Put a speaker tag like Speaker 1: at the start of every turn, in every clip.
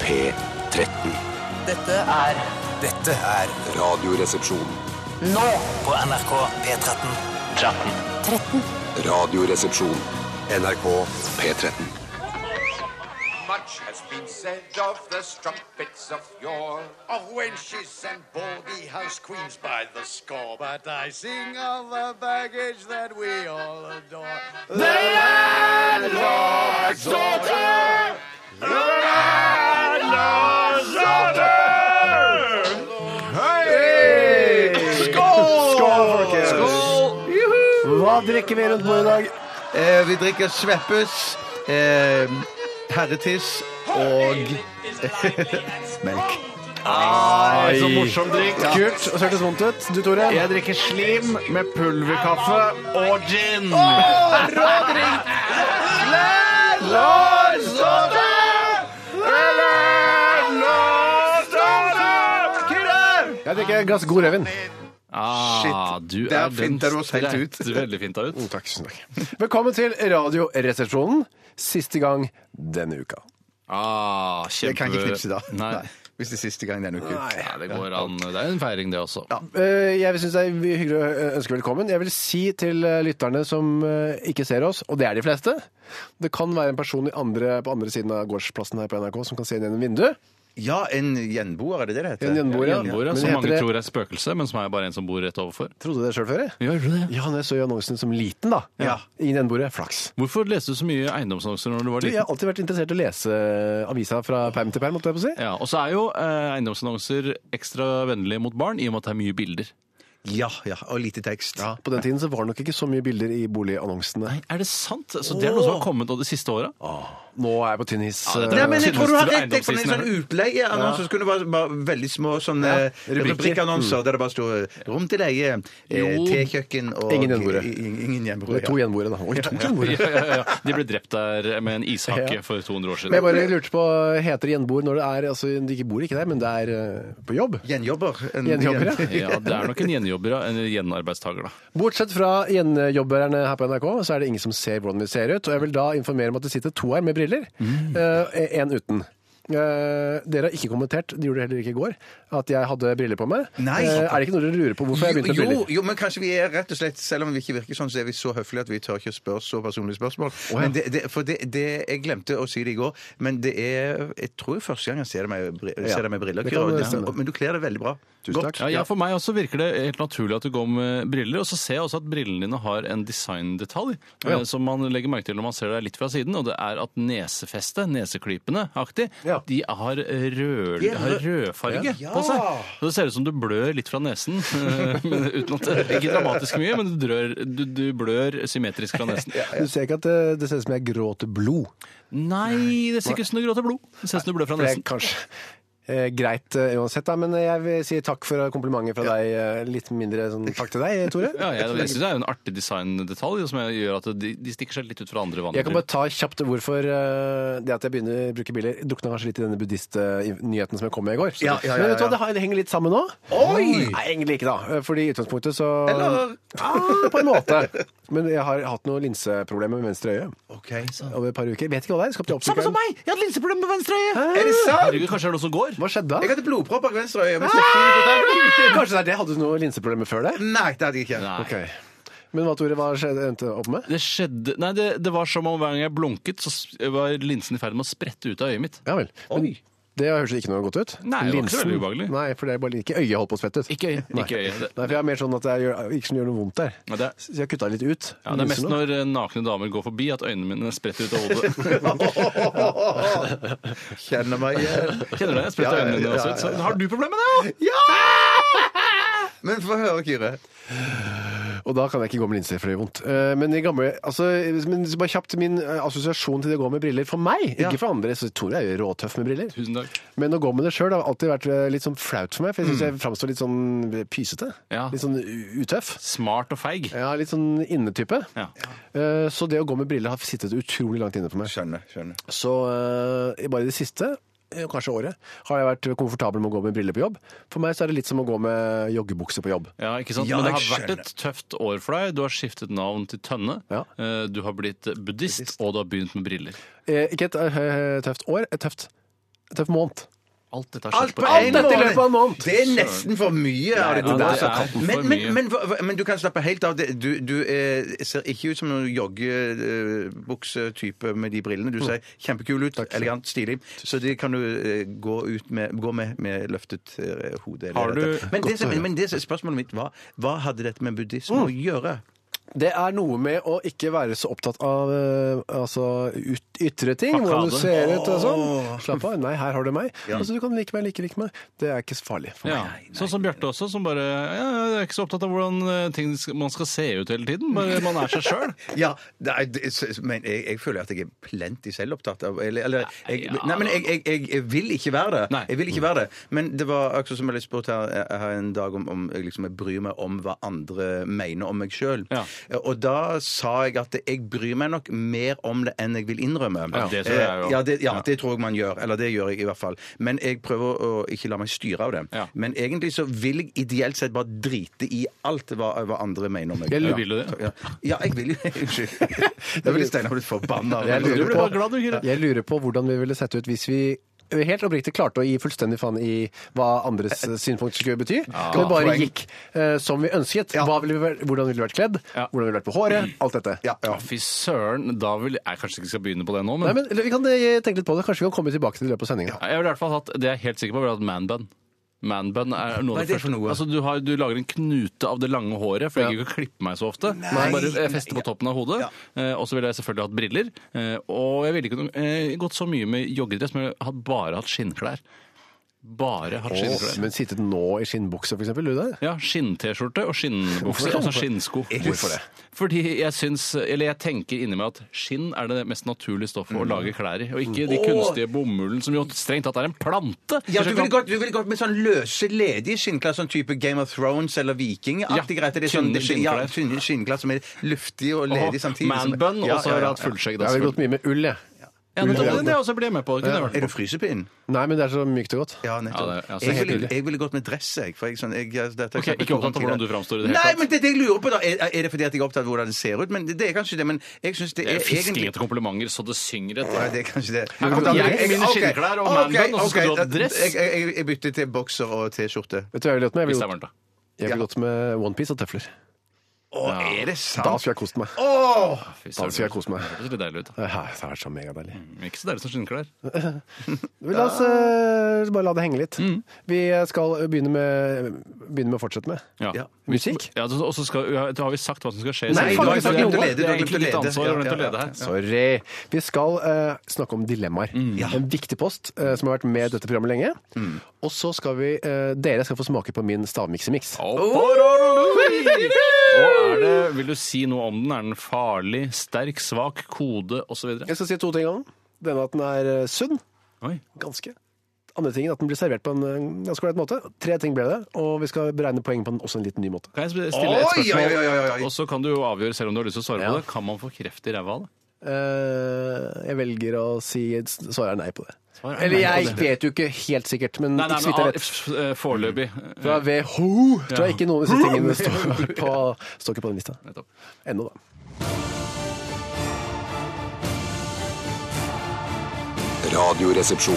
Speaker 1: P13.
Speaker 2: Dette er
Speaker 3: Dette er
Speaker 1: Radioresepsjon.
Speaker 2: nå
Speaker 3: på NRK P13.
Speaker 2: 13.
Speaker 1: Radioresepsjon. NRK P13.
Speaker 4: Much has been said of the strumpets of yore,
Speaker 5: of wenches and baldy house queens by the score. But I sing of the baggage that we all adore.
Speaker 6: Hva drikker vi rundt bordet i dag?
Speaker 7: Eh, vi drikker Sveppes, eh, herretiss og melk.
Speaker 6: Ai. Så morsom drikk. Kult. Og så hørtes vondt ut. Du, Tore?
Speaker 8: Jeg drikker slim med pulverkaffe og gin.
Speaker 6: Jeg drikker et glass god rødvin.
Speaker 8: Ah,
Speaker 7: Shit,
Speaker 8: du
Speaker 7: der
Speaker 8: er den
Speaker 7: finter du oss helt ut.
Speaker 8: sprette- Veldig fint deg ut.
Speaker 6: Tusen takk. Velkommen til Radioresepsjonen. Siste gang denne uka.
Speaker 8: Ah, kjempe...
Speaker 7: Jeg kan ikke knipse da.
Speaker 8: Nei.
Speaker 7: Hvis det er siste gang denne uken.
Speaker 8: Nei, det går an. Det er en feiring, det også.
Speaker 6: Eh, Jeg syns det er hyggelig å eh, ønske velkommen. Jeg vil si til eh, lytterne som eh, ikke ser oss, og det er de fleste Det kan være en person i andre, på andre siden av gårdsplassen her på NRK som kan se inn gjennom vinduet.
Speaker 7: Ja, en gjenboer, er det det det heter?
Speaker 6: En gjenboer, ja.
Speaker 7: Ja,
Speaker 8: Gjenboere,
Speaker 6: Men
Speaker 8: som
Speaker 6: heter
Speaker 8: mange
Speaker 6: det-
Speaker 8: tror er spøkelse, men som er bare en som bor rett overfor.
Speaker 6: Trodde du det sjøl før? jeg?
Speaker 8: Gjør du det?
Speaker 6: Ja, når jeg så i annonsen som liten, da.
Speaker 7: Ja.
Speaker 6: Ingen gjenboere. Flaks.
Speaker 8: Hvorfor leste du så mye eiendomsannonser når du var
Speaker 6: Du, jeg
Speaker 8: liten?
Speaker 6: har alltid vært interessert i å lese eh, avisa fra perm til perm, måtte jeg på å si.
Speaker 8: Ja, og så er jo eh, eiendomsannonser ekstra vennlige mot barn, i og med at det er mye bilder.
Speaker 7: ja, ja, og lite tekst.
Speaker 6: På den tiden så var det nok ikke så mye bilder i boligannonsene.
Speaker 8: Er det sant? Så det er noe som har kommet de siste åra?
Speaker 6: Nå er jeg på tynn hiss.
Speaker 8: Ja, det er
Speaker 7: Nei,
Speaker 6: eh,
Speaker 7: men jeg tror du har rett. Jeg
Speaker 8: Eiendomsprisen
Speaker 7: fant en sånn utleieannonse som skulle være bare veldig små sånne
Speaker 6: Ja, rubrikker. Mm.
Speaker 7: rubrikkannonser der det bare sto eh, 'rom til leie', eh,
Speaker 8: Jo.
Speaker 7: tekjøkken og
Speaker 6: Ingen gjenboere.
Speaker 7: i- i- Ingen
Speaker 6: Det
Speaker 7: gjenboere.
Speaker 6: er to
Speaker 7: ja.
Speaker 6: gjenboere, da. Oi, to gjenboere.
Speaker 8: Ja, ja, ja. De ble drept der med en ishake
Speaker 6: Ja.
Speaker 8: for 200 år
Speaker 6: Men jeg
Speaker 8: siden.
Speaker 6: bare lurte på, heter det gjenboer når det er Altså, de ikke bor ikke der, men det er eh, på jobb?
Speaker 7: Gjenjobber. En-
Speaker 6: Gjenjobber, ja.
Speaker 8: Ja, Det er nok en gjenjobber, ja, en gjenarbeidstaker, da.
Speaker 6: Bortsett fra gjenjobberne her på NRK, så er det ingen som ser hvordan vi ser ut. Og jeg vil da informere om at det sitter to her med briller. Én uten. Eh, dere har ikke kommentert, det gjorde dere heller ikke i går, at jeg hadde briller på meg.
Speaker 7: Nei.
Speaker 6: Eh, er det ikke noe dere lurer på hvorfor jeg begynte med
Speaker 7: jo,
Speaker 6: briller?
Speaker 7: jo, men kanskje vi er rett og slett, selv om vi ikke virker sånn, så er vi så høflige at vi tør ikke å spørre så personlige spørsmål. Men det, det, for det, det, jeg glemte å si det i går, men det er Jeg tror det er første gang jeg ser deg med, bri-
Speaker 6: Ja,
Speaker 7: ser deg med briller,
Speaker 6: det kan
Speaker 7: Kyrre. og
Speaker 6: stemme.
Speaker 7: det- Men du kler deg veldig bra. Tusen
Speaker 6: takk.
Speaker 8: Ja, ja, For meg også virker det helt naturlig at du går med briller. Og så ser jeg også at brillene dine har en designdetalj eh, som man legger merke til når man ser deg litt fra siden, og det er at nesefestet, neseklypene aktig,
Speaker 6: Ja.
Speaker 8: de har rød, har rødfarge på seg. Så det ser ut som du blør litt fra nesen. eh, men uten at, ikke dramatisk mye, men du, drør, du, du blør symmetrisk fra nesen.
Speaker 6: Du ser ikke at det, det ser ut som jeg gråter blod.
Speaker 8: Nei, det ser ikke ut som du gråter blod. Det ser ut som du blør fra
Speaker 6: For det er
Speaker 8: nesen.
Speaker 6: kanskje eh, greit eh, uansett, da, men jeg vil si takk for komplimenter fra deg. eh, Litt mindre sånn, takk til deg, Tore.
Speaker 8: Ja, jeg, jeg synes Det er jo en artig designdetalj som gjør at de, de stikker seg litt ut fra andre
Speaker 6: Jeg kan
Speaker 8: vanlige.
Speaker 6: bare ta kjapt hvorfor eh, det at jeg begynner å bruke biler drukna kanskje litt i denne buddhistnyheten som jeg kom med i går.
Speaker 7: Ja, ja, ja,
Speaker 6: Men vet du
Speaker 7: ja.
Speaker 6: hva, det har- det henger litt sammen nå.
Speaker 7: Oi!
Speaker 6: Nei, egentlig ikke, da. Eh, Fordi i utgangspunktet så
Speaker 7: Eller-
Speaker 6: ah, På en måte. Men jeg har hatt noen linseproblemer med venstre øye
Speaker 7: Ok. Er
Speaker 6: over et par uker. Vet ikke hva det er. Skapte oppsikten.
Speaker 8: Samme som meg! Jeg hadde linseproblemer med venstre øye!
Speaker 7: det sant?
Speaker 8: Herregud, kanskje det er noe som går?
Speaker 6: Hva skjedde
Speaker 7: Jeg
Speaker 6: da?
Speaker 7: hadde blodpropp bak venstre øye. men
Speaker 6: Ah!
Speaker 7: så-
Speaker 6: Kanskje det er det. Hadde du noen linseproblemer før det?
Speaker 7: Nei, det hadde jeg ikke.
Speaker 8: Nei.
Speaker 6: Ok. Men hva, Tore, hva skjedde, endte opp med?
Speaker 8: Det skjedde Nei, det, det var som om hver gang jeg blunket, så s- var linsen i ferd med å sprette ut av øyet mitt.
Speaker 6: Ja vel. Men det høres ikke noe godt ut.
Speaker 8: Nei, det var ikke så veldig ubehagelig.
Speaker 6: Nei, for det er bare ikke øyet holdt på å svette ut.
Speaker 8: Ikke øyet. Ikke øyet. Det-
Speaker 6: Nei, for jeg er mer sånn at det gjør, ikke som gjør noe vondt der.
Speaker 8: Ja, det-
Speaker 6: Så jeg har kutta litt ut.
Speaker 8: Ja, det er mest
Speaker 6: Lyser nå.
Speaker 8: når eh, nakne damer går forbi at øynene mine spretter ut av hodet.
Speaker 7: Kjenner meg igjen.
Speaker 8: Kjenner du det? Jeg
Speaker 7: Ja,
Speaker 8: spretter
Speaker 7: ja,
Speaker 8: øynene dine
Speaker 7: ja,
Speaker 8: også ut.
Speaker 7: ja,
Speaker 8: Så,
Speaker 7: ja.
Speaker 8: har du problemer med det? også?
Speaker 7: Men få høre, Kyrre.
Speaker 6: Og da kan jeg ikke gå med linser, for det gjør vondt. Eh, Men, i gamle, altså, men så bare kjapt min eh, assosiasjon til det å gå med briller for meg, ikke for andre. Så Tore er jo råtøff med briller.
Speaker 8: Tusen takk.
Speaker 6: Men å gå med det sjøl har alltid vært eh, litt sånn flaut for meg, for jeg syns jeg framstår litt sånn pysete.
Speaker 8: Mm. Ja.
Speaker 6: Litt sånn u- utøff.
Speaker 8: Smart og feig.
Speaker 6: Ja, litt sånn innetype.
Speaker 8: Ja.
Speaker 6: Eh, Så det å gå med briller har sittet utrolig langt inne for meg.
Speaker 7: Skjønner. skjønner.
Speaker 6: Så eh, bare i det siste, eh, kanskje året, har jeg vært komfortabel med å gå med briller på jobb. For meg så er det litt som å gå med joggebukse på jobb.
Speaker 8: Ja, ikke sant?
Speaker 7: Ja,
Speaker 8: Men det har
Speaker 7: jeg
Speaker 8: vært et tøft år for deg. Du har skiftet navn til Tønne.
Speaker 6: Ja.
Speaker 8: Eh, Du har blitt buddhist, og du har begynt med briller.
Speaker 6: Eh, Ikke eh, et eh, tøft år, et tøft tøff måned.
Speaker 8: Alt dette har
Speaker 7: Alt
Speaker 8: skjedd
Speaker 7: på
Speaker 8: på
Speaker 6: Alt
Speaker 7: en
Speaker 8: én
Speaker 6: dette i løpet av en måned.
Speaker 7: Det er nesten for mye av det
Speaker 8: Ja,
Speaker 7: der.
Speaker 8: det er
Speaker 7: altså.
Speaker 8: for
Speaker 7: men,
Speaker 8: mye.
Speaker 7: men, men, hva- hva- men du kan slappe helt av. Det- Du, du eh, ser ikke ut som noen joggebuksetype med de brillene. Du
Speaker 8: Mm.
Speaker 7: ser kjempekul ut, elegant, stilig. Så det kan du eh, gå, ut med, gå med med løftet eh, hode. eller
Speaker 8: Har du-
Speaker 7: dette. men, det, som- men det som- spørsmålet mitt var hva hadde dette med buddhisme
Speaker 8: Mm.
Speaker 7: å gjøre?
Speaker 6: Det er noe med å ikke være så opptatt av eh, altså, yt- ytre ting. Hvordan du
Speaker 8: Fakade.
Speaker 6: ser ut og sånn. Slapp av. Nei, her har du meg. Altså, du kan like meg, like like meg. Det er ikke så farlig for meg.
Speaker 8: Ja. Sånn som Bjarte også, som bare ja, ja, jeg er ikke så opptatt av hvordan eh, ting skal, man skal se ut hele tiden. Bare man er seg sjøl.
Speaker 7: Ja, nei, det, s- s- men jeg, jeg føler at jeg er plenty selvopptatt av eller, eller, jeg,
Speaker 8: Ja,
Speaker 7: Nei, men jeg, jeg, jeg, jeg vil ikke være det.
Speaker 8: Nei. Mm.
Speaker 7: Jeg vil ikke være det. Men det var akkurat som jeg ble spurt her, her eh, en dag om, om jeg liksom, jeg bryr meg om hva andre mener om meg sjøl.
Speaker 8: Ja.
Speaker 7: Og da sa jeg at jeg bryr meg nok mer om det enn jeg vil innrømme.
Speaker 8: Ja, det tror jeg jo.
Speaker 7: Eh, Ja, det, ja, det tror jeg man gjør. Eller det gjør jeg i hvert fall. Men jeg prøver å ikke la meg styre av det.
Speaker 8: Ja.
Speaker 7: Men egentlig så vil jeg ideelt sett bare drite i alt hva, hva andre mener om meg.
Speaker 8: Eller
Speaker 7: Ja.
Speaker 8: vil du det?
Speaker 7: Ja, ja jeg vil jo Unnskyld. Da ville Steinar blitt forbanna.
Speaker 6: Jeg
Speaker 8: Du
Speaker 6: lurer,
Speaker 8: blir bare glad, du,
Speaker 6: på,
Speaker 8: Kyrre.
Speaker 6: jeg lurer på hvordan vi ville sett ut hvis vi helt oppriktig klarte å gi fullstendig faen i hva andres
Speaker 8: Eh,
Speaker 6: synspunkt skulle bety. Men bare
Speaker 7: poeng.
Speaker 6: gikk eh, som vi ønsket. Hva ville vi, vært- hvordan ville vi vært kledd?
Speaker 8: Ja.
Speaker 6: Hvordan ville vi vært på håret? Alt dette.
Speaker 7: Ja, ja.
Speaker 8: Fy søren, da vil jeg kanskje ikke skal begynne på det nå,
Speaker 6: Nei,
Speaker 8: men,
Speaker 6: men eller Vi kan eh, tenke litt på det. Kanskje vi kan komme tilbake til det i løpet av sendinga.
Speaker 8: jeg vil i hvert fall hatt det jeg er helt sikker på, vil hatt manbun. Manbun er noe
Speaker 7: Hva
Speaker 8: av
Speaker 7: er
Speaker 8: det
Speaker 7: det for
Speaker 8: første
Speaker 7: noe?
Speaker 8: altså, du, har, du lager en knute av det lange håret, for jeg gidder ikke å klippe meg så ofte.
Speaker 7: Nei.
Speaker 8: Bare eh, feste på toppen av hodet. Eh, og så ville jeg selvfølgelig hatt briller. Eh, og jeg ville ikke eh, gått så mye med joggedress, men jeg hadde bare hatt skinnklær. Bare hatt skinnklær.
Speaker 6: Men sittet nå i skinnbukse, for eksempel? Du der?
Speaker 8: Ja, skinn-T-skjorte og skinnbukse
Speaker 6: Hvorfor det?
Speaker 8: og så skinnsko.
Speaker 6: Hvorfor det?
Speaker 8: Fordi jeg syns, eller jeg tenker inni meg at skinn er det mest naturlige stoffet
Speaker 7: Mm.
Speaker 8: å lage klær i, og ikke de kunstige bomullen som jo strengt tatt er en plante.
Speaker 7: Ja, du ville gått, du ville gått med sånn løse, ledige skinnklær, sånn type Game of Thrones eller vikingaktig
Speaker 8: Ja,
Speaker 7: greit. Det er sånn,
Speaker 8: tynne
Speaker 7: det- det- Ja,
Speaker 8: skinnklær.
Speaker 7: tynne skinnklær som er luftige og ledige samtidig.
Speaker 8: Og
Speaker 7: som-
Speaker 8: manbun,
Speaker 7: Ja,
Speaker 8: og så
Speaker 7: ja,
Speaker 8: har jeg
Speaker 7: ja,
Speaker 8: hatt fullskjegg.
Speaker 6: Jeg
Speaker 8: da,
Speaker 6: ville gått
Speaker 8: selvfølgelig.
Speaker 6: mye med ull, jeg.
Speaker 8: Ja, men det, det også blir jeg med på. Det kunne jeg
Speaker 7: Er
Speaker 8: vært
Speaker 7: du
Speaker 8: med på.
Speaker 7: frysepinn?
Speaker 6: Nei, men det er så mykt og godt.
Speaker 7: Ja, nettopp.
Speaker 8: Ja, det er- altså,
Speaker 7: jeg,
Speaker 8: helt
Speaker 7: ville,
Speaker 8: tydelig.
Speaker 7: jeg ville gått med dress, jeg. For jeg, sånn, jeg dette har
Speaker 8: Ok,
Speaker 7: jeg snakket
Speaker 8: ikke
Speaker 7: om
Speaker 8: opptatt av
Speaker 7: tidligere.
Speaker 8: hvordan du framstår i det hele
Speaker 7: Nei,
Speaker 8: tatt.
Speaker 7: men det er det jeg lurer på, da. Er, er det fordi at jeg er opptatt av hvordan det ser ut? Men det, det er kanskje det. Men jeg syns det er
Speaker 8: Det er
Speaker 7: egentlig
Speaker 8: Fiskelete komplimenter så det synger
Speaker 7: Nei,
Speaker 8: etter.
Speaker 7: det er kanskje det.
Speaker 8: Her kommer jeg med mine
Speaker 7: Ok,
Speaker 8: skinnklær og
Speaker 7: ok,
Speaker 8: manbun, og så skal
Speaker 7: ok.
Speaker 8: du ha dress.
Speaker 7: Jeg, jeg, jeg bytter til bokser og T-skjorte.
Speaker 6: Vet du hva jeg ville gått med? Jeg
Speaker 8: Hvis det
Speaker 6: ville
Speaker 8: er varmt,
Speaker 6: gått,
Speaker 8: da.
Speaker 6: jeg ville gått med onepiece og tøfler.
Speaker 7: Å, er det
Speaker 6: Da
Speaker 7: sant?
Speaker 6: skulle jeg kost meg.
Speaker 7: Åh!
Speaker 8: Fy
Speaker 6: Da
Speaker 8: søren.
Speaker 6: skulle jeg kose meg.
Speaker 8: Det høres litt deilig ut.
Speaker 6: Det her- det har vært så megadeilig.
Speaker 8: Men Ikke så deilig som skinnklær.
Speaker 6: Men La oss eh, bare la det henge litt. Vi skal begynne med, begynne med å fortsette med
Speaker 8: Ja.
Speaker 6: musikk.
Speaker 8: Ja, så- og så skal, ja, da har vi sagt hva som skal skje. i sendingen.
Speaker 6: Nei, du har ikke sagt noe.
Speaker 8: Det
Speaker 7: Du
Speaker 8: er
Speaker 7: har
Speaker 8: egentlig
Speaker 7: glemt å
Speaker 8: ditt
Speaker 7: lede.
Speaker 8: ansvar å glemt å
Speaker 7: Ja, ja,
Speaker 8: lede her.
Speaker 6: Sorry. Vi skal eh, snakke om dilemmaer. En viktig post eh, som har vært med i dette programmet lenge. Og så skal vi eh, Dere skal få smake på min stavmiksemiks.
Speaker 8: Og er det, vil du si noe om den? Er den farlig, sterk, svak, kode osv.?
Speaker 6: Jeg skal si to ting om den. Denne at den er eh, sunn.
Speaker 8: Oi.
Speaker 6: Ganske. Andre tingen at den blir servert på en eh, ganske ålreit måte. Tre ting ble det, og vi skal beregne poeng på den også en liten ny måte.
Speaker 8: Kan jeg stille
Speaker 7: Oi,
Speaker 8: et
Speaker 7: oi, oi, oi,
Speaker 8: spørsmål?
Speaker 7: oi.
Speaker 8: Og så kan du jo avgjøre selv om du har lyst til å svare
Speaker 6: Ja.
Speaker 8: på det. Kan man få kreft i ræva av det?
Speaker 6: Eh, jeg velger å si svaret er nei på det.
Speaker 8: Svaret er nei
Speaker 6: Eller
Speaker 8: på
Speaker 6: jeg vet jo ikke helt sikkert, men
Speaker 8: Nei, nei,
Speaker 6: ikke så
Speaker 8: men
Speaker 6: vidt jeg
Speaker 8: ah,
Speaker 6: vet.
Speaker 8: f- eh, foreløpig.
Speaker 6: Fra WHO tror jeg
Speaker 8: Ja.
Speaker 6: ikke noen av disse tingene står, på, står ikke på den lista.
Speaker 8: Eh, Nettopp.
Speaker 6: Ennå, da.
Speaker 1: Radioresepsjon.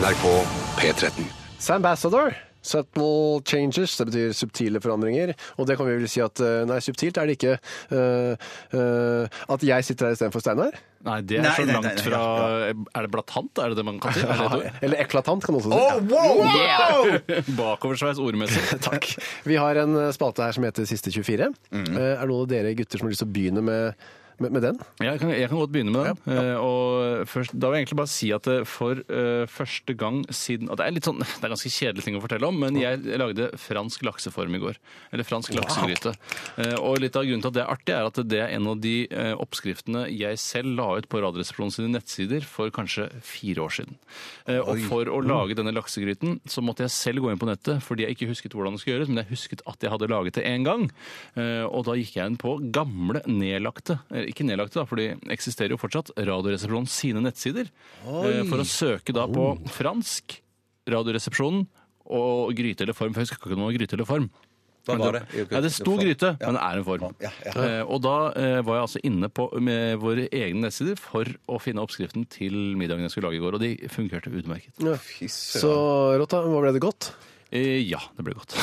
Speaker 1: NRK P13.
Speaker 6: Sam Bassador. Subtle changes, det betyr subtile forandringer. Og det kan vi vel si at eh, Nei, subtilt er det ikke eh, eh, at jeg sitter her istedenfor Steinar.
Speaker 8: Nei, det er
Speaker 7: Nei,
Speaker 8: så
Speaker 7: nei, nei,
Speaker 8: langt
Speaker 7: nei,
Speaker 8: fra Er det blatant? Er det det man kan si? Er det et ord?
Speaker 6: Eller eklatant, kan noen si. Ja.
Speaker 8: Bakoversveis ordmessig.
Speaker 6: Takk. Vi har en eh, spalte her som heter Siste 24.
Speaker 8: Mm.
Speaker 6: Eh, Er det noen av dere gutter som har lyst til å begynne med, med, med den?
Speaker 8: Jeg kan, jeg kan godt begynne med den. Eh, og først, da vil jeg egentlig bare si at det for eh, første gang siden og det, er litt sånn, det er ganske kjedelig ting å fortelle om, men jeg lagde fransk lakseform i går. Eller fransk laksegryte. Eh, og litt av grunnen til at det er artig, er at det er en av de eh, oppskriftene jeg selv la ut på Radioresepsjonen sine nettsider for kanskje fire år siden. Eh, og for å lage denne laksegryten så måtte jeg selv gå inn på nettet fordi jeg ikke husket hvordan det skulle gjøres, men jeg husket at jeg hadde laget det en gang. Eh, Og da gikk jeg inn på gamle nedlagte, eh, ikke nedlagte da, for de eksisterer jo fortsatt, Radioresepsjonen sine nettsider. eh, For å søke da på fransk, Radioresepsjonen og gryte eller form, for jeg husker ikke noe gryte eller form.
Speaker 7: Hva var det?
Speaker 8: Nei, det sto gryte, men det er en form.
Speaker 7: Ja, ja.
Speaker 8: Eh, Og da eh, var jeg altså inne på med våre egne nettsider for å finne oppskriften til middagen jeg skulle lage i går, og de fungerte utmerket.
Speaker 6: Ja. Så Rotta, hva ble det godt?
Speaker 8: Eh, Ja, det ble godt.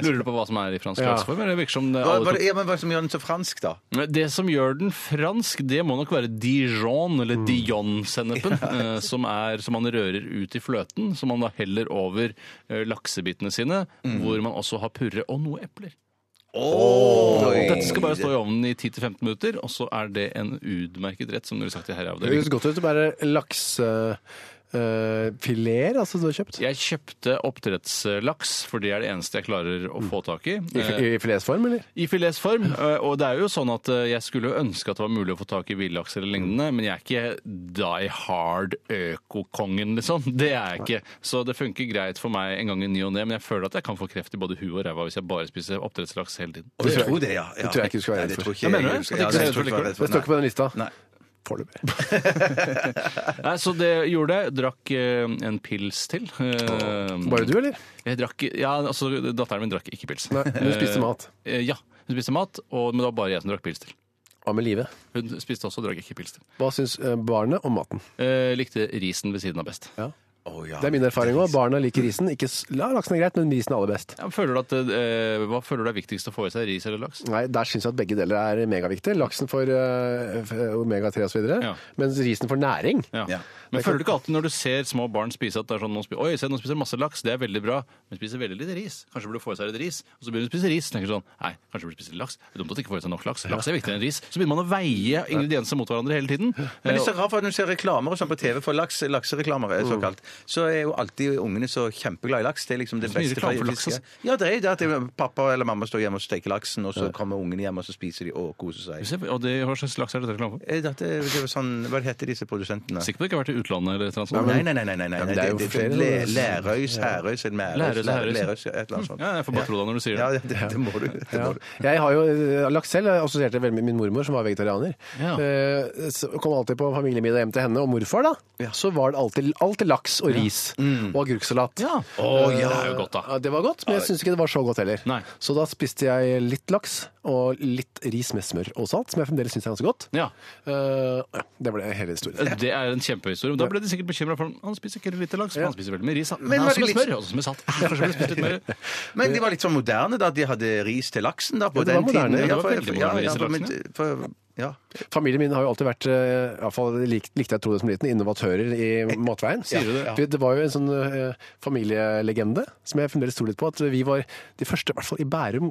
Speaker 8: Lurer du på hva som er i fransk
Speaker 6: Ja.
Speaker 8: lakseform? eller Det virker som det
Speaker 7: Hva,
Speaker 8: alle
Speaker 7: hva,
Speaker 8: to-
Speaker 7: ja, men hva som gjør den så fransk, da?
Speaker 8: Men Det som gjør den fransk, det må nok være Dijon, eller
Speaker 7: Mm.
Speaker 8: Dijon-sennepen, eh, som, er, som man rører ut i fløten, som man da heller over eh, laksebitene sine,
Speaker 7: Mm.
Speaker 8: hvor man også har purre og noe epler. Dette skal bare stå i ovnen i 10-15 minutter, og så er det en utmerket rett, som dere har sagt i
Speaker 6: Det høres
Speaker 8: herreavdelingen.
Speaker 6: godt ut. Bare laksefileter, eh, altså, du har kjøpt?
Speaker 8: Jeg kjøpte oppdrettslaks, for det er det eneste jeg klarer å få tak i.
Speaker 6: Mm. I,
Speaker 8: Eh,
Speaker 6: i filetsform, eller?
Speaker 8: I filetsform. eh, Og det er jo sånn at eh, jeg skulle jo ønske at det var mulig å få tak i villaks eller
Speaker 6: Mm.
Speaker 8: lignende, men jeg er ikke die hard økokongen, liksom. Det er jeg ikke. Så det funker greit for meg en gang i ny og ne, men jeg føler at jeg kan få kreft i både huet og ræva hvis jeg bare spiser oppdrettslaks hele tiden.
Speaker 7: Jeg tror det, ja. ja.
Speaker 6: Det tror jeg ikke du skal være
Speaker 7: Nei,
Speaker 6: redd
Speaker 7: det
Speaker 6: for.
Speaker 7: tror ikke
Speaker 8: Ja,
Speaker 7: jeg
Speaker 8: mener du?
Speaker 7: jeg skal-
Speaker 8: At
Speaker 7: ja,
Speaker 8: ikke du
Speaker 7: det tror jeg ikke jeg
Speaker 8: er redd for likevel?
Speaker 7: er
Speaker 6: Det
Speaker 7: redd for,
Speaker 6: står ikke på den lista.
Speaker 7: Nei.
Speaker 6: Foreløpig.
Speaker 8: Nei, så det gjorde jeg. Drakk eh, en pils til. Eh,
Speaker 6: Bare du, eller?
Speaker 8: Jeg drakk, ja, altså Datteren min drakk ikke pils.
Speaker 6: Nei, hun spiste
Speaker 8: Eh,
Speaker 6: mat.
Speaker 8: eh, Ja, hun spiste mat, og, men det var bare jeg som drakk pils til.
Speaker 6: Hva med livet?
Speaker 8: Hun spiste også, drakk ikke pils til.
Speaker 6: Hva syns eh, barnet om maten?
Speaker 8: Eh, likte risen ved siden av best.
Speaker 7: Å, ja.
Speaker 6: Det er min erfaring òg. Barna liker risen. Ikke, s- la laksen er greit, men risen er aller best.
Speaker 8: Ja, men føler du at, eh, hva føler du er viktigst å få i seg, ris eller laks?
Speaker 6: Nei, Der syns jeg at begge deler er megaviktig. Laksen for eh, f- omega-3 osv.,
Speaker 8: Ja.
Speaker 6: mens risen for næring.
Speaker 8: Ja.
Speaker 7: Ja.
Speaker 8: Men føler du ikke alltid når du ser små barn spise at det er sånn, nå spiser, oi, se, nå spiser de masse laks, det er veldig bra, men spiser veldig lite ris. Kanskje burde du få i seg litt ris, og så begynner du å spise ris, tenker du sånn, nei, kanskje burde du spise litt laks, det er dumt at du ikke får i seg nok laks, laks er viktigere enn ris. Så begynner man å veie ingredienser mot hverandre hele
Speaker 7: Men
Speaker 8: tiden.
Speaker 7: det er
Speaker 8: Eh,
Speaker 7: så rart, for at når du ser reklamer og sånn på TV for laks, laksereklamer, eh, såkalt, så er jo alltid ungene så kjempeglad i laks. Det er liksom det
Speaker 8: Det er så mye
Speaker 7: beste
Speaker 8: reklame for laks,
Speaker 7: fisket. Ja, det er jo det at det er pappa eller mamma står hjemme og steker laksen, og så kommer ungene hjem, og så spiser de og koser seg.
Speaker 8: Se, Og det, hva slags laks er dette reklame for?
Speaker 7: Eh, Dette, det var sånn, hva heter disse produsentene?
Speaker 8: Sikker på at det ikke har vært i utlandet eller et eller annet sånt?
Speaker 7: Nei, nei, nei. nei, nei, nei.
Speaker 6: men
Speaker 7: Det,
Speaker 6: det er jo
Speaker 7: det,
Speaker 6: flere,
Speaker 7: Le,
Speaker 6: da.
Speaker 7: Lærøys, Herøys, eller Mærøys,
Speaker 8: Lærøys, Herøys.
Speaker 7: Lærøys, et eller annet sånt.
Speaker 8: Ja, jeg får bare tro det når du sier det.
Speaker 7: Ja, det, det må du. Det
Speaker 6: Ja.
Speaker 7: må du.
Speaker 6: Jeg har jo eh, laks selv. Jeg assosierte veldig med min mormor, som var vegetarianer.
Speaker 8: Ja.
Speaker 6: Eh, Så kom alltid på familiemiddag hjem til henne og morfar, da. Så var det alltid, alltid laks og ris og agurksalat.
Speaker 8: Mm. Ja. Å, ja, det er jo godt, da.
Speaker 6: Ja, Det var godt, men jeg syns ikke det var så godt heller.
Speaker 8: Nei.
Speaker 6: Så da spiste jeg litt laks og litt ris med smør og salt, som jeg fremdeles syns er ganske godt.
Speaker 8: Ja.
Speaker 6: Eh, ja, det ble hele historien.
Speaker 8: Det er en kjempehistorie. Men Da ble de sikkert bekymra for han spiser ikke lite laks, men han spiser veldig mye ris. han. Men
Speaker 7: var
Speaker 8: også med
Speaker 7: det
Speaker 8: smør, også med salt. Kanskje burde spist litt mer.
Speaker 7: Men de var litt sånn moderne, da. De hadde ris til laksen da, på
Speaker 6: Ja, det var
Speaker 7: den
Speaker 6: moderne,
Speaker 7: tiden.
Speaker 6: ja, det
Speaker 8: var
Speaker 7: for-
Speaker 8: veldig moderne ris til
Speaker 7: for-
Speaker 8: laksen,
Speaker 7: for- Ja.
Speaker 6: Familien min har jo alltid vært, eh, i hvert fall lik, likte jeg å tro det som liten, innovatører i matveien.
Speaker 8: Sier du det? Ja.
Speaker 6: For Det var jo en sånn eh, familielegende som jeg fremdeles tror litt på, at vi var de første, i hvert fall i Bærum,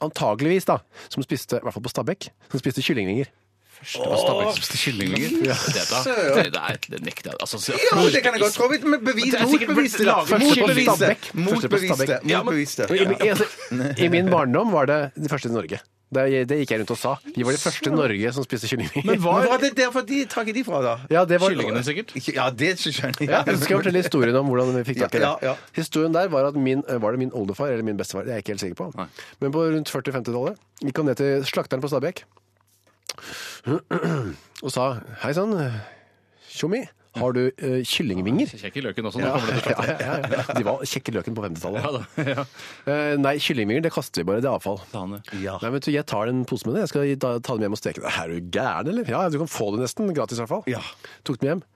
Speaker 6: antageligvis da, som spiste, i hvert fall på Stabekk, som spiste kyllingvinger.
Speaker 8: Det var stabbing som spiste kyllingvinger. Det, da, det, der, det nekter jeg. Altså, så-
Speaker 7: Jo, det kan jeg godt tro. Men bevis,
Speaker 8: Det er sikkert
Speaker 7: motbevis det.
Speaker 8: laget
Speaker 6: første på
Speaker 7: Motbevis det.
Speaker 6: Stabekk. Første på
Speaker 7: Motbevis det.
Speaker 6: Stabekk.
Speaker 8: Ja, men-
Speaker 7: Motbevis det.
Speaker 6: I, min- altså, I min barndom var det de første i Norge. Det, det gikk jeg rundt og sa. Vi var de første i Norge som spiste kyllingvinger.
Speaker 8: Men
Speaker 7: Men
Speaker 8: var
Speaker 7: Hva er det derfor de trakk de fra, da?
Speaker 6: ja, det var,
Speaker 8: kyllingene sikkert?
Speaker 7: Ikke- Ja, det skjønner jeg.
Speaker 6: Ja, jeg skal fortelle historien om hvordan vi fikk tak i det.
Speaker 7: Ja, ja, ja.
Speaker 6: Historien der var at min, eh, var det min oldefar eller min bestefar, det er jeg ikke helt sikker på.
Speaker 8: Nei.
Speaker 6: Men på rundt 40-50-tallet gikk han ned til slakteren på Stabekk og sa Hei sann, tjommi, har du eh, kyllingvinger?
Speaker 8: Kjekk i løken også. Nå kommer det til
Speaker 6: Ja, ja, ja. De var kjekke løken på 50-tallet.
Speaker 8: Ja da, ja.
Speaker 6: Eh, nei, kyllingvinger det kaster vi bare. Det er avfall.
Speaker 8: slutt.
Speaker 6: Nei, men du, Jeg tar den posen med det. Jeg skal ta ta dem hjem og steke det. Er du gæren, eller? Ja, du kan få det nesten gratis, i hvert fall. Tok dem hjem.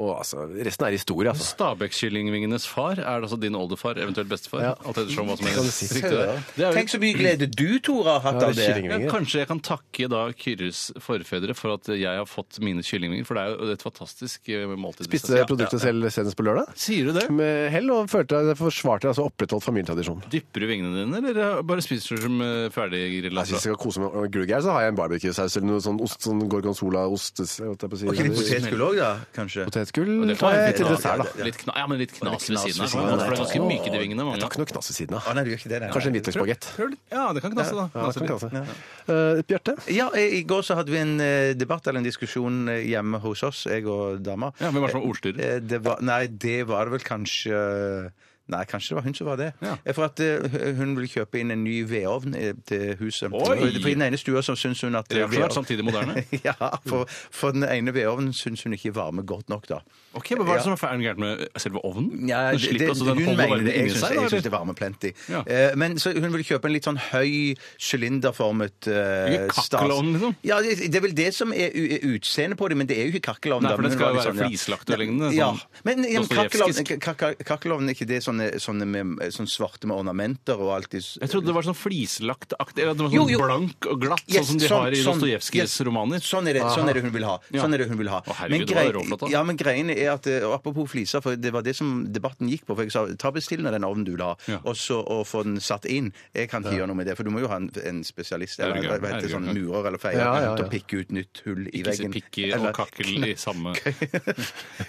Speaker 6: Og altså, resten er historie, altså.
Speaker 8: Stabekk-kyllingvingenes far er det altså din oldefar, eventuelt bestefar.
Speaker 6: Ja.
Speaker 8: Alt ettersom hva som er
Speaker 6: Kan du si.
Speaker 8: riktig der. Det er jo
Speaker 7: Tenk så mye glede du, Tore, har hatt
Speaker 6: Ja,
Speaker 7: av det.
Speaker 6: det er
Speaker 8: Ja,
Speaker 6: kyllingvinger.
Speaker 8: kanskje jeg kan takke da Kyrres forfedre for at jeg har fått mine kyllingvinger, for det er jo et fantastisk eh, måltid.
Speaker 6: Spiste produktet selv senest på lørdag?
Speaker 8: Sier du det?
Speaker 6: Med hell og følte jeg det forsvarte altså opprettholdt familietradisjonen.
Speaker 8: Dypper du vingene dine, eller bare spiser du som eh, ferdiggrilla?
Speaker 6: Jeg synes jeg skal kose meg med glugg her, så har jeg en barbecuesaus eller noe sånn ost, sånn gorgonzola-ost. jeg vet ikke hva jeg
Speaker 7: Ikke litt
Speaker 6: sier.
Speaker 7: potetgull òg, da? Kanskje?
Speaker 6: Potetgull
Speaker 8: Det
Speaker 6: tar jeg til
Speaker 8: knas-
Speaker 6: dessert, da.
Speaker 8: Litt kna, ja, men litt knas ved
Speaker 7: knas
Speaker 8: siden
Speaker 7: ved
Speaker 8: av.
Speaker 7: siden
Speaker 8: For
Speaker 7: av,
Speaker 8: det er ganske myke de vingene.
Speaker 6: Jeg
Speaker 8: mange.
Speaker 6: tar ikke noe knass ved siden av.
Speaker 7: Å, nei, du gjør ikke det, nei, nei.
Speaker 6: Kanskje en hvitløksbagett.
Speaker 8: Prøv litt. Ja, det kan knasse, da.
Speaker 6: Ja,
Speaker 8: Knasse
Speaker 6: det kan
Speaker 8: litt.
Speaker 6: knasse. Eh, Bjarte?
Speaker 7: Ja, eh, I går så hadde vi en eh, debatt eller en diskusjon eh, hjemme hos oss, jeg og dama.
Speaker 8: Ja, Hvem var det som var ordstyrer?
Speaker 7: Eh, Det var, nei, det var det vel kanskje Nei, kanskje det var hun som var det.
Speaker 8: Ja.
Speaker 7: Eh, For at eh, hun vil kjøpe inn en ny vedovn eh, til huset.
Speaker 8: Oi!
Speaker 7: For for i den ene stua så syns hun at eh,
Speaker 8: Reaksjonært,
Speaker 7: vedovn-
Speaker 8: samtidig moderne.
Speaker 7: ja, for, for den ene vedovnen syns hun ikke varmer godt nok, da.
Speaker 8: Ok, men Hva
Speaker 7: Ja.
Speaker 8: er det som er feil gærent med selve ovnen?
Speaker 7: Ja,
Speaker 8: den slipper altså den
Speaker 7: hun
Speaker 8: holder
Speaker 7: mener
Speaker 8: varmen
Speaker 7: det. Jeg
Speaker 8: inni
Speaker 7: syns,
Speaker 8: seg? da,
Speaker 7: jeg syns
Speaker 8: eller?
Speaker 7: det varmer plenty.
Speaker 8: Ja.
Speaker 7: Eh, men så hun vil kjøpe en litt sånn høy, sylinderformet eh,
Speaker 8: Ikke kakkelovn, liksom?
Speaker 7: Ja, det, det er vel det som er u- utseendet på det, men det er jo ikke kakkelovn.
Speaker 8: Nei,
Speaker 7: da,
Speaker 8: for
Speaker 7: men
Speaker 8: det
Speaker 7: hun
Speaker 8: skal
Speaker 7: var
Speaker 8: jo
Speaker 7: litt
Speaker 8: være
Speaker 7: ja.
Speaker 8: flislagt og lignende,
Speaker 7: Ja.
Speaker 8: sånn
Speaker 7: Men, ja, men kakkelovn,
Speaker 8: dostojevskisk.
Speaker 7: ka- ka- kakkelovn, er ikke det sånne, sånne, med, sånn svarte med ornamenter og alt i s-
Speaker 8: Jeg trodde det var sånn flislaktaktig, eller at det var
Speaker 7: Jo,
Speaker 8: sånn
Speaker 7: jo.
Speaker 8: blank og glatt,
Speaker 7: Yes,
Speaker 8: sånn som de
Speaker 7: sånn-
Speaker 8: har i
Speaker 7: sånn-
Speaker 8: Dostojevskijs
Speaker 7: yes.
Speaker 8: romaner.
Speaker 7: Sånn er, det, sånn er det hun vil ha.
Speaker 8: Ja.
Speaker 7: Sånn er det hun vil ha.
Speaker 8: Å, herregud, det var
Speaker 7: grei-
Speaker 8: råflott, da.
Speaker 7: ja, men greien er at, eh, og Apropos fliser, for det var det som debatten gikk på. for jeg sa, Ta bestill den ovnen du vil ha,
Speaker 8: Ja.
Speaker 7: og, så, og få den satt inn. Jeg kan ikke gjøre noe med det, for du må jo ha en, en spesialist eller
Speaker 8: Herregud,
Speaker 7: hva heter det, sånn
Speaker 8: herregud.
Speaker 7: murer eller feier
Speaker 6: Ja, ja,
Speaker 7: til å
Speaker 6: ja.
Speaker 7: pikke ut nytt hull i
Speaker 8: Ikke si
Speaker 7: veggen.
Speaker 8: pikke og
Speaker 7: Eller-
Speaker 8: kakkel i samme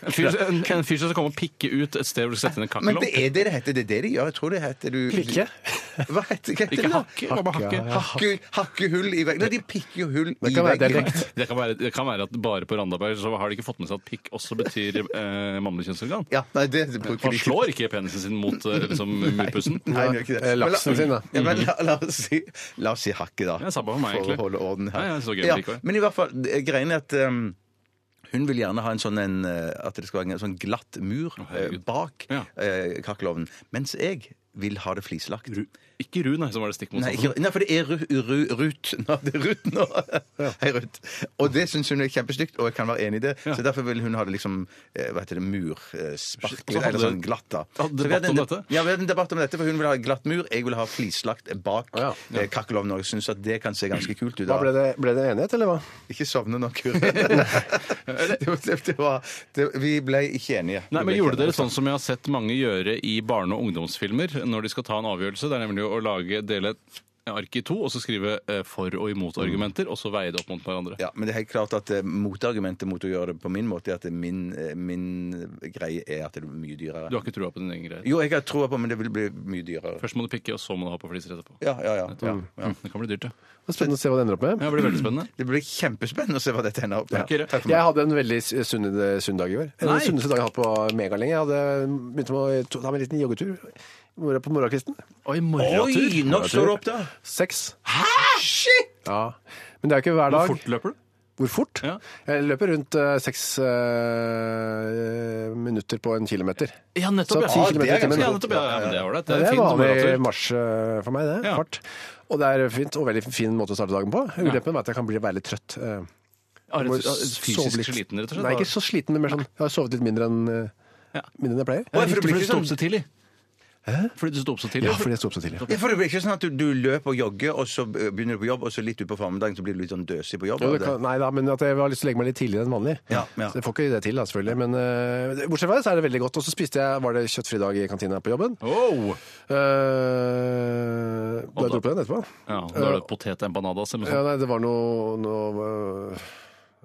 Speaker 8: En fyr, en, en fyr som skal komme og pikke ut et sted hvor du skal sette inn en
Speaker 7: Men det
Speaker 8: kakkelovn?
Speaker 7: er det det heter. Det er det de gjør. Jeg tror det heter du
Speaker 6: Klikke?
Speaker 7: Hva heter, hva heter
Speaker 8: Ikke
Speaker 7: det? da?
Speaker 8: hakke, bare hakke.
Speaker 6: ja,
Speaker 7: Hakke, hakke hull i veggen. Nei, de pikker jo hull i
Speaker 6: Det kan være
Speaker 7: veggen.
Speaker 6: dialekt.
Speaker 8: Det kan, være, det kan være at bare på Randaberg så har de ikke fått med seg at pikk også betyr eh, mannlig kjønnsorgan.
Speaker 7: Ja, nei, det bruker
Speaker 8: Man
Speaker 7: de
Speaker 8: slår ikke penisen sin mot eh, liksom, murpussen.
Speaker 7: Nei, det gjør ikke det.
Speaker 6: Eh, laksen sin, da.
Speaker 7: Ja, men la, la, oss si, la oss si hakket, da.
Speaker 8: Ja, samme for meg, egentlig.
Speaker 7: å holde orden her.
Speaker 8: Ja, ja, så gøy likevel.
Speaker 7: men i hvert fall, det- greien er at um, hun vil gjerne ha en sånn en, eh, at det skal være en sånn glatt mur eh,
Speaker 8: herregud.
Speaker 7: bak
Speaker 8: Ja.
Speaker 7: eh, kakkelovnen. Mens jeg vil ha det flislagt.
Speaker 8: Ru, ikke Rune, som var det stikk
Speaker 7: Nei,
Speaker 8: motsatte.
Speaker 7: ikke, nei, for det er Ru- Ru- Ruth. Nå, det er Ruth nå. Hei, Ruth. Og det syns hun er kjempestygt, og jeg kan være enig i det. Så derfor vil hun ha det liksom eh, hva heter det, murspark,
Speaker 8: Og så hadde-
Speaker 7: eller sånn glatt, da. Så
Speaker 8: Hadde
Speaker 7: vi
Speaker 8: debatt om
Speaker 7: en de-
Speaker 8: dette?
Speaker 7: Ja, vi hadde en debatt om dette, for hun vil ha glatt mur, jeg vil ha flislagt bak
Speaker 6: ja.
Speaker 7: eh, kakkelovnen, og jeg syns at det kan se ganske kult ut.
Speaker 6: Hva ble
Speaker 7: da.
Speaker 6: det, ble det enighet, eller hva?
Speaker 7: Ikke sovne nå, Kure. det, var- det var, det, vi ble ikke enige.
Speaker 8: Nei,
Speaker 7: Vi
Speaker 8: men
Speaker 7: ble
Speaker 8: Gjorde
Speaker 7: ikke
Speaker 8: dere
Speaker 7: enige.
Speaker 8: sånn som jeg har sett mange gjøre i barne- og ungdomsfilmer når de skal ta en avgjørelse? Det er nemlig å lage, dele et ark i to og så skrive eh, for- og imot-argumenter, og så veie det opp mot hverandre.
Speaker 7: Mm. Ja, men det er helt klart at eh, motargumentet mot å gjøre det på min måte, er at det min, eh, min greie er at det er mye dyrere.
Speaker 8: Du har ikke trua på din egen greie.
Speaker 7: Jo, jeg har troa på, men det vil bli mye dyrere.
Speaker 8: Først må du pikke, og så må du ha på fliser etterpå.
Speaker 7: Ja, ja, ja. ja.
Speaker 8: Mm, Det kan bli dyrt, ja.
Speaker 6: Det er Spennende å se hva det ender opp med.
Speaker 8: Ja, Det blir veldig spennende.
Speaker 7: Det blir kjempespennende å se hva dette ender opp med.
Speaker 8: Kyrre.
Speaker 7: Takk for meg.
Speaker 6: Jeg hadde en veldig s- sunn, eh, sunn dag i år. En av
Speaker 8: Nei.
Speaker 6: de sunneste dag jeg har hatt på megalenge. Jeg hadde begynt med å to- ta meg en liten joggetur mor- på morgenkvisten.
Speaker 7: Oi,
Speaker 8: Oi,
Speaker 7: nok står det opp, da!
Speaker 6: Seks.
Speaker 7: Shit!
Speaker 6: Ja. Men det er jo ikke hver dag.
Speaker 8: Hvor fort løper du?
Speaker 6: Hvor fort?
Speaker 8: Ja.
Speaker 6: Jeg løper rundt eh, seks eh, minutter på en kilometer.
Speaker 8: Ja,
Speaker 6: Så
Speaker 8: nettopp. Ja,
Speaker 6: ti kilometer i
Speaker 8: Ja,
Speaker 6: timen.
Speaker 8: nettopp, ja, ja, men det er ålreit.
Speaker 6: Det
Speaker 8: Det er
Speaker 6: er
Speaker 8: fint
Speaker 6: vanlig
Speaker 8: morgentur.
Speaker 6: marsj eh, for meg, det.
Speaker 8: Ja.
Speaker 6: Fart. Og det er fint, og veldig fin måte å starte dagen på. Ulempen er at jeg kan bli være litt trøtt.
Speaker 8: Ja,
Speaker 6: eh,
Speaker 8: rett og
Speaker 6: må
Speaker 8: slett
Speaker 6: sove litt.
Speaker 8: Fysisk sliten, rett og slett.
Speaker 6: Nei, ikke så sliten, men mer sånn Jeg har sovet litt mindre enn, eh,
Speaker 8: Ja.
Speaker 6: mindre enn jeg pleier.
Speaker 8: Fordi
Speaker 7: for det
Speaker 8: du
Speaker 7: blir ikke
Speaker 8: sto opp
Speaker 7: sånn-
Speaker 8: så tidlig. Fordi du sto opp så tidlig.
Speaker 6: Ja, fordi jeg sto opp så tidlig.
Speaker 7: Ja, for det blir ikke sånn at du, du løper og jogger, og så eh, begynner du på jobb, og så litt utpå formiddagen så blir du litt sånn døsig på jobb.
Speaker 6: Jo,
Speaker 7: av
Speaker 6: det kan, nei da, men at jeg har lyst til å legge meg litt tidligere enn vanlig.
Speaker 7: Ja, ja.
Speaker 6: Så jeg får ikke det til, da, selvfølgelig. Men eh, bortsett fra det, så er det veldig godt. Og så spiste jeg, var det kjøttfri dag i kantina på jobben.
Speaker 8: Oh!
Speaker 6: Eh, da jeg dro på den etterpå. Eh,
Speaker 8: Ja, Da er det potetempanadas eller noe
Speaker 6: Ja,
Speaker 8: sånt.
Speaker 6: nei, det var noe, noe øh,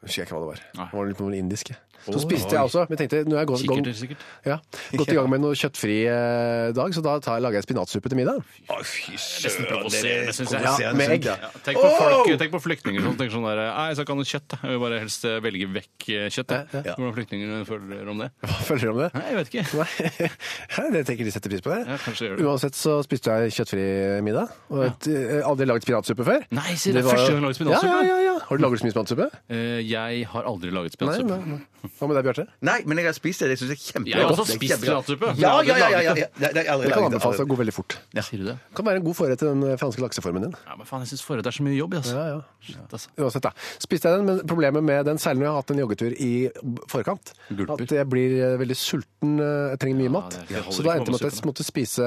Speaker 6: Husker jeg ikke hva det var.
Speaker 8: Nei.
Speaker 6: Det var litt noe indisk. jeg. Så
Speaker 8: Oi.
Speaker 6: spiste jeg også, men jeg tenkte nå er jeg gått,
Speaker 8: Kikkerter, sikkert.
Speaker 6: ja, gått i gang med noe kjøttfri eh, dag, så da tar jeg, lager jeg spinatsuppe til middag.
Speaker 7: Å, fy
Speaker 8: Nesten
Speaker 7: søren! det
Speaker 8: provoserende,
Speaker 7: er
Speaker 8: synes jeg.
Speaker 6: Ja, med egg.
Speaker 7: Ja.
Speaker 8: Tenk på,
Speaker 7: Åh!
Speaker 8: folk, tenk på flyktninger som tenker sånn der Nei, jeg skal ikke ha noe kjøtt. jeg. Jeg vil bare helst eh, velge vekk eh, kjøtt. jeg».
Speaker 6: Ja, ja.
Speaker 8: Hvordan flyktninger eh, føler om det?
Speaker 6: Hva føler du om det?
Speaker 8: Nei, jeg vet ikke.
Speaker 6: Nei, jeg tenker de setter pris på det.
Speaker 8: Ja, kanskje gjør det.
Speaker 6: Uansett så spiste jeg kjøttfri middag. Og et, eh, aldri lagd spinatsuppe før.
Speaker 8: Nei, sier du,
Speaker 6: var-
Speaker 8: første gang du lager spinatsuppe?
Speaker 6: Ja, ja, ja, ja. Har du laget så mye spinatsuppe?
Speaker 8: Eh, Jeg har aldri laget
Speaker 6: Nei,
Speaker 8: spinatsuppe.
Speaker 6: nei, nei. Hva med deg, Bjarte?
Speaker 7: Nei, men jeg har spist det. Jeg syns det er kjempegodt.
Speaker 8: Jeg har
Speaker 7: Det
Speaker 8: også
Speaker 7: er
Speaker 8: spist
Speaker 7: kjempegodt.
Speaker 8: spinatsuppe.
Speaker 7: Ja, ja, ja. ja, ja, ja. Det det har jeg aldri
Speaker 6: Det kan altså
Speaker 7: laget.
Speaker 6: anbefales å gå veldig fort.
Speaker 8: Sier du det?
Speaker 6: Det kan være en god forrett til den eh, franske lakseformen din.
Speaker 8: Ja, men faen, jeg syns forrett er så mye jobb, altså.
Speaker 6: Ja, ja.
Speaker 8: Shit, altså.
Speaker 6: Uansett, da. Spiste jeg den, men problemet med den, særlig når jeg har hatt en joggetur i forkant,
Speaker 8: Gulper.
Speaker 6: at jeg blir eh, veldig sulten, eh, jeg trenger mye mat.
Speaker 8: det- det holder
Speaker 6: så da
Speaker 8: ikke
Speaker 6: endte jeg med at
Speaker 8: på med
Speaker 6: jeg måtte spise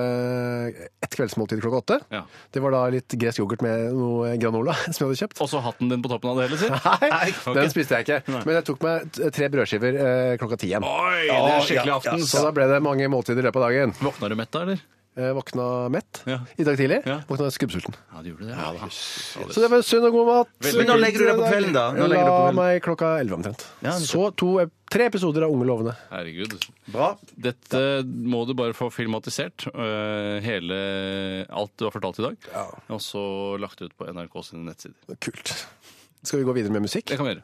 Speaker 6: et kveldsmåltid klokka åtte.
Speaker 8: Ja.
Speaker 6: Det var da litt gresk yoghurt med noe granola som jeg hadde kjøpt.
Speaker 8: Og så hatten din på toppen av det hele, sier
Speaker 6: Nei,
Speaker 8: ok.
Speaker 6: den spiste jeg ikke. Men jeg tok meg t- tre brødskiver eh, klokka ti igjen.
Speaker 8: Oi, det er skikkelig
Speaker 7: Ja,
Speaker 8: aften.
Speaker 6: Så da ble det mange måltider i løpet av dagen.
Speaker 8: Våkna du mett da, eller?
Speaker 6: Eh, våkna mett
Speaker 8: Ja.
Speaker 6: i dag tidlig,
Speaker 8: Ja.
Speaker 6: våkna skubbsulten.
Speaker 8: Ja, du gjorde det. Ja, da.
Speaker 6: Så det var sunn og god mat.
Speaker 7: Men når legger du deg på kvelden, da? Når legger du deg på
Speaker 6: La
Speaker 7: kvelden?
Speaker 6: meg klokka elleve omtrent.
Speaker 7: Ja, det-
Speaker 6: Så to, eh, tre episoder av Unge lovende.
Speaker 8: Herregud.
Speaker 7: Bra.
Speaker 8: Dette må du bare få filmatisert. øh, Hele alt du har fortalt i dag. Og så lagt ut på NRK sine nettsider.
Speaker 6: Kult. Skal vi gå videre med musikk?
Speaker 8: Det kan vi gjøre.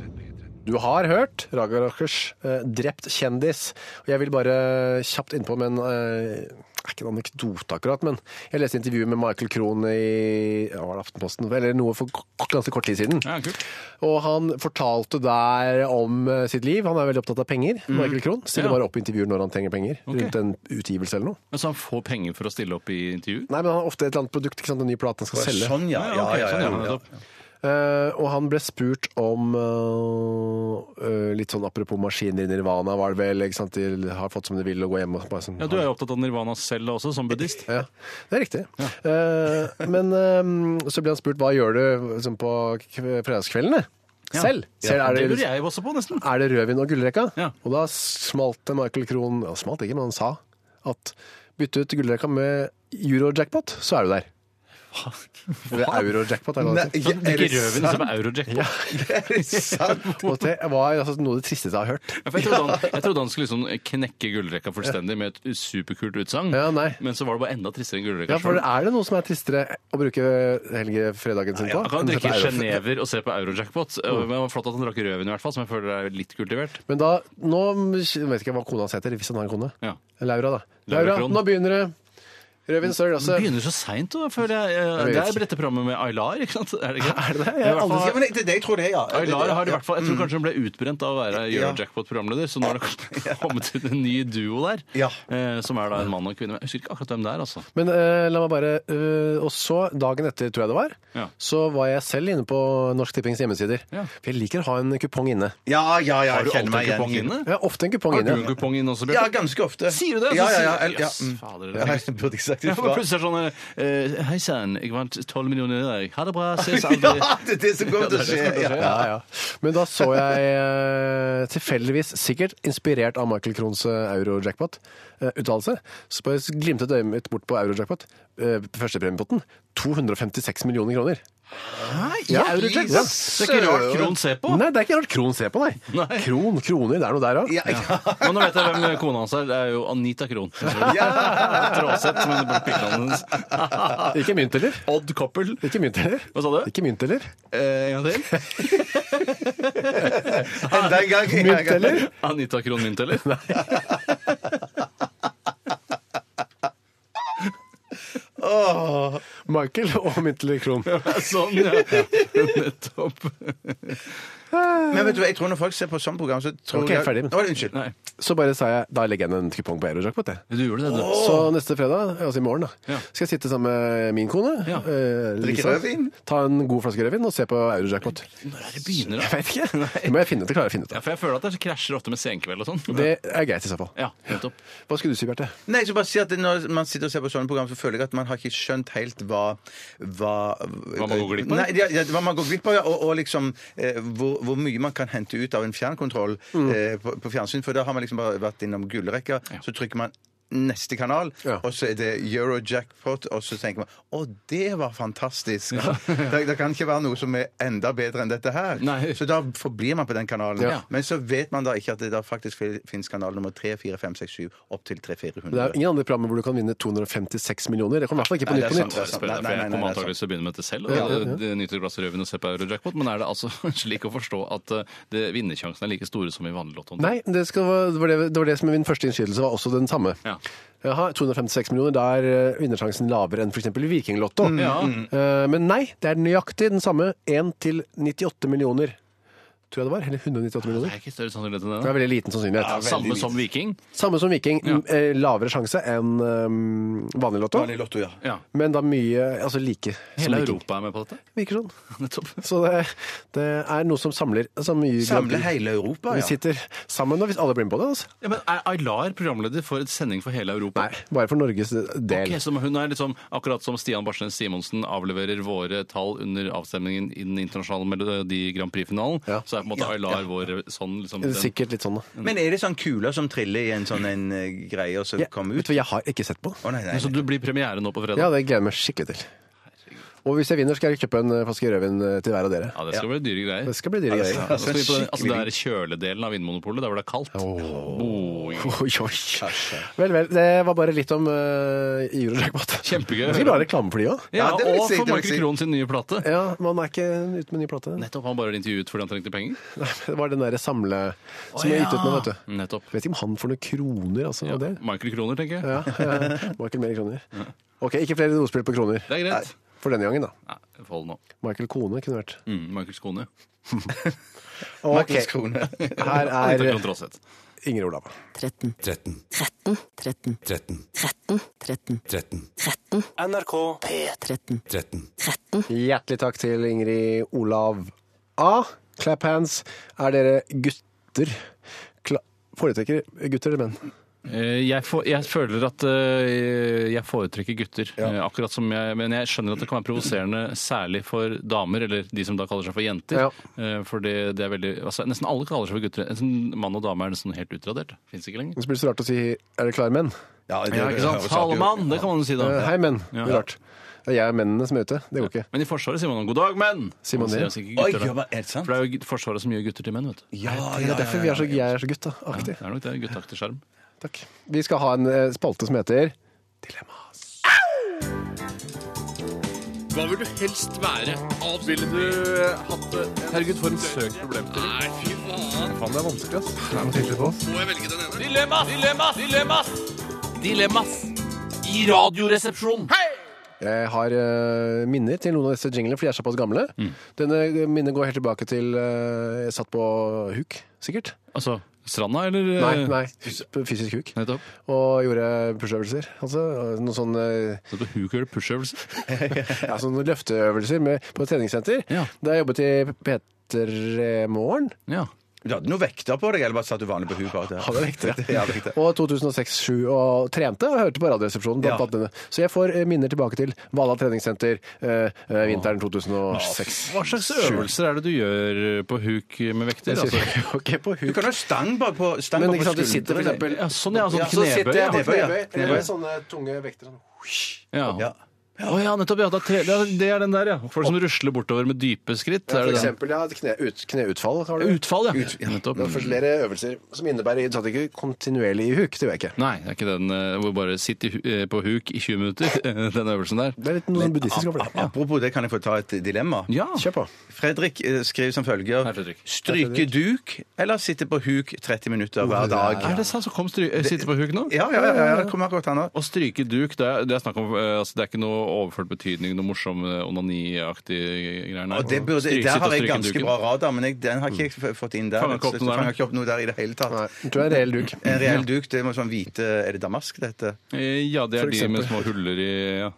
Speaker 6: Du har hørt Raga Rockers eh, 'Drept kjendis'. Og jeg vil bare kjapt innpå med en eh, er ikke en anekdote akkurat, men jeg leste intervjuet med Michael Krohn i ja, var det Aftenposten, eller noe for k- ganske kort tid siden.
Speaker 8: Ja, kult.
Speaker 6: Og han fortalte der om eh, sitt liv. Han er veldig opptatt av penger. Michael Krohn stiller
Speaker 8: Ja.
Speaker 6: bare opp i intervjuer når han trenger penger.
Speaker 8: Ok.
Speaker 6: Rundt en utgivelse eller noe.
Speaker 8: Men så han får penger for å stille opp i intervju?
Speaker 6: Nei, men han har ofte et eller annet produkt, ikke sant, en ny plate han skal selge.
Speaker 7: Sånn, ja. ja,
Speaker 8: ok,
Speaker 7: ja, ja,
Speaker 8: sånn,
Speaker 7: ja.
Speaker 8: nettopp.
Speaker 6: Eh, og han ble spurt om eh, eh, Litt sånn apropos maskiner i Nirvana, var det vel? ikke sant? De har fått som de vil og gå hjem og bare sånn
Speaker 8: Ja, Du er jo opptatt av nirvana selv også, som buddhist.
Speaker 6: Ja, det er riktig. Eh, men eh, så ble han spurt hva gjør du liksom, på kve- fredagskveldene selv?
Speaker 8: Det
Speaker 6: selv er, det, liksom,
Speaker 8: lurer jeg også på, nesten.
Speaker 6: er det rødvin og gullrekka?
Speaker 8: Ja.
Speaker 6: Og da smalt det Michael Krohn ja, Smalt ikke, men han sa at bytte ut gullrekka med euro-jackpot, så er du der. Eller euro-jackpot, er det
Speaker 7: Nei,
Speaker 6: det
Speaker 7: ja,
Speaker 8: Det er Sånn, ikke
Speaker 6: heter.
Speaker 8: røven sånn. som er eurojackpot.
Speaker 6: Og det var altså, noe av det tristeste jeg har hørt.
Speaker 8: Ja, for jeg, trodde han, jeg trodde han skulle liksom knekke gullrekka fullstendig med et superkult utsagn,
Speaker 6: Ja, nei.
Speaker 8: men så var det bare enda tristere enn gullrekka.
Speaker 6: Ja, for er det noe som er tristere å bruke helgefredagen sin på?
Speaker 8: Han kan
Speaker 6: enn å
Speaker 8: drikke
Speaker 6: sette euro-
Speaker 8: sjenever og se på Eurojackpot. Men det var Flott at han drakk rødvin, i hvert fall, som jeg føler er litt kultivert.
Speaker 6: Men da, nå vet ikke jeg hva kona hans heter, hvis han har en kone.
Speaker 8: Ja.
Speaker 6: Laura, da.
Speaker 8: Laura
Speaker 6: Laura,
Speaker 8: Krohn.
Speaker 6: nå begynner det. Rødvin står i
Speaker 8: Det
Speaker 6: glasset.
Speaker 8: begynner så seint, føler jeg. Eh,
Speaker 6: Jeg
Speaker 8: Det
Speaker 6: vet
Speaker 8: er bretteprammet med Aylar, ikke sant? Er det ikke?
Speaker 6: Er det det?
Speaker 8: I
Speaker 6: Jeg
Speaker 8: hvert fall-
Speaker 7: Ja, men det, det jeg tror det, ja.
Speaker 8: Aylar har i hvert fall, Jeg tror kanskje hun ble utbrent av å være Eurojackpot-programleder, så nå har det kanskje kommet ut en ny duo der,
Speaker 7: Ja.
Speaker 8: eh, som er da en mann og en kvinne. Men Jeg husker ikke akkurat hvem det er, altså.
Speaker 6: Men eh, la meg bare eh, Og så, dagen etter, tror jeg det var,
Speaker 8: Ja.
Speaker 6: så var jeg selv inne på Norsk Tippings hjemmesider.
Speaker 8: Ja.
Speaker 6: For jeg liker å ha en kupong inne.
Speaker 7: Ja, ja, ja,
Speaker 8: Har
Speaker 7: jeg
Speaker 8: du
Speaker 7: kjenner meg
Speaker 8: alltid kupong
Speaker 7: igjen.
Speaker 8: inne?
Speaker 6: Jeg har ofte en kupong
Speaker 8: Har du
Speaker 6: inne.
Speaker 8: en kupong inne også,
Speaker 7: Ja,
Speaker 8: Bjarte?
Speaker 7: ganske ofte.
Speaker 8: Sier du det?
Speaker 7: Ja,
Speaker 8: Så
Speaker 7: ja, ja.
Speaker 8: sier-
Speaker 7: eller- ja.
Speaker 8: Jøss,
Speaker 7: mm.
Speaker 8: fader, det er
Speaker 7: Ja, jeg burde ikke sagt
Speaker 8: Ja, men
Speaker 7: ifra.
Speaker 8: plutselig er det sånn eh, eh, Hei sann, jeg vant 12 millioner i dag. Ha det bra, ses aldri.
Speaker 7: Ja, det er det som kommer til å skje. Ja.
Speaker 6: Ja, ja. Men da så jeg eh, tilfeldigvis, sikkert inspirert av Michael Krohns eh, euro-jackpot-uttalelse, så bare glimtet øyet mitt bort på euro-jackpot, eh, førstepremiepotten. 256 millioner kroner. Ja, euro-jackpot.
Speaker 7: Jesus.
Speaker 8: Det er ikke rart Krohn ser på.
Speaker 6: Nei, det er ikke rart Kron ser på, nei.
Speaker 8: Nei.
Speaker 6: Kron, kroner, det er noe der òg.
Speaker 7: Ja, ja.
Speaker 8: Men nå vet jeg hvem kona hans er. Det er jo Anita Krohn. Tråsett, men bare pikkene hennes.
Speaker 6: Ikke mynt heller.
Speaker 8: Odd Koppel.
Speaker 6: Ikke mynt heller.
Speaker 8: Hva sa du?
Speaker 6: Ikke mynt heller.
Speaker 8: Eh, en gang til.
Speaker 7: Enda en gang. enda en
Speaker 6: Mynt
Speaker 7: gang.
Speaker 6: heller.
Speaker 8: Anita Krohn Mynt, eller?
Speaker 6: Michael og mynt eller Kron.
Speaker 8: Sånn, ja. Nettopp.
Speaker 7: Men vet du hva, jeg tror når folk ser på sånn program, så tror
Speaker 6: Ok,
Speaker 7: jeg
Speaker 6: ferdig.
Speaker 7: Å, unnskyld.
Speaker 8: Nei.
Speaker 6: Så bare sa jeg da legger jeg ned en kupong på euro-jackpot, jeg.
Speaker 8: Du gjorde det, du.
Speaker 6: Så neste fredag, altså i morgen, da,
Speaker 8: Ja.
Speaker 6: skal jeg sitte sammen med min kone,
Speaker 8: Ja.
Speaker 6: eh,
Speaker 7: Drikke
Speaker 6: Lisa,
Speaker 7: rødvin?
Speaker 6: ta en god flaske rødvin og se på Eurojackpot.
Speaker 8: Når er det begynner,
Speaker 6: Jeg
Speaker 8: da?
Speaker 6: vet ikke. Det må jeg finne ut. Det klarer jeg å finne ut.
Speaker 8: Ja,
Speaker 6: av.
Speaker 8: for jeg føler at det krasjer ofte med senkveld og sånn.
Speaker 6: Det er greit i så fall.
Speaker 8: Ja, nettopp.
Speaker 6: Hva skulle du si, Bjarte?
Speaker 7: Nei, så bare si at Når man sitter og ser på sånne program, så føler jeg at man har ikke skjønt helt hva Hva, hva
Speaker 8: man går glipp av?
Speaker 7: Nei, ja, ja, hva man går glipp av, ja, og, og liksom eh, hvor, hvor mye man kan hente ut av en fjernkontroll eh, på, på fjernsyn. For da har man liksom bare vært innom gullrekka, så trykker man neste kanal,
Speaker 6: Ja.
Speaker 7: og så er det Eurojackpot, og så tenker man å, det var fantastisk! Det, det kan ikke være noe som er enda bedre enn dette her.
Speaker 8: Nei.
Speaker 7: Så da forblir man på den kanalen.
Speaker 8: Ja.
Speaker 7: Men så vet man da ikke at det da faktisk fin- finnes kanal nummer 3, 4, 5, 6, 7 opp til 3, 400.
Speaker 6: Det er jo ingen andre programmer hvor du kan vinne 256 millioner. Det kommer i hvert fall ikke på
Speaker 7: Nei, det
Speaker 6: Nytt på
Speaker 7: er sant,
Speaker 6: Nytt.
Speaker 7: det er sant.
Speaker 8: Spør deg, for
Speaker 7: Nei, nei,
Speaker 8: jeg
Speaker 7: nei,
Speaker 8: kommer
Speaker 7: nei,
Speaker 8: antakeligvis til å begynne med dette selv.
Speaker 6: Ja, ja, ja.
Speaker 8: og det- Nyte et glass rødvin og se på Eurojackpot. Men er det altså slik å forstå at eh, det, vinnersjansen er like store som i vanlig lotto?
Speaker 6: Nei, det, skal, det, var det, det var det som min første innskytelse var også den samme.
Speaker 8: Ja.
Speaker 6: Jaha, 256 millioner, da er eh, vinnersjansen lavere enn f.eks. Vikinglotto.
Speaker 7: Mm,
Speaker 8: Ja.
Speaker 6: Eh, Men nei, det er nøyaktig den samme. 1 til 98 millioner, tror jeg det var. Eller 198
Speaker 8: Det
Speaker 6: millioner.
Speaker 8: er ikke større sannsynlighet enn det.
Speaker 6: Det
Speaker 8: da.
Speaker 6: er veldig liten sannsynlighet.
Speaker 8: Ja, Samme som Viking.
Speaker 6: Samme som Viking.
Speaker 8: Ja.
Speaker 6: m, eh, Lavere sjanse enn um, vanlig lotto.
Speaker 7: Vanlig lotto, ja.
Speaker 8: Ja.
Speaker 6: Men da mye altså like som
Speaker 8: Hele
Speaker 6: Viking.
Speaker 8: Europa er med på dette.
Speaker 6: Virker sånn.
Speaker 8: Nettopp.
Speaker 6: Så det, det er noe som samler så mye
Speaker 7: Samle hele Europa,
Speaker 6: Vi
Speaker 7: ja.
Speaker 6: sitter sammen, og hvis alle blir med på det altså.
Speaker 8: Ja, men Er Aylar programleder for et sending for hele Europa?
Speaker 6: Nei, bare for Norges del.
Speaker 8: Ok, så hun er liksom, Akkurat som Stian Barsnes Simonsen avleverer våre tall under avstemningen i den internasjonale Melodi Grand Prix-finalen,
Speaker 6: Ja.
Speaker 8: så er på en måte Aylar vår sånn liksom, den-
Speaker 6: Sikkert litt sånn, da.
Speaker 7: Men er det sånn kuler som triller i en sånn en eh, greie, og så
Speaker 6: Jeg,
Speaker 7: kommer
Speaker 6: vet
Speaker 7: ut?
Speaker 6: du hva, jeg har ikke sett på.
Speaker 7: Å nei, nei,
Speaker 8: Så
Speaker 7: nei.
Speaker 8: du blir premiere nå på fredag?
Speaker 6: Ja, det gleder jeg meg skikkelig til. Og hvis jeg vinner, skal jeg kjøpe en eh, flaske rødvin eh, til hver av dere.
Speaker 8: Ja, det skal bli dyre greier.
Speaker 6: Det skal bli dyre greier.
Speaker 8: Altså, vi på den, altså, det er kjøledelen av Vinmonopolet, der hvor det er kaldt. Oi.
Speaker 6: Oi, oi. Vel, vel. Det var bare litt om uh, Eurojackpot.
Speaker 8: Kjempegøy.
Speaker 6: Det skal bli reklame for de òg.
Speaker 8: Ja,
Speaker 7: Ja, det vil jeg
Speaker 8: og
Speaker 7: si, det
Speaker 8: for
Speaker 7: vil jeg
Speaker 8: Michael
Speaker 7: si.
Speaker 8: Krohn sin nye plate.
Speaker 6: Ja, man er ikke ute med ny plate.
Speaker 8: Nettopp, han bare intervjuet fordi han trengte penger.
Speaker 6: Det var den derre samle som jeg ytet med, vet du.
Speaker 8: Nettopp.
Speaker 6: Vet ikke om han får noen kroner, altså.
Speaker 8: Ja,
Speaker 6: av Det.
Speaker 8: Michael Kroner, tenker jeg.
Speaker 6: Ja, ja. Det var ikke mer kroner. Ok, ikke flere ordspill på kroner.
Speaker 8: Det er greit.
Speaker 6: For denne gangen, da.
Speaker 8: Nei, Hold nå.
Speaker 6: Michael Kone kunne vært.
Speaker 8: Mm, Michaels kone.
Speaker 6: Ok,
Speaker 7: Markus Krone.
Speaker 6: her
Speaker 8: Dette
Speaker 6: er
Speaker 8: er Krohn Traaseth.
Speaker 6: Inger Olav.
Speaker 2: 13.
Speaker 1: 13,
Speaker 2: 13. 13.
Speaker 1: 13,
Speaker 2: 13. 13.
Speaker 1: 13,
Speaker 2: 13. NRK P13.
Speaker 1: 13.
Speaker 2: 13.
Speaker 6: Hjertelig takk til Ingrid Olav A. Clap hands. Er dere gutter? Kla Foretrekker gutter eller menn?
Speaker 8: Eh, Jeg, får- jeg føler at eh, jeg foretrekker gutter. eh, Akkurat som jeg, men jeg skjønner at det kan være provoserende særlig for damer, eller de som da kaller seg for jenter. Eh, For det, det er veldig, altså, nesten alle kaller seg for gutter. Nesten Mann og dame er nesten helt utradert. Fins ikke lenger.
Speaker 6: Det blir så rart å si 'er dere klare, menn'?
Speaker 7: Ja, det-
Speaker 8: Ja, ikke sant?
Speaker 7: det høres rart ut.
Speaker 8: Talemann, det kan man jo si da.
Speaker 6: Eh, Hei, menn.
Speaker 8: Ja.
Speaker 6: Det er rart. Det er jeg og mennene som er ute. Det går ikke.
Speaker 8: Men i Forsvaret sier man 'god dag, menn'.
Speaker 6: Sier man det?
Speaker 8: sier ikke
Speaker 7: Oi,
Speaker 8: gutter, da.
Speaker 7: ja, men er det sant?
Speaker 8: For det er jo gutt- Forsvaret som gjør gutter til menn, vet du.
Speaker 7: Ja, ja,
Speaker 6: Det er derfor vi er så, jeg er så gutt, da.
Speaker 8: Ja,
Speaker 6: Aktig.
Speaker 8: det er nok det. Gutteaktig skjerm.
Speaker 6: Takk. Vi skal ha en eh, spalte som heter Dilemmas.
Speaker 9: Hva vil du helst være? Ville du
Speaker 6: eh,
Speaker 9: hatt det? Herregud, for en søk problemstilling. Nei, fy faen.
Speaker 6: Faen, det er vanskelig, ass.
Speaker 9: Må jeg velge den ene? Dilemmas! Dilemmas! Dilemmas! Dilemmas! I radioresepsjonen.
Speaker 6: Jeg har eh, minner til noen av disse jinglene, fordi jeg er såpass gamle. Denne minnet går helt tilbake til eh, jeg satt på huk, sikkert.
Speaker 8: Altså stranda, eller?
Speaker 6: Nei,
Speaker 8: eh,
Speaker 6: nei, fys- fysisk huk.
Speaker 8: Nettopp.
Speaker 6: Og gjorde pushøvelser. Altså noen sånne,
Speaker 8: Så på huk eller pushøvelser.
Speaker 6: ja, sånne løfteøvelser med, på et treningssenter.
Speaker 8: Ja.
Speaker 6: Da jeg jobbet i P3morgen,
Speaker 8: Ja.
Speaker 7: Du hadde noe vekter på deg, eller bare satt du vanlig på huet? bare der?
Speaker 6: Ja, det er riktig, ja.
Speaker 7: Ja, riktig.
Speaker 6: og 2006-2007, og trente og hørte på Radioresepsjonen. Blant
Speaker 7: Ja.
Speaker 6: annet denne. Så jeg får eh, minner tilbake til Valhall treningssenter eh, eh, vinteren 2006.
Speaker 8: Hva slags øvelser er det du gjør eh, på huk med vekter? Altså?
Speaker 6: Jeg sier, ok, på
Speaker 7: Du
Speaker 6: huk.
Speaker 7: kan ha stang bare på stang
Speaker 6: Men
Speaker 7: bare
Speaker 6: ikke
Speaker 7: på
Speaker 6: sant, du sitter for
Speaker 7: skuldrene.
Speaker 6: eksempel
Speaker 8: Ja, sånn, ja. Sånn
Speaker 7: Ja, så sitter jeg-
Speaker 8: knebøy. Ja.
Speaker 7: Knebøy, ja. Knebøy.
Speaker 6: med sånne tunge vekter. sånn.
Speaker 8: Ja.
Speaker 7: Ja.
Speaker 8: Å ja, nettopp. Ja, da tre- det er- det er den der, ja. Folk som rusler bortover med dype skritt.
Speaker 6: Ja,
Speaker 8: er
Speaker 6: for
Speaker 8: det den?
Speaker 6: eksempel, ja, kne, ut, kneutfall. har du.
Speaker 8: Utfall, ja. Nettopp.
Speaker 6: Det er flere øvelser som innebærer Du satt ikke kontinuerlig i huk, det gjør jeg ikke.
Speaker 8: Nei, det er ikke den eh, hvor bare sitt i, hu- eh, på huk i 20 minutter, den øvelsen der.
Speaker 6: Det er litt noe sånn buddhistisk over det.
Speaker 7: Apropos det, kan jeg få ta et dilemma?
Speaker 8: Ja.
Speaker 6: Kjør på.
Speaker 7: Fredrik eh, skriver som følger
Speaker 8: Hei, Fredrik.
Speaker 7: Stryke duk eller sitte på huk 30 minutter hver dag?
Speaker 8: Er det sant? Så kom stry eh, sitte på huk nå?
Speaker 7: Ja, ja, ja, ja, ja. Kom akkurat her nå.
Speaker 8: Å stryke duk, det er, det er snakk om eh, altså, Det er ikke noe overført betydning, noe morsom eh, onaniaktig greier. nei.
Speaker 7: Og det burde,
Speaker 8: Stryk-
Speaker 7: der
Speaker 8: sitte og
Speaker 7: har jeg
Speaker 8: stryke
Speaker 7: ganske
Speaker 8: duken.
Speaker 7: bra radar, men jeg, den har ikke jeg
Speaker 8: Mm.
Speaker 7: f- fått inn der.
Speaker 8: Fanger ikke opp
Speaker 7: Så
Speaker 8: noe der,
Speaker 7: fanger
Speaker 8: nei.
Speaker 7: ikke opp noe der i det hele
Speaker 6: Nei,
Speaker 7: tatt.
Speaker 6: jeg tror det er en reell duk.
Speaker 7: En reell duk, det må sånn hvite Er det damask, det heter?
Speaker 8: Eh, Ja, det
Speaker 6: For
Speaker 8: er de
Speaker 6: eksempel.
Speaker 8: med små huller i ja.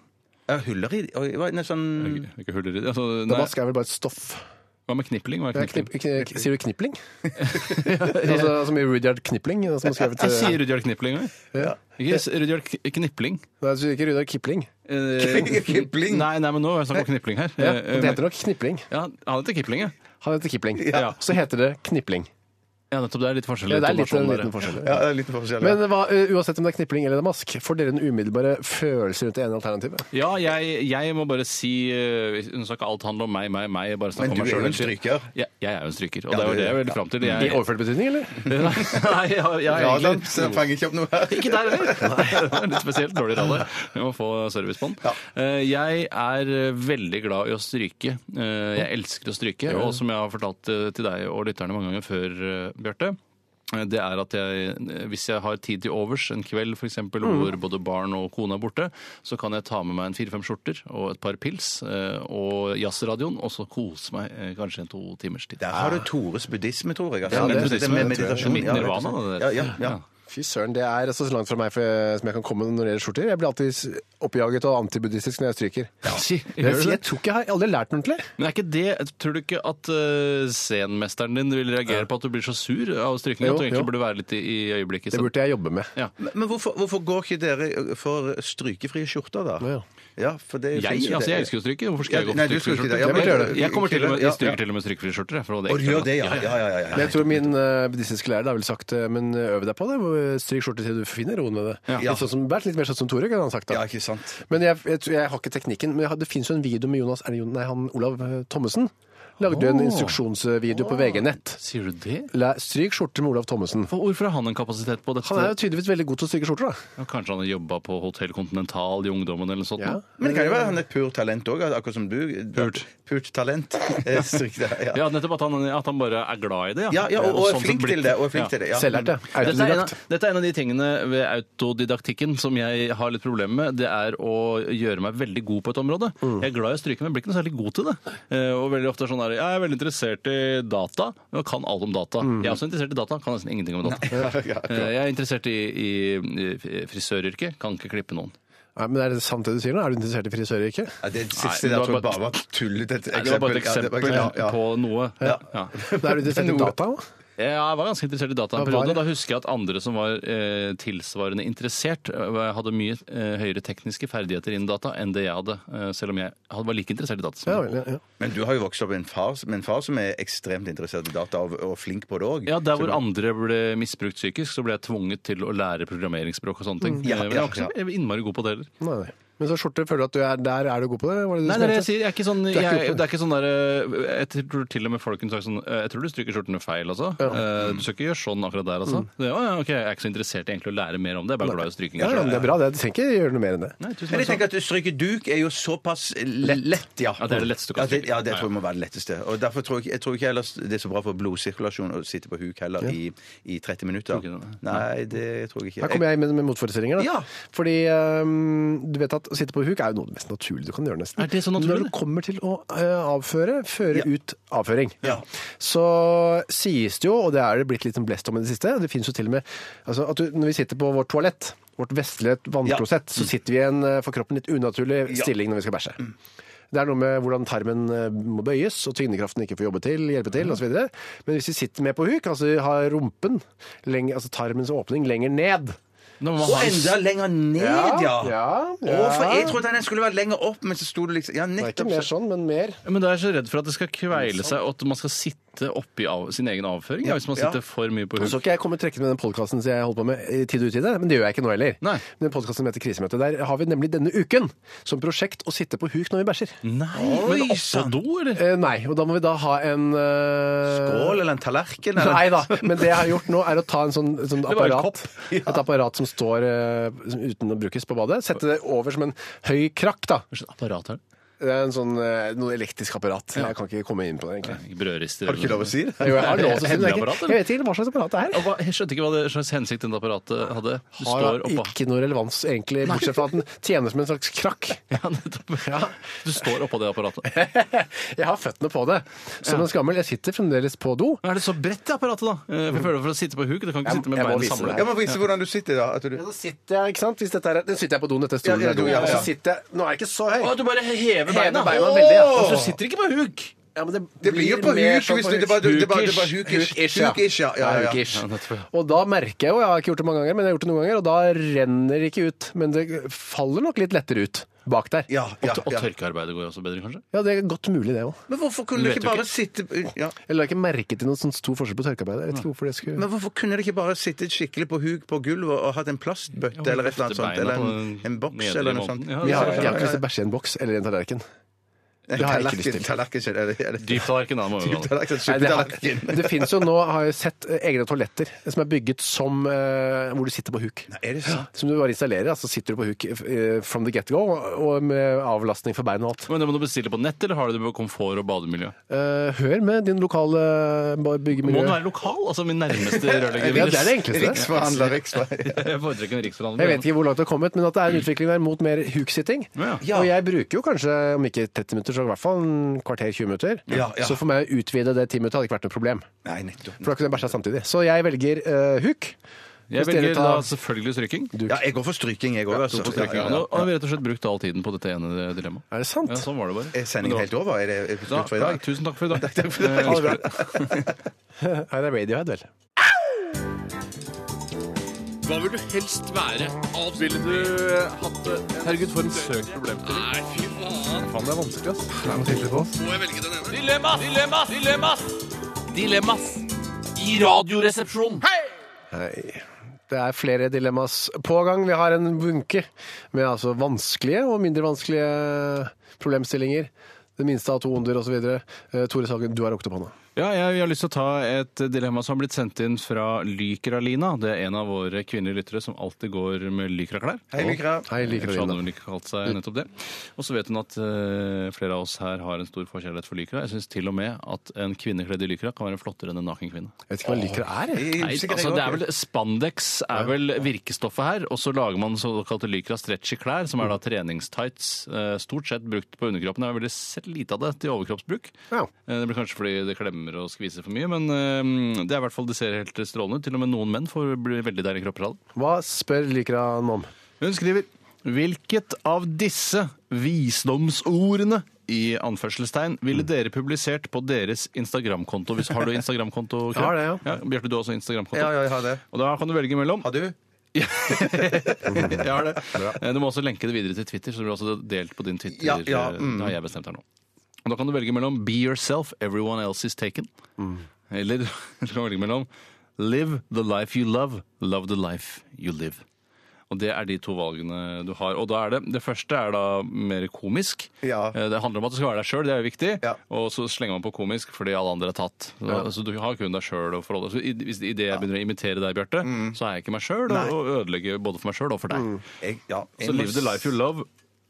Speaker 7: Ja, huller i Oi, hva er det sånn
Speaker 8: Ikke huller i altså, nei,
Speaker 6: Damask er vel bare et stoff.
Speaker 8: Hva med knipling? Hva er
Speaker 6: Ja,
Speaker 8: knipling?
Speaker 6: knip, kn- sier du knipling? altså, som i Rudyard Knipling, som har skrevet eh,
Speaker 8: Jeg sier Rudyard Knipling. jeg.
Speaker 6: Ja.
Speaker 8: Ikke s- Rudyard K- Knipling.
Speaker 6: Nei, altså, ikke Rudyard Kipling.
Speaker 8: Eh,
Speaker 7: Kipling?
Speaker 8: Nei, nei, men nå er det snakk om knipling her.
Speaker 6: Ja,
Speaker 8: Eh,
Speaker 6: det heter nok Knipling.
Speaker 8: ja, han heter Kipling, ja.
Speaker 6: Han heter Kipling.
Speaker 8: Ja.
Speaker 6: Så heter det Knipling.
Speaker 8: ja. Nettopp. Det er litt forskjellig.
Speaker 6: Det er litt, eh, en
Speaker 8: intonasjon der,
Speaker 6: liten forskjell.
Speaker 7: Ja, det er litt forskjellig.
Speaker 6: Men hva, eh, uansett om det er knipling eller damask, får dere en umiddelbare følelse rundt det ene alternativet?
Speaker 8: Ja, jeg, jeg må bare si eh, Nå skal ikke alt handle om meg, meg, meg. Jeg bare
Speaker 7: Men
Speaker 8: snakke om
Speaker 7: du
Speaker 8: meg
Speaker 7: er jo
Speaker 8: selv
Speaker 7: en
Speaker 8: hele tiden.
Speaker 7: stryker.
Speaker 8: Ja, jeg er jo en stryker, og
Speaker 7: Ja,
Speaker 8: det er jo
Speaker 7: du-
Speaker 8: det jeg vil fram til. Jeg,
Speaker 6: I overført betydning, eller?
Speaker 8: Nei, jeg, jeg, er
Speaker 7: Radaren
Speaker 8: egentlig-
Speaker 7: så fanger ikke opp noe her.
Speaker 8: Ikke der heller! Nei, det er litt spesielt. Dårlig radar. Vi må få service på den. Eh, Jeg er eh, veldig glad i å stryke. Eh, Jeg elsker å stryke, og som jeg har fortalt eh, til deg og lytterne mange ganger før, eh, Bjarte eh, det er at jeg, eh, Hvis jeg har tid til overs en kveld for eksempel, hvor både barn og kone er borte, så kan jeg ta med meg en fire-fem skjorter og et par pils eh, og jazzradioen, og så kose meg eh, kanskje en to timers tid.
Speaker 7: Der har du Tores buddhisme, tror jeg. Altså.
Speaker 8: Ja, det er
Speaker 7: Men-
Speaker 8: buddhisme,
Speaker 7: med
Speaker 8: tror jeg.
Speaker 7: meditasjon.
Speaker 8: Mitt
Speaker 7: ja, rett og
Speaker 8: nirvana,
Speaker 7: slett.
Speaker 8: det der.
Speaker 7: Ja, ja, ja.
Speaker 6: Fy søren, det er så langt fra meg for, som jeg kan komme når det gjelder skjorter. Jeg blir alltid s- oppjaget og antibuddhistisk når jeg stryker.
Speaker 8: Si,
Speaker 6: Jeg,
Speaker 8: gjør du det?
Speaker 6: jeg tror ikke jeg har aldri lært noe ordentlig.
Speaker 8: Men er ikke det, tror du ikke at eh, scenmesteren din vil reagere på at du blir så sur av strykning?
Speaker 6: Jo,
Speaker 8: At du egentlig
Speaker 6: jo.
Speaker 8: burde være litt i, i øyeblikket?
Speaker 6: Det
Speaker 8: Så.
Speaker 6: burde jeg jobbe med.
Speaker 8: Ja.
Speaker 7: Men hvorfor, hvorfor går ikke dere for eh, strykefrie skjorter, da?
Speaker 6: Ja.
Speaker 7: Ja, for det
Speaker 8: Jeg,
Speaker 7: finnes jo
Speaker 8: altså,
Speaker 7: det.
Speaker 8: jeg elsker jo stryke. Hvorfor skal jeg gå
Speaker 7: Nei,
Speaker 8: for
Speaker 7: du skulle
Speaker 8: strykfrie
Speaker 7: ikke det.
Speaker 8: skjorter?
Speaker 7: Ja, men
Speaker 8: Jeg-
Speaker 7: gjør det.
Speaker 8: Jeg kommer til og med,
Speaker 7: Ja.
Speaker 8: jeg stryker til og med strykfrie skjorter. jeg, for å
Speaker 7: Å, du
Speaker 8: dekke
Speaker 7: gjør
Speaker 8: det.
Speaker 7: det, ja. ja, ja, ja, ja.
Speaker 6: Men jeg tror min eh, buddhistiske lærer har vel sagt eh, men øv deg på det. eh, Stryk skjorte til du finner roen med det. Litt, sånn som, Bert, litt mer sånn som Tore, kunne han sagt. da.
Speaker 7: Ja, ikke sant.
Speaker 6: Men jeg, jeg, tror- jeg har ikke teknikken. Men jeg, har- det fins jo en video med Jonas, er det Jon- nei, han, Olav eh, Thommessen. Lagde jo en
Speaker 8: Åh.
Speaker 6: instruksjonsvideo på VG-nett.
Speaker 8: Sier du det?
Speaker 6: Læ- Stryk skjorte med Olav Thommessen.
Speaker 8: For Hvorfor har han en kapasitet på dette?
Speaker 6: Han er jo tydeligvis veldig god til å stryke skjorter, da.
Speaker 8: Ja, Kanskje han har jobba på Hotell Continental i ungdommen eller noe sånt?
Speaker 6: Ja.
Speaker 8: Ja.
Speaker 7: Men det kan jo være han er et purt talent òg, akkurat som du.
Speaker 8: Purt.
Speaker 7: Purt talent. Eh, Stryk det. Ja.
Speaker 8: Ja, nettopp at han, at han bare er glad i det.
Speaker 7: Ja, ja, og, og er
Speaker 8: sånn
Speaker 7: flink
Speaker 8: blir-
Speaker 7: til det. Og er flink
Speaker 8: Ja.
Speaker 7: til det ja.
Speaker 6: Selvlært, ja.
Speaker 8: Dette er, en,
Speaker 6: Autodidakt.
Speaker 8: av- dette er en av de tingene ved autodidaktikken som jeg har litt problemer med. Det er å gjøre meg veldig god på et område.
Speaker 7: Mm.
Speaker 8: Jeg er glad i å stryke, men blir ikke noe særlig god til det. Eh, Og veldig ofte er sånn der, Jeg er veldig interessert i data, og kan alt om data.
Speaker 7: Mm.
Speaker 8: Jeg er også interessert i data, kan nesten ingenting om data. Eh, Jeg er interessert i, i, i frisøryrket, kan ikke klippe noen.
Speaker 6: Nei, men Er det sant det du sier nå? Er du interessert i frisøryrket?
Speaker 7: Ja, det
Speaker 8: Nei,
Speaker 7: siste
Speaker 8: det
Speaker 7: der
Speaker 8: var
Speaker 7: tror jeg
Speaker 8: bare-
Speaker 7: bare var tullet et
Speaker 8: Nei, Det var bare et
Speaker 7: Ja, det var-
Speaker 8: eksempel
Speaker 7: ja, ja.
Speaker 8: på noe.
Speaker 7: Ja.
Speaker 8: Ja.
Speaker 6: Er du interessert i
Speaker 7: Noe.
Speaker 6: data òg?
Speaker 8: Ja, jeg var ganske interessert i data en
Speaker 6: Ja,
Speaker 8: periode.
Speaker 6: var det?
Speaker 8: Da husker jeg at andre som var eh, tilsvarende interessert, eh, hadde mye eh, høyere tekniske ferdigheter innen data enn det jeg hadde. Eh, selv om jeg hadde- var like interessert i data. Som
Speaker 6: Ja,
Speaker 8: jeg.
Speaker 6: vel, ja, ja.
Speaker 7: Men du har jo vokst opp med en far, med en far som er ekstremt interessert i data og, og flink på det òg.
Speaker 8: ja, Der hvor andre ble misbrukt psykisk, så ble jeg tvunget til å lære programmeringsspråk og sånne ting.
Speaker 6: Mm.
Speaker 7: Ja,
Speaker 8: Eh, Men jeg var
Speaker 7: ja,
Speaker 8: ikke så innmari god på det heller.
Speaker 6: Nei, nei. Men så skjorte føler du at du er der er du god på det? Var det du
Speaker 8: Nei,
Speaker 6: som
Speaker 8: det er det jeg
Speaker 6: mente?
Speaker 8: sier. Jeg er ikke sånn,
Speaker 6: er ikke
Speaker 8: jeg,
Speaker 6: oppe.
Speaker 8: det er ikke sånn der, eh, Jeg tror til og med folk kunne sagt sånn eh, Jeg tror du stryker skjortene feil, altså. Eh, Du skal ikke gjøre sånn akkurat der, altså. Det, å, ja, ok, Jeg er ikke så interessert i egentlig å lære mer om det. Jeg er bare glad i stryking.
Speaker 6: Mm. Ja, ja, men det
Speaker 8: selv.
Speaker 6: er bra. det. Du trenger ikke gjøre noe mer enn det.
Speaker 8: Nei, tusen
Speaker 7: Men jeg
Speaker 8: takk.
Speaker 7: tenker at stryke duk er jo såpass lett. ja.
Speaker 8: Ja, det er det letteste du kan
Speaker 7: ja, det,
Speaker 8: stryke.
Speaker 7: ja, det tror jeg må være det letteste. Og derfor tror jeg, jeg tror ikke ellers det er så bra for blodsirkulasjon å sitte på huk heller i, i 30 minutter.
Speaker 8: Tror ikke det,
Speaker 7: Nei, det tror jeg ikke.
Speaker 6: Her kommer jeg med, med motforestillinger. Da.
Speaker 7: Ja.
Speaker 6: Fordi ehm, du vet at å sitte på huk er jo noe av det mest naturlige du kan gjøre. nesten.
Speaker 8: Er det så naturlig?
Speaker 6: Når du kommer til å eh, avføre, føre ut avføring,
Speaker 7: Ja.
Speaker 6: så sies det jo, og det er det blitt litt en blest om i det siste, det finnes jo til og med altså, at du, når vi sitter på vårt toalett, vårt vestlige vannklosett, så sitter vi i en eh, for kroppen litt unaturlig stilling når vi skal bæsje.
Speaker 7: Mm.
Speaker 6: Det er noe med hvordan tarmen eh, må bøyes, og tyngdekraften ikke får jobbe til, hjelpe til,
Speaker 7: Mm.
Speaker 6: og så videre. Men hvis vi sitter med på huk, altså har rumpen, lenge, altså tarmens åpning, lenger ned,
Speaker 8: Nå må
Speaker 7: Og
Speaker 8: han-
Speaker 7: enda lenger ned, ja!
Speaker 6: ja.
Speaker 7: Å, for jeg trodde den skulle være lenger opp, men så sto det liksom Ja,
Speaker 6: Det er ikke
Speaker 7: nettopp.
Speaker 6: mer sånn, men mer.
Speaker 8: Men da er jeg så redd for at det skal kveile seg, og at man skal sitte oppi av, sin egen avføring ja, hvis man
Speaker 7: Ja.
Speaker 8: sitter for mye på
Speaker 6: Så
Speaker 8: huk.
Speaker 6: skal ikke jeg komme trekkende med den podkasten som jeg holder på med i tid og utide, men det gjør jeg ikke nå heller.
Speaker 8: Nei.
Speaker 6: Den podcasten som heter Krisemøte, der har vi nemlig denne uken som prosjekt å sitte på huk når vi bæsjer.
Speaker 8: Nei,
Speaker 7: Oi,
Speaker 8: men oppå
Speaker 7: sann.
Speaker 8: do, eller?
Speaker 6: Eh, nei, og da må vi da ha en eh,
Speaker 7: Skål eller en tallerken? Eller?
Speaker 6: Nei da, men det jeg har gjort nå er å ta en sånn, et sånt
Speaker 8: Det var en
Speaker 6: apparat, et apparat som står eh, som- uten å brukes på badet, sette det over som en høy krakk da.
Speaker 8: Hva slags apparat er det?
Speaker 6: Det er en sånn, eh, noe elektrisk apparat. Jeg kan ikke komme inn på det egentlig.
Speaker 8: Ikke Brødrister?
Speaker 7: Har du ikke lov å si det?
Speaker 6: Jo, jeg har lov til å si det. men
Speaker 8: Hemmelig
Speaker 6: Jeg
Speaker 8: apparat,
Speaker 6: ikke-
Speaker 8: eller?
Speaker 6: jeg vet ikke hva slags apparat det er.
Speaker 8: Og hva, jeg skjønte ikke hva det slags hensikt dette apparatet hadde. Det
Speaker 6: har
Speaker 8: står oppå
Speaker 6: ikke noe relevans, egentlig, bortsett fra at den tjener som en slags krakk.
Speaker 8: ja, nettopp. Du står oppå det apparatet.
Speaker 6: Jeg har føttene på det. Som en skammel. Jeg sitter fremdeles på do.
Speaker 8: Men er det så bredt, det apparatet, da? Eh, For jeg føler for å sitte på huk, du kan ikke
Speaker 6: Jeg-
Speaker 8: sitte med
Speaker 6: jeg må
Speaker 8: beina
Speaker 6: vise
Speaker 8: samlet.
Speaker 6: deg.
Speaker 7: Jeg må vise hvordan du sitter da. At du...
Speaker 6: Så sitter jeg, ikke sant? Hvis dette er, nå sitter jeg på doen, dette er stolen.
Speaker 7: Ja, ja,
Speaker 6: er do,
Speaker 7: do, ja,
Speaker 6: og
Speaker 7: ja.
Speaker 6: Så sitter jeg, nå er jeg ikke så høy.
Speaker 8: Å, du bare hever
Speaker 6: Hever
Speaker 8: beina.
Speaker 6: beina veldig, ja.
Speaker 8: Å, Så du sitter ikke på huk!
Speaker 6: Ja, men
Speaker 7: Det blir jo på huk.
Speaker 6: mer
Speaker 7: Hvis
Speaker 6: sånn
Speaker 7: du,
Speaker 6: på
Speaker 7: det er bare, det
Speaker 6: huk.
Speaker 7: er bare, det er bare
Speaker 6: Hukish.
Speaker 7: hukish. Hukish, ja. ja, ja, ja.
Speaker 8: Ja, nettopp.
Speaker 6: Og da merker jeg jo, jeg har ikke gjort det mange ganger, men jeg har gjort det noen ganger, og da renner det ikke ut. Men det faller nok litt lettere ut bak der.
Speaker 7: Ja, ja,
Speaker 8: Og
Speaker 7: ja.
Speaker 8: tørkearbeidet går også bedre, kanskje?
Speaker 6: Ja, det er godt mulig, det òg.
Speaker 7: Men hvorfor kunne du
Speaker 8: Vet
Speaker 7: ikke
Speaker 8: du
Speaker 7: bare
Speaker 8: ikke?
Speaker 7: sitte ja.
Speaker 6: Jeg la ikke merke til noen sånn stor forskjell på tørkearbeidet. Jeg vet ikke hvorfor det skulle
Speaker 7: Men hvorfor kunne dere ikke bare sittet skikkelig på huk på gulvet og hatt en plastbøtte
Speaker 8: Ja,
Speaker 7: eller et eller annet
Speaker 8: løfte
Speaker 7: sånt?
Speaker 8: beina
Speaker 7: Eller en,
Speaker 8: på den
Speaker 7: en boks
Speaker 8: nedre
Speaker 7: eller noe
Speaker 8: måten.
Speaker 7: sånt?
Speaker 8: Ja,
Speaker 6: Vi har, jeg har
Speaker 7: ja,
Speaker 6: ikke lyst
Speaker 7: ja.
Speaker 6: til å bæsje i en boks eller i en tallerken.
Speaker 7: En
Speaker 6: det har jeg ikke lyst
Speaker 7: tallerken- Tallerken, er det- er det-
Speaker 8: Dyptallerken, da. må vi kalle det.
Speaker 7: Tallerken,
Speaker 6: Nei, det, har-
Speaker 7: suppetallerken.
Speaker 6: det finnes jo nå, har jeg sett, eh, egne toaletter som er bygget som eh, hvor du sitter på huk.
Speaker 7: Er det sant?
Speaker 6: Som du bare installerer, altså sitter du på huk eh, from the get-go, og med avlastning for bein og alt.
Speaker 8: Men det må du bestille på nett, eller har du det på komfort og bademiljø?
Speaker 6: Eh, hør med din lokale
Speaker 8: Må
Speaker 6: ba- byggemiljø.
Speaker 8: den være lokal? Altså min nærmeste rørlegger.
Speaker 6: Ja, det er det enkleste.
Speaker 7: Riksforhandler, riksforhandler.
Speaker 8: Jeg foretrekker en
Speaker 6: Jeg
Speaker 8: riksforhandler.
Speaker 6: vet ikke hvor langt det har kommet, men at det er en utvikling der mot mer huksitting.
Speaker 8: Ja.
Speaker 6: Og jeg bruker jo kanskje, om ikke 30 minutter, så i hvert fall en kvarter 20 minutter.
Speaker 7: Ja, ja.
Speaker 6: Så for meg å utvide det 10 minutter hadde ikke vært noe problem.
Speaker 7: Nei, nettopp.
Speaker 6: For da kunne jeg bæsja samtidig. Så jeg velger eh, huk.
Speaker 8: Jeg
Speaker 6: Hvis dere
Speaker 8: velger da
Speaker 6: tar-
Speaker 8: selvfølgelig stryking.
Speaker 7: Ja, jeg går for stryking, jeg òg. Altså.
Speaker 8: På stryking.
Speaker 7: Ja, ja,
Speaker 8: Nå
Speaker 7: ja.
Speaker 8: har vi rett og slett brukt all tiden på dette ene dilemmaet.
Speaker 6: Er det sant?
Speaker 8: Ja, sånn var det bare.
Speaker 7: Er sendingen helt over? Er det er det
Speaker 8: Da,
Speaker 7: slutt for i dag?
Speaker 8: Tusen takk for i dag. Eh,
Speaker 7: Ha det bra.
Speaker 6: Nei, det er Radiohead, vel.
Speaker 9: Hva vil du helst være? Alt Ville du eh, hatt det? Herregud, for en søk problemstilling. Nei, fy faen. Faen, det er vanskelig, ass. Må jeg velge den ene?
Speaker 10: Dilemmas! Dilemmas! Dilemmas! Dilemmas i Radioresepsjonen.
Speaker 6: Nei. Det er flere dilemmas på gang. Vi har en bunke med altså vanskelige og mindre vanskelige problemstillinger. Det minste av to onder osv. Eh, Tore Sagen, du har rukket opp hånda.
Speaker 8: Ja, jeg, jeg har lyst til å ta et dilemma som har blitt sendt inn fra Lykra-Lina. Det er en av våre kvinnelige lyttere som alltid går med Lykra-klær.
Speaker 7: Hei, Lykra.
Speaker 6: Hei, liker
Speaker 8: Ellers
Speaker 6: du
Speaker 8: hadde
Speaker 6: den?
Speaker 8: hun ikke kalt seg nettopp det. Og så vet hun at eh, flere av oss her har en stor forkjærlighet for lykra. Jeg syns til og med at en kvinne kledd i lykra kan være flottere enn en naken kvinne.
Speaker 6: Jeg vet ikke hva liker er. jeg.
Speaker 8: Nei, altså, det er vel, spandex er vel virkestoffet her, og så lager man såkalte lykra stretchy klær, som er
Speaker 6: Mm.
Speaker 8: da treningstights. eh, Stort sett brukt på underkroppen. Det er veldig sett lite av det til overkroppsbruk.
Speaker 6: Ja.
Speaker 8: Eh, Det blir kanskje fordi det klemmer og skviser for mye, men eh, det er i hvert fall, det ser helt strålende ut. Til og med noen menn får bli veldig deilige kropper av det.
Speaker 6: Hva spør liker han om?
Speaker 8: Hun skriver Hvilket av disse visdomsordene i anførselstegn ville dere publisert på deres Instagram-konto? Hvis- Har du Instagram-konto? Kjell?
Speaker 6: Jeg har det, ja.
Speaker 8: Bjarte, du har også Instagram-konto?
Speaker 7: Ja, ja, jeg har det.
Speaker 8: Og da kan du velge mellom.
Speaker 7: Har du?
Speaker 8: Jeg har det. Eh, Du må også lenke det videre til Twitter, så det blir også delt på din Twitter.
Speaker 7: Ja, ja, mm.
Speaker 8: Det har jeg bestemt her nå. Og da kan du velge mellom Be Yourself, Everyone Else Is Taken.
Speaker 7: Mm.
Speaker 8: Eller du kan velge mellom Live the life you love, love the life you live. Og Det er de to valgene du har. Og da er Det det første er da mer komisk.
Speaker 7: Ja.
Speaker 8: Eh, Det handler om at du skal være deg sjøl, det er jo viktig.
Speaker 7: Ja.
Speaker 8: Og så slenger man på komisk fordi alle andre er tatt. Så, så du har kun deg sjøl å forholde deg til. Hvis idet jeg begynner å imitere deg, Bjarte,
Speaker 7: Mm.
Speaker 8: så er jeg ikke meg sjøl, og, og ødelegger både for meg sjøl og for deg.
Speaker 7: Jeg, ja, Mm. jeg
Speaker 8: Så
Speaker 7: må
Speaker 8: live the life you love.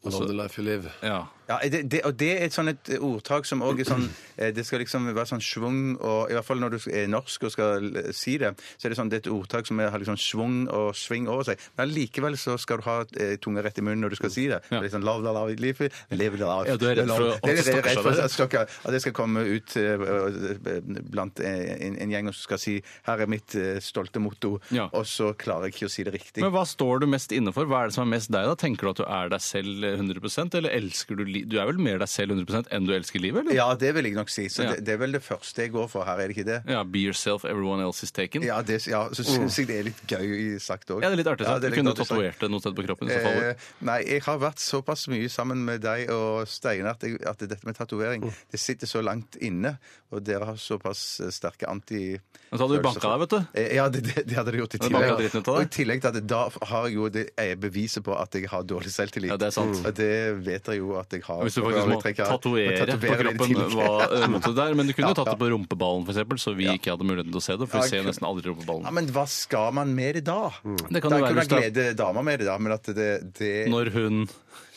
Speaker 6: Love the life you live.
Speaker 8: Ja.
Speaker 7: Ja, det, det, og det er et sånn et ordtak som også er sånn eh, Det skal liksom være sånn schwung og I hvert fall når du er norsk og skal eh, si det, så er det sånn det er et ordtak som er- har liksom schwung og sving over seg. Men allikevel så skal du ha eh, tunga rett i munnen når du skal si det. Det er sånn love, love, love, live, live, love.
Speaker 8: Ja, du er redd for å-
Speaker 7: Det er- det er redd for
Speaker 8: stokker seg.
Speaker 7: at stokker- at det skal komme ut eh, blant eh, en, en gjeng og så skal si 'Her er mitt eh, stolte motto',
Speaker 8: Ja.
Speaker 7: og så klarer jeg ikke å si det riktig.
Speaker 8: Men hva står du mest inne for? Hva er det som er mest deg? da? Tenker du at du er deg selv 100 eller elsker du li Du er vel mer deg selv 100 enn du elsker livet, eller?
Speaker 7: Ja, det vil jeg nok si. Så
Speaker 8: Ja.
Speaker 7: det, det er vel det første jeg går for her, er det ikke det?
Speaker 8: Ja, Be yourself, everyone else is taken.
Speaker 7: Ja, det, ja så syns jeg det er litt gøy sagt òg.
Speaker 8: Mm. Ja, det er litt artig. sagt. du kunne tatovert det noe sted på kroppen. i så fall.
Speaker 7: Eh, nei, jeg har vært såpass mye sammen med deg og Steinar at, jeg- at dette med tatovering
Speaker 8: Mm.
Speaker 7: Det sitter så langt inne, og dere har såpass eh, sterke anti...
Speaker 8: Men så hadde du
Speaker 7: følelser
Speaker 8: banka
Speaker 7: for-
Speaker 8: deg, vet du.
Speaker 7: Eh, Ja, det, det, det hadde jeg gjort i
Speaker 8: Hadde du banket
Speaker 7: tillegg.
Speaker 8: dritten ut av deg?
Speaker 7: Og i tillegg til at da har jeg jo det er beviset på at jeg har dårlig selvtillit.
Speaker 8: Ja, det er sant.
Speaker 7: Og det vet dere jo at jeg har.
Speaker 8: Og Hvis du
Speaker 7: Og
Speaker 8: faktisk må
Speaker 7: jeg trekker-
Speaker 8: tatovere
Speaker 7: må
Speaker 8: på
Speaker 7: tatovere det i
Speaker 8: kroppen
Speaker 7: tillegg.
Speaker 8: hva eh, måtte der, men du kunne
Speaker 7: Ja,
Speaker 8: jo tatt
Speaker 7: ja.
Speaker 8: det på rumpeballen for eksempel, så vi
Speaker 7: Ja.
Speaker 8: ikke hadde muligheten til å se det,
Speaker 7: Ja,
Speaker 8: for vi ser
Speaker 7: kunne-
Speaker 8: nesten aldri
Speaker 7: Ja,
Speaker 8: rumpeballen.
Speaker 7: men hva skal man med det da?
Speaker 8: Mm. Det kan
Speaker 7: da
Speaker 8: jo være
Speaker 7: kunne
Speaker 8: hvis
Speaker 7: jeg
Speaker 8: det
Speaker 7: glede dama med det, da, men at det, det når,
Speaker 8: Når hun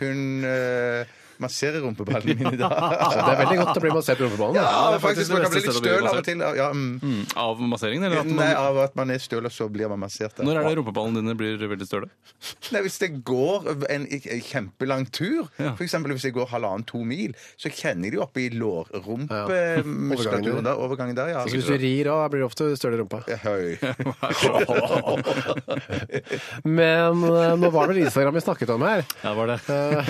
Speaker 7: hun eh, masserer rumpeballen min i dag
Speaker 6: Det er veldig godt å bli massert på rumpeballen. da.
Speaker 7: Ja,
Speaker 8: det er
Speaker 7: faktisk.
Speaker 8: faktisk
Speaker 7: Man
Speaker 8: det
Speaker 7: kan bli
Speaker 8: beste
Speaker 7: litt
Speaker 8: stedet å bli
Speaker 7: støl av og
Speaker 8: massert.
Speaker 7: til. Ja, mm.
Speaker 8: mm, Av masseringen, eller at
Speaker 7: Nei,
Speaker 8: man,
Speaker 7: av at man er støl, og så blir man massert. da.
Speaker 8: når er det rumpeballene dine blir veldig støle?
Speaker 7: Nei, hvis det går en en kjempelang tur,
Speaker 8: Ja.
Speaker 7: for eksempel hvis jeg går halvannen-to mil, så kjenner jeg det jo oppe i
Speaker 6: Overgangen.
Speaker 7: lårrumpemuskulaturen der. Overgangen der, ja.
Speaker 6: Så Hvis du rir av, blir det ofte støl i rumpa.
Speaker 7: Høy.
Speaker 6: Men eh, nå var det vel Instagram vi snakket om her.
Speaker 8: Ja, var det.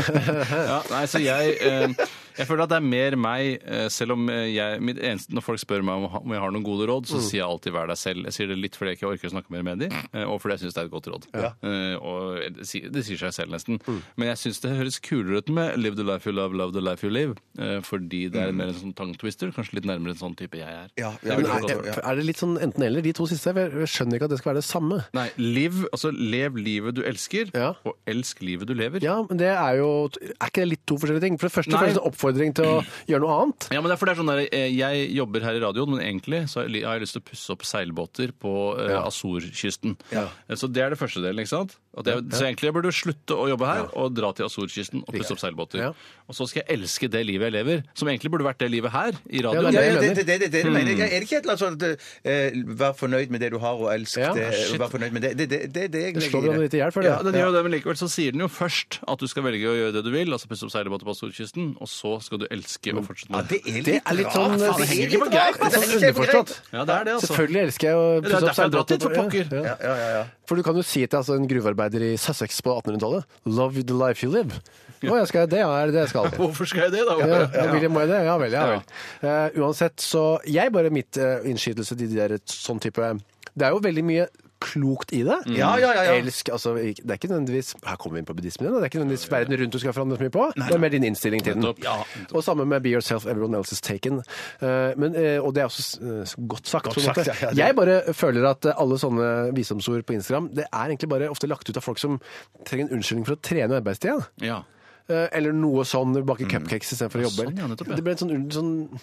Speaker 8: ja, nei, så jeg, eh, jeg føler at det er mer meg, eh, selv om eh, jeg mitt eneste, Når folk spør meg om, om jeg har noen gode råd,
Speaker 7: Mm.
Speaker 8: så sier jeg alltid 'vær deg selv'. Jeg sier det litt fordi jeg ikke orker å snakke mer med dem, og fordi jeg syns det er et godt råd. Eh, Og det sier, det sier seg selv, nesten.
Speaker 7: Mm.
Speaker 8: Men jeg syns det høres kulere ut med 'live the life you love, love the life you live', eh, fordi det er mer en sånn tongue twister, kanskje litt nærmere en sånn type jeg er.
Speaker 7: Mm. Ja,
Speaker 8: Det
Speaker 7: ja,
Speaker 8: ville
Speaker 7: ja,
Speaker 8: vært godt
Speaker 7: ja,
Speaker 8: råd.
Speaker 7: ja.
Speaker 6: Er det litt sånn enten-eller, de to siste? Jeg skjønner ikke at det skal være det samme.
Speaker 8: Nei, liv, altså lev livet du elsker,
Speaker 6: Ja.
Speaker 8: og elsk livet du lever.
Speaker 6: Ja, men det er jo Er ikke det litt to forskjellige ting? For det første
Speaker 8: Nei.
Speaker 6: føles det en oppfordring til å gjøre noe annet.
Speaker 8: Ja, men det er for det er sånn der, eh, Jeg jobber her i radioen, men egentlig så har jeg li- har jeg lyst til å pusse opp seilbåter på eh, Azorkysten. Eh, Så det er det første delen. ikke sant? At jeg, Så egentlig jeg burde jo slutte å jobbe her og dra til Azorkysten og pusse opp seilbåter.
Speaker 6: Ja.
Speaker 8: Og så skal jeg elske det livet jeg lever, som egentlig burde vært det livet her i
Speaker 6: Ja,
Speaker 8: radioen.
Speaker 6: det
Speaker 7: Ja,
Speaker 6: er
Speaker 7: ja,
Speaker 6: jeg
Speaker 7: det, det, det, det, det mener
Speaker 8: Hmm.
Speaker 7: jeg. Er det ikke et eller annet sånt eh, Vær fornøyd med det du har, og elsk
Speaker 6: Ja,
Speaker 7: det.
Speaker 8: Ah, shit.
Speaker 7: Vær fornøyd med det. Det, det, det, det jeg
Speaker 6: Det
Speaker 7: legger
Speaker 6: slår
Speaker 7: i
Speaker 6: hverandre litt i hjel, føler
Speaker 8: Ja,
Speaker 6: jeg.
Speaker 8: den gjør jo det, men likevel så sier den jo først at du skal velge å gjøre det du vil, altså pusse opp seilbåter på Azorkysten, og så skal du elske å fortsette med det.
Speaker 7: er
Speaker 6: Mm. Det er litt sånn
Speaker 7: rart. Faen, det henger ikke på greip!
Speaker 6: Det er
Speaker 7: Det
Speaker 6: sånn
Speaker 7: henger ikke på
Speaker 6: underforstått.
Speaker 7: greip.
Speaker 8: Ja, det er det, altså.
Speaker 6: Selvfølgelig elsker jeg å
Speaker 8: Det
Speaker 6: pusse
Speaker 8: er
Speaker 6: opp
Speaker 8: derfor jeg drar dit, for
Speaker 6: seilbåter.
Speaker 8: pokker.
Speaker 6: Ja, ja.
Speaker 7: Ja, ja, ja.
Speaker 6: For du kan jo si til altså, en gruvearbeider i Sussex på 1800-tallet 'Love the life you live'. Å, jeg skal, det er det jeg skal.
Speaker 8: Hvorfor skal jeg det, da?
Speaker 6: Ja, ja. William Moy, det? Ja vel, ja vel. Eh, uansett, så jeg bare mitt eh, innskytelse til de der sånn type eh, Det er jo veldig mye klokt i det.
Speaker 7: Mm. Ja, ja, ja, ja.
Speaker 6: Elsk, altså, ikke- det er ikke nødvendigvis Her kommer vi inn på buddhismen igjen. da. Det er ikke nødvendigvis verden rundt du skal forandre så mye på. Det er mer din innstilling til den.
Speaker 8: Nettopp. Ja,
Speaker 6: Og samme med Be Yourself, Everyone Else Is Taken. Eh, Men, eh, og det er også eh, godt sagt. på en
Speaker 7: sagt,
Speaker 6: måte.
Speaker 7: ja, ja, det-
Speaker 6: Jeg bare føler at eh, alle sånne visdomsord på Instagram det er egentlig bare ofte lagt ut av folk som trenger en unnskyldning for å trene arbeidstida.
Speaker 8: Ja.
Speaker 6: Eh, Eller noe sånn, bake cupcakes istedenfor å jobbe.
Speaker 8: sånn, Mm. ja, nettopp, ja.
Speaker 6: Det ble en sånn, un- sånn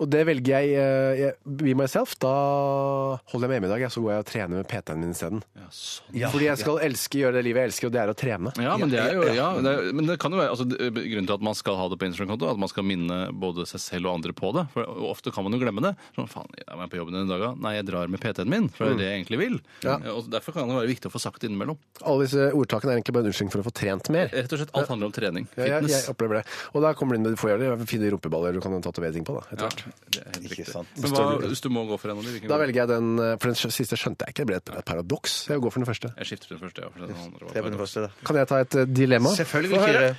Speaker 6: og det velger jeg, eh, jeg. Be myself. Da holder jeg meg hjemme i dag, jeg, så går jeg og trener med PT-en min isteden.
Speaker 8: ja, sånn.
Speaker 6: Fordi jeg skal elske gjøre det livet jeg elsker, og det er å trene.
Speaker 8: Ja, men det er jo ja, det er, Men det kan jo være altså, det- grunnen til at man skal ha det på Instagram-konto, at man skal minne både seg selv og andre på det. For ofte kan man jo glemme det. Sånn, faen, er jeg på jobben denne dagen? Nei, jeg drar med PT-en min, for
Speaker 7: Mm.
Speaker 8: det er det jeg egentlig vil. Eh, Og derfor kan det være viktig å få sagt det innimellom.
Speaker 6: Alle disse ordtakene er egentlig bare en unnskyldning for å få trent mer.
Speaker 8: Rett og slett, alt handler om trening.
Speaker 6: Ja, jeg,
Speaker 8: Fitness.
Speaker 6: jeg opplever det. Og da kommer det inn med du får gjøre det, fine rumpeballer du kan tatovere ting på. Da, etter
Speaker 8: Ja, det
Speaker 6: hvert.
Speaker 8: er helt
Speaker 7: Ikke
Speaker 8: riktig.
Speaker 7: sant.
Speaker 8: Men hva, hvis du må gå for en av de, hvilken
Speaker 6: da
Speaker 8: går du?
Speaker 6: velger jeg den, eh, for den skj- siste skjønte jeg ikke. Det ble et- et paradoks. Jeg går for den første.
Speaker 8: Jeg skifter den første, ja. For den andre
Speaker 7: Det er på
Speaker 8: var
Speaker 7: den første, da.
Speaker 6: Kan jeg ta et eh, dilemma?
Speaker 7: Selvfølgelig
Speaker 6: Få
Speaker 7: ikke.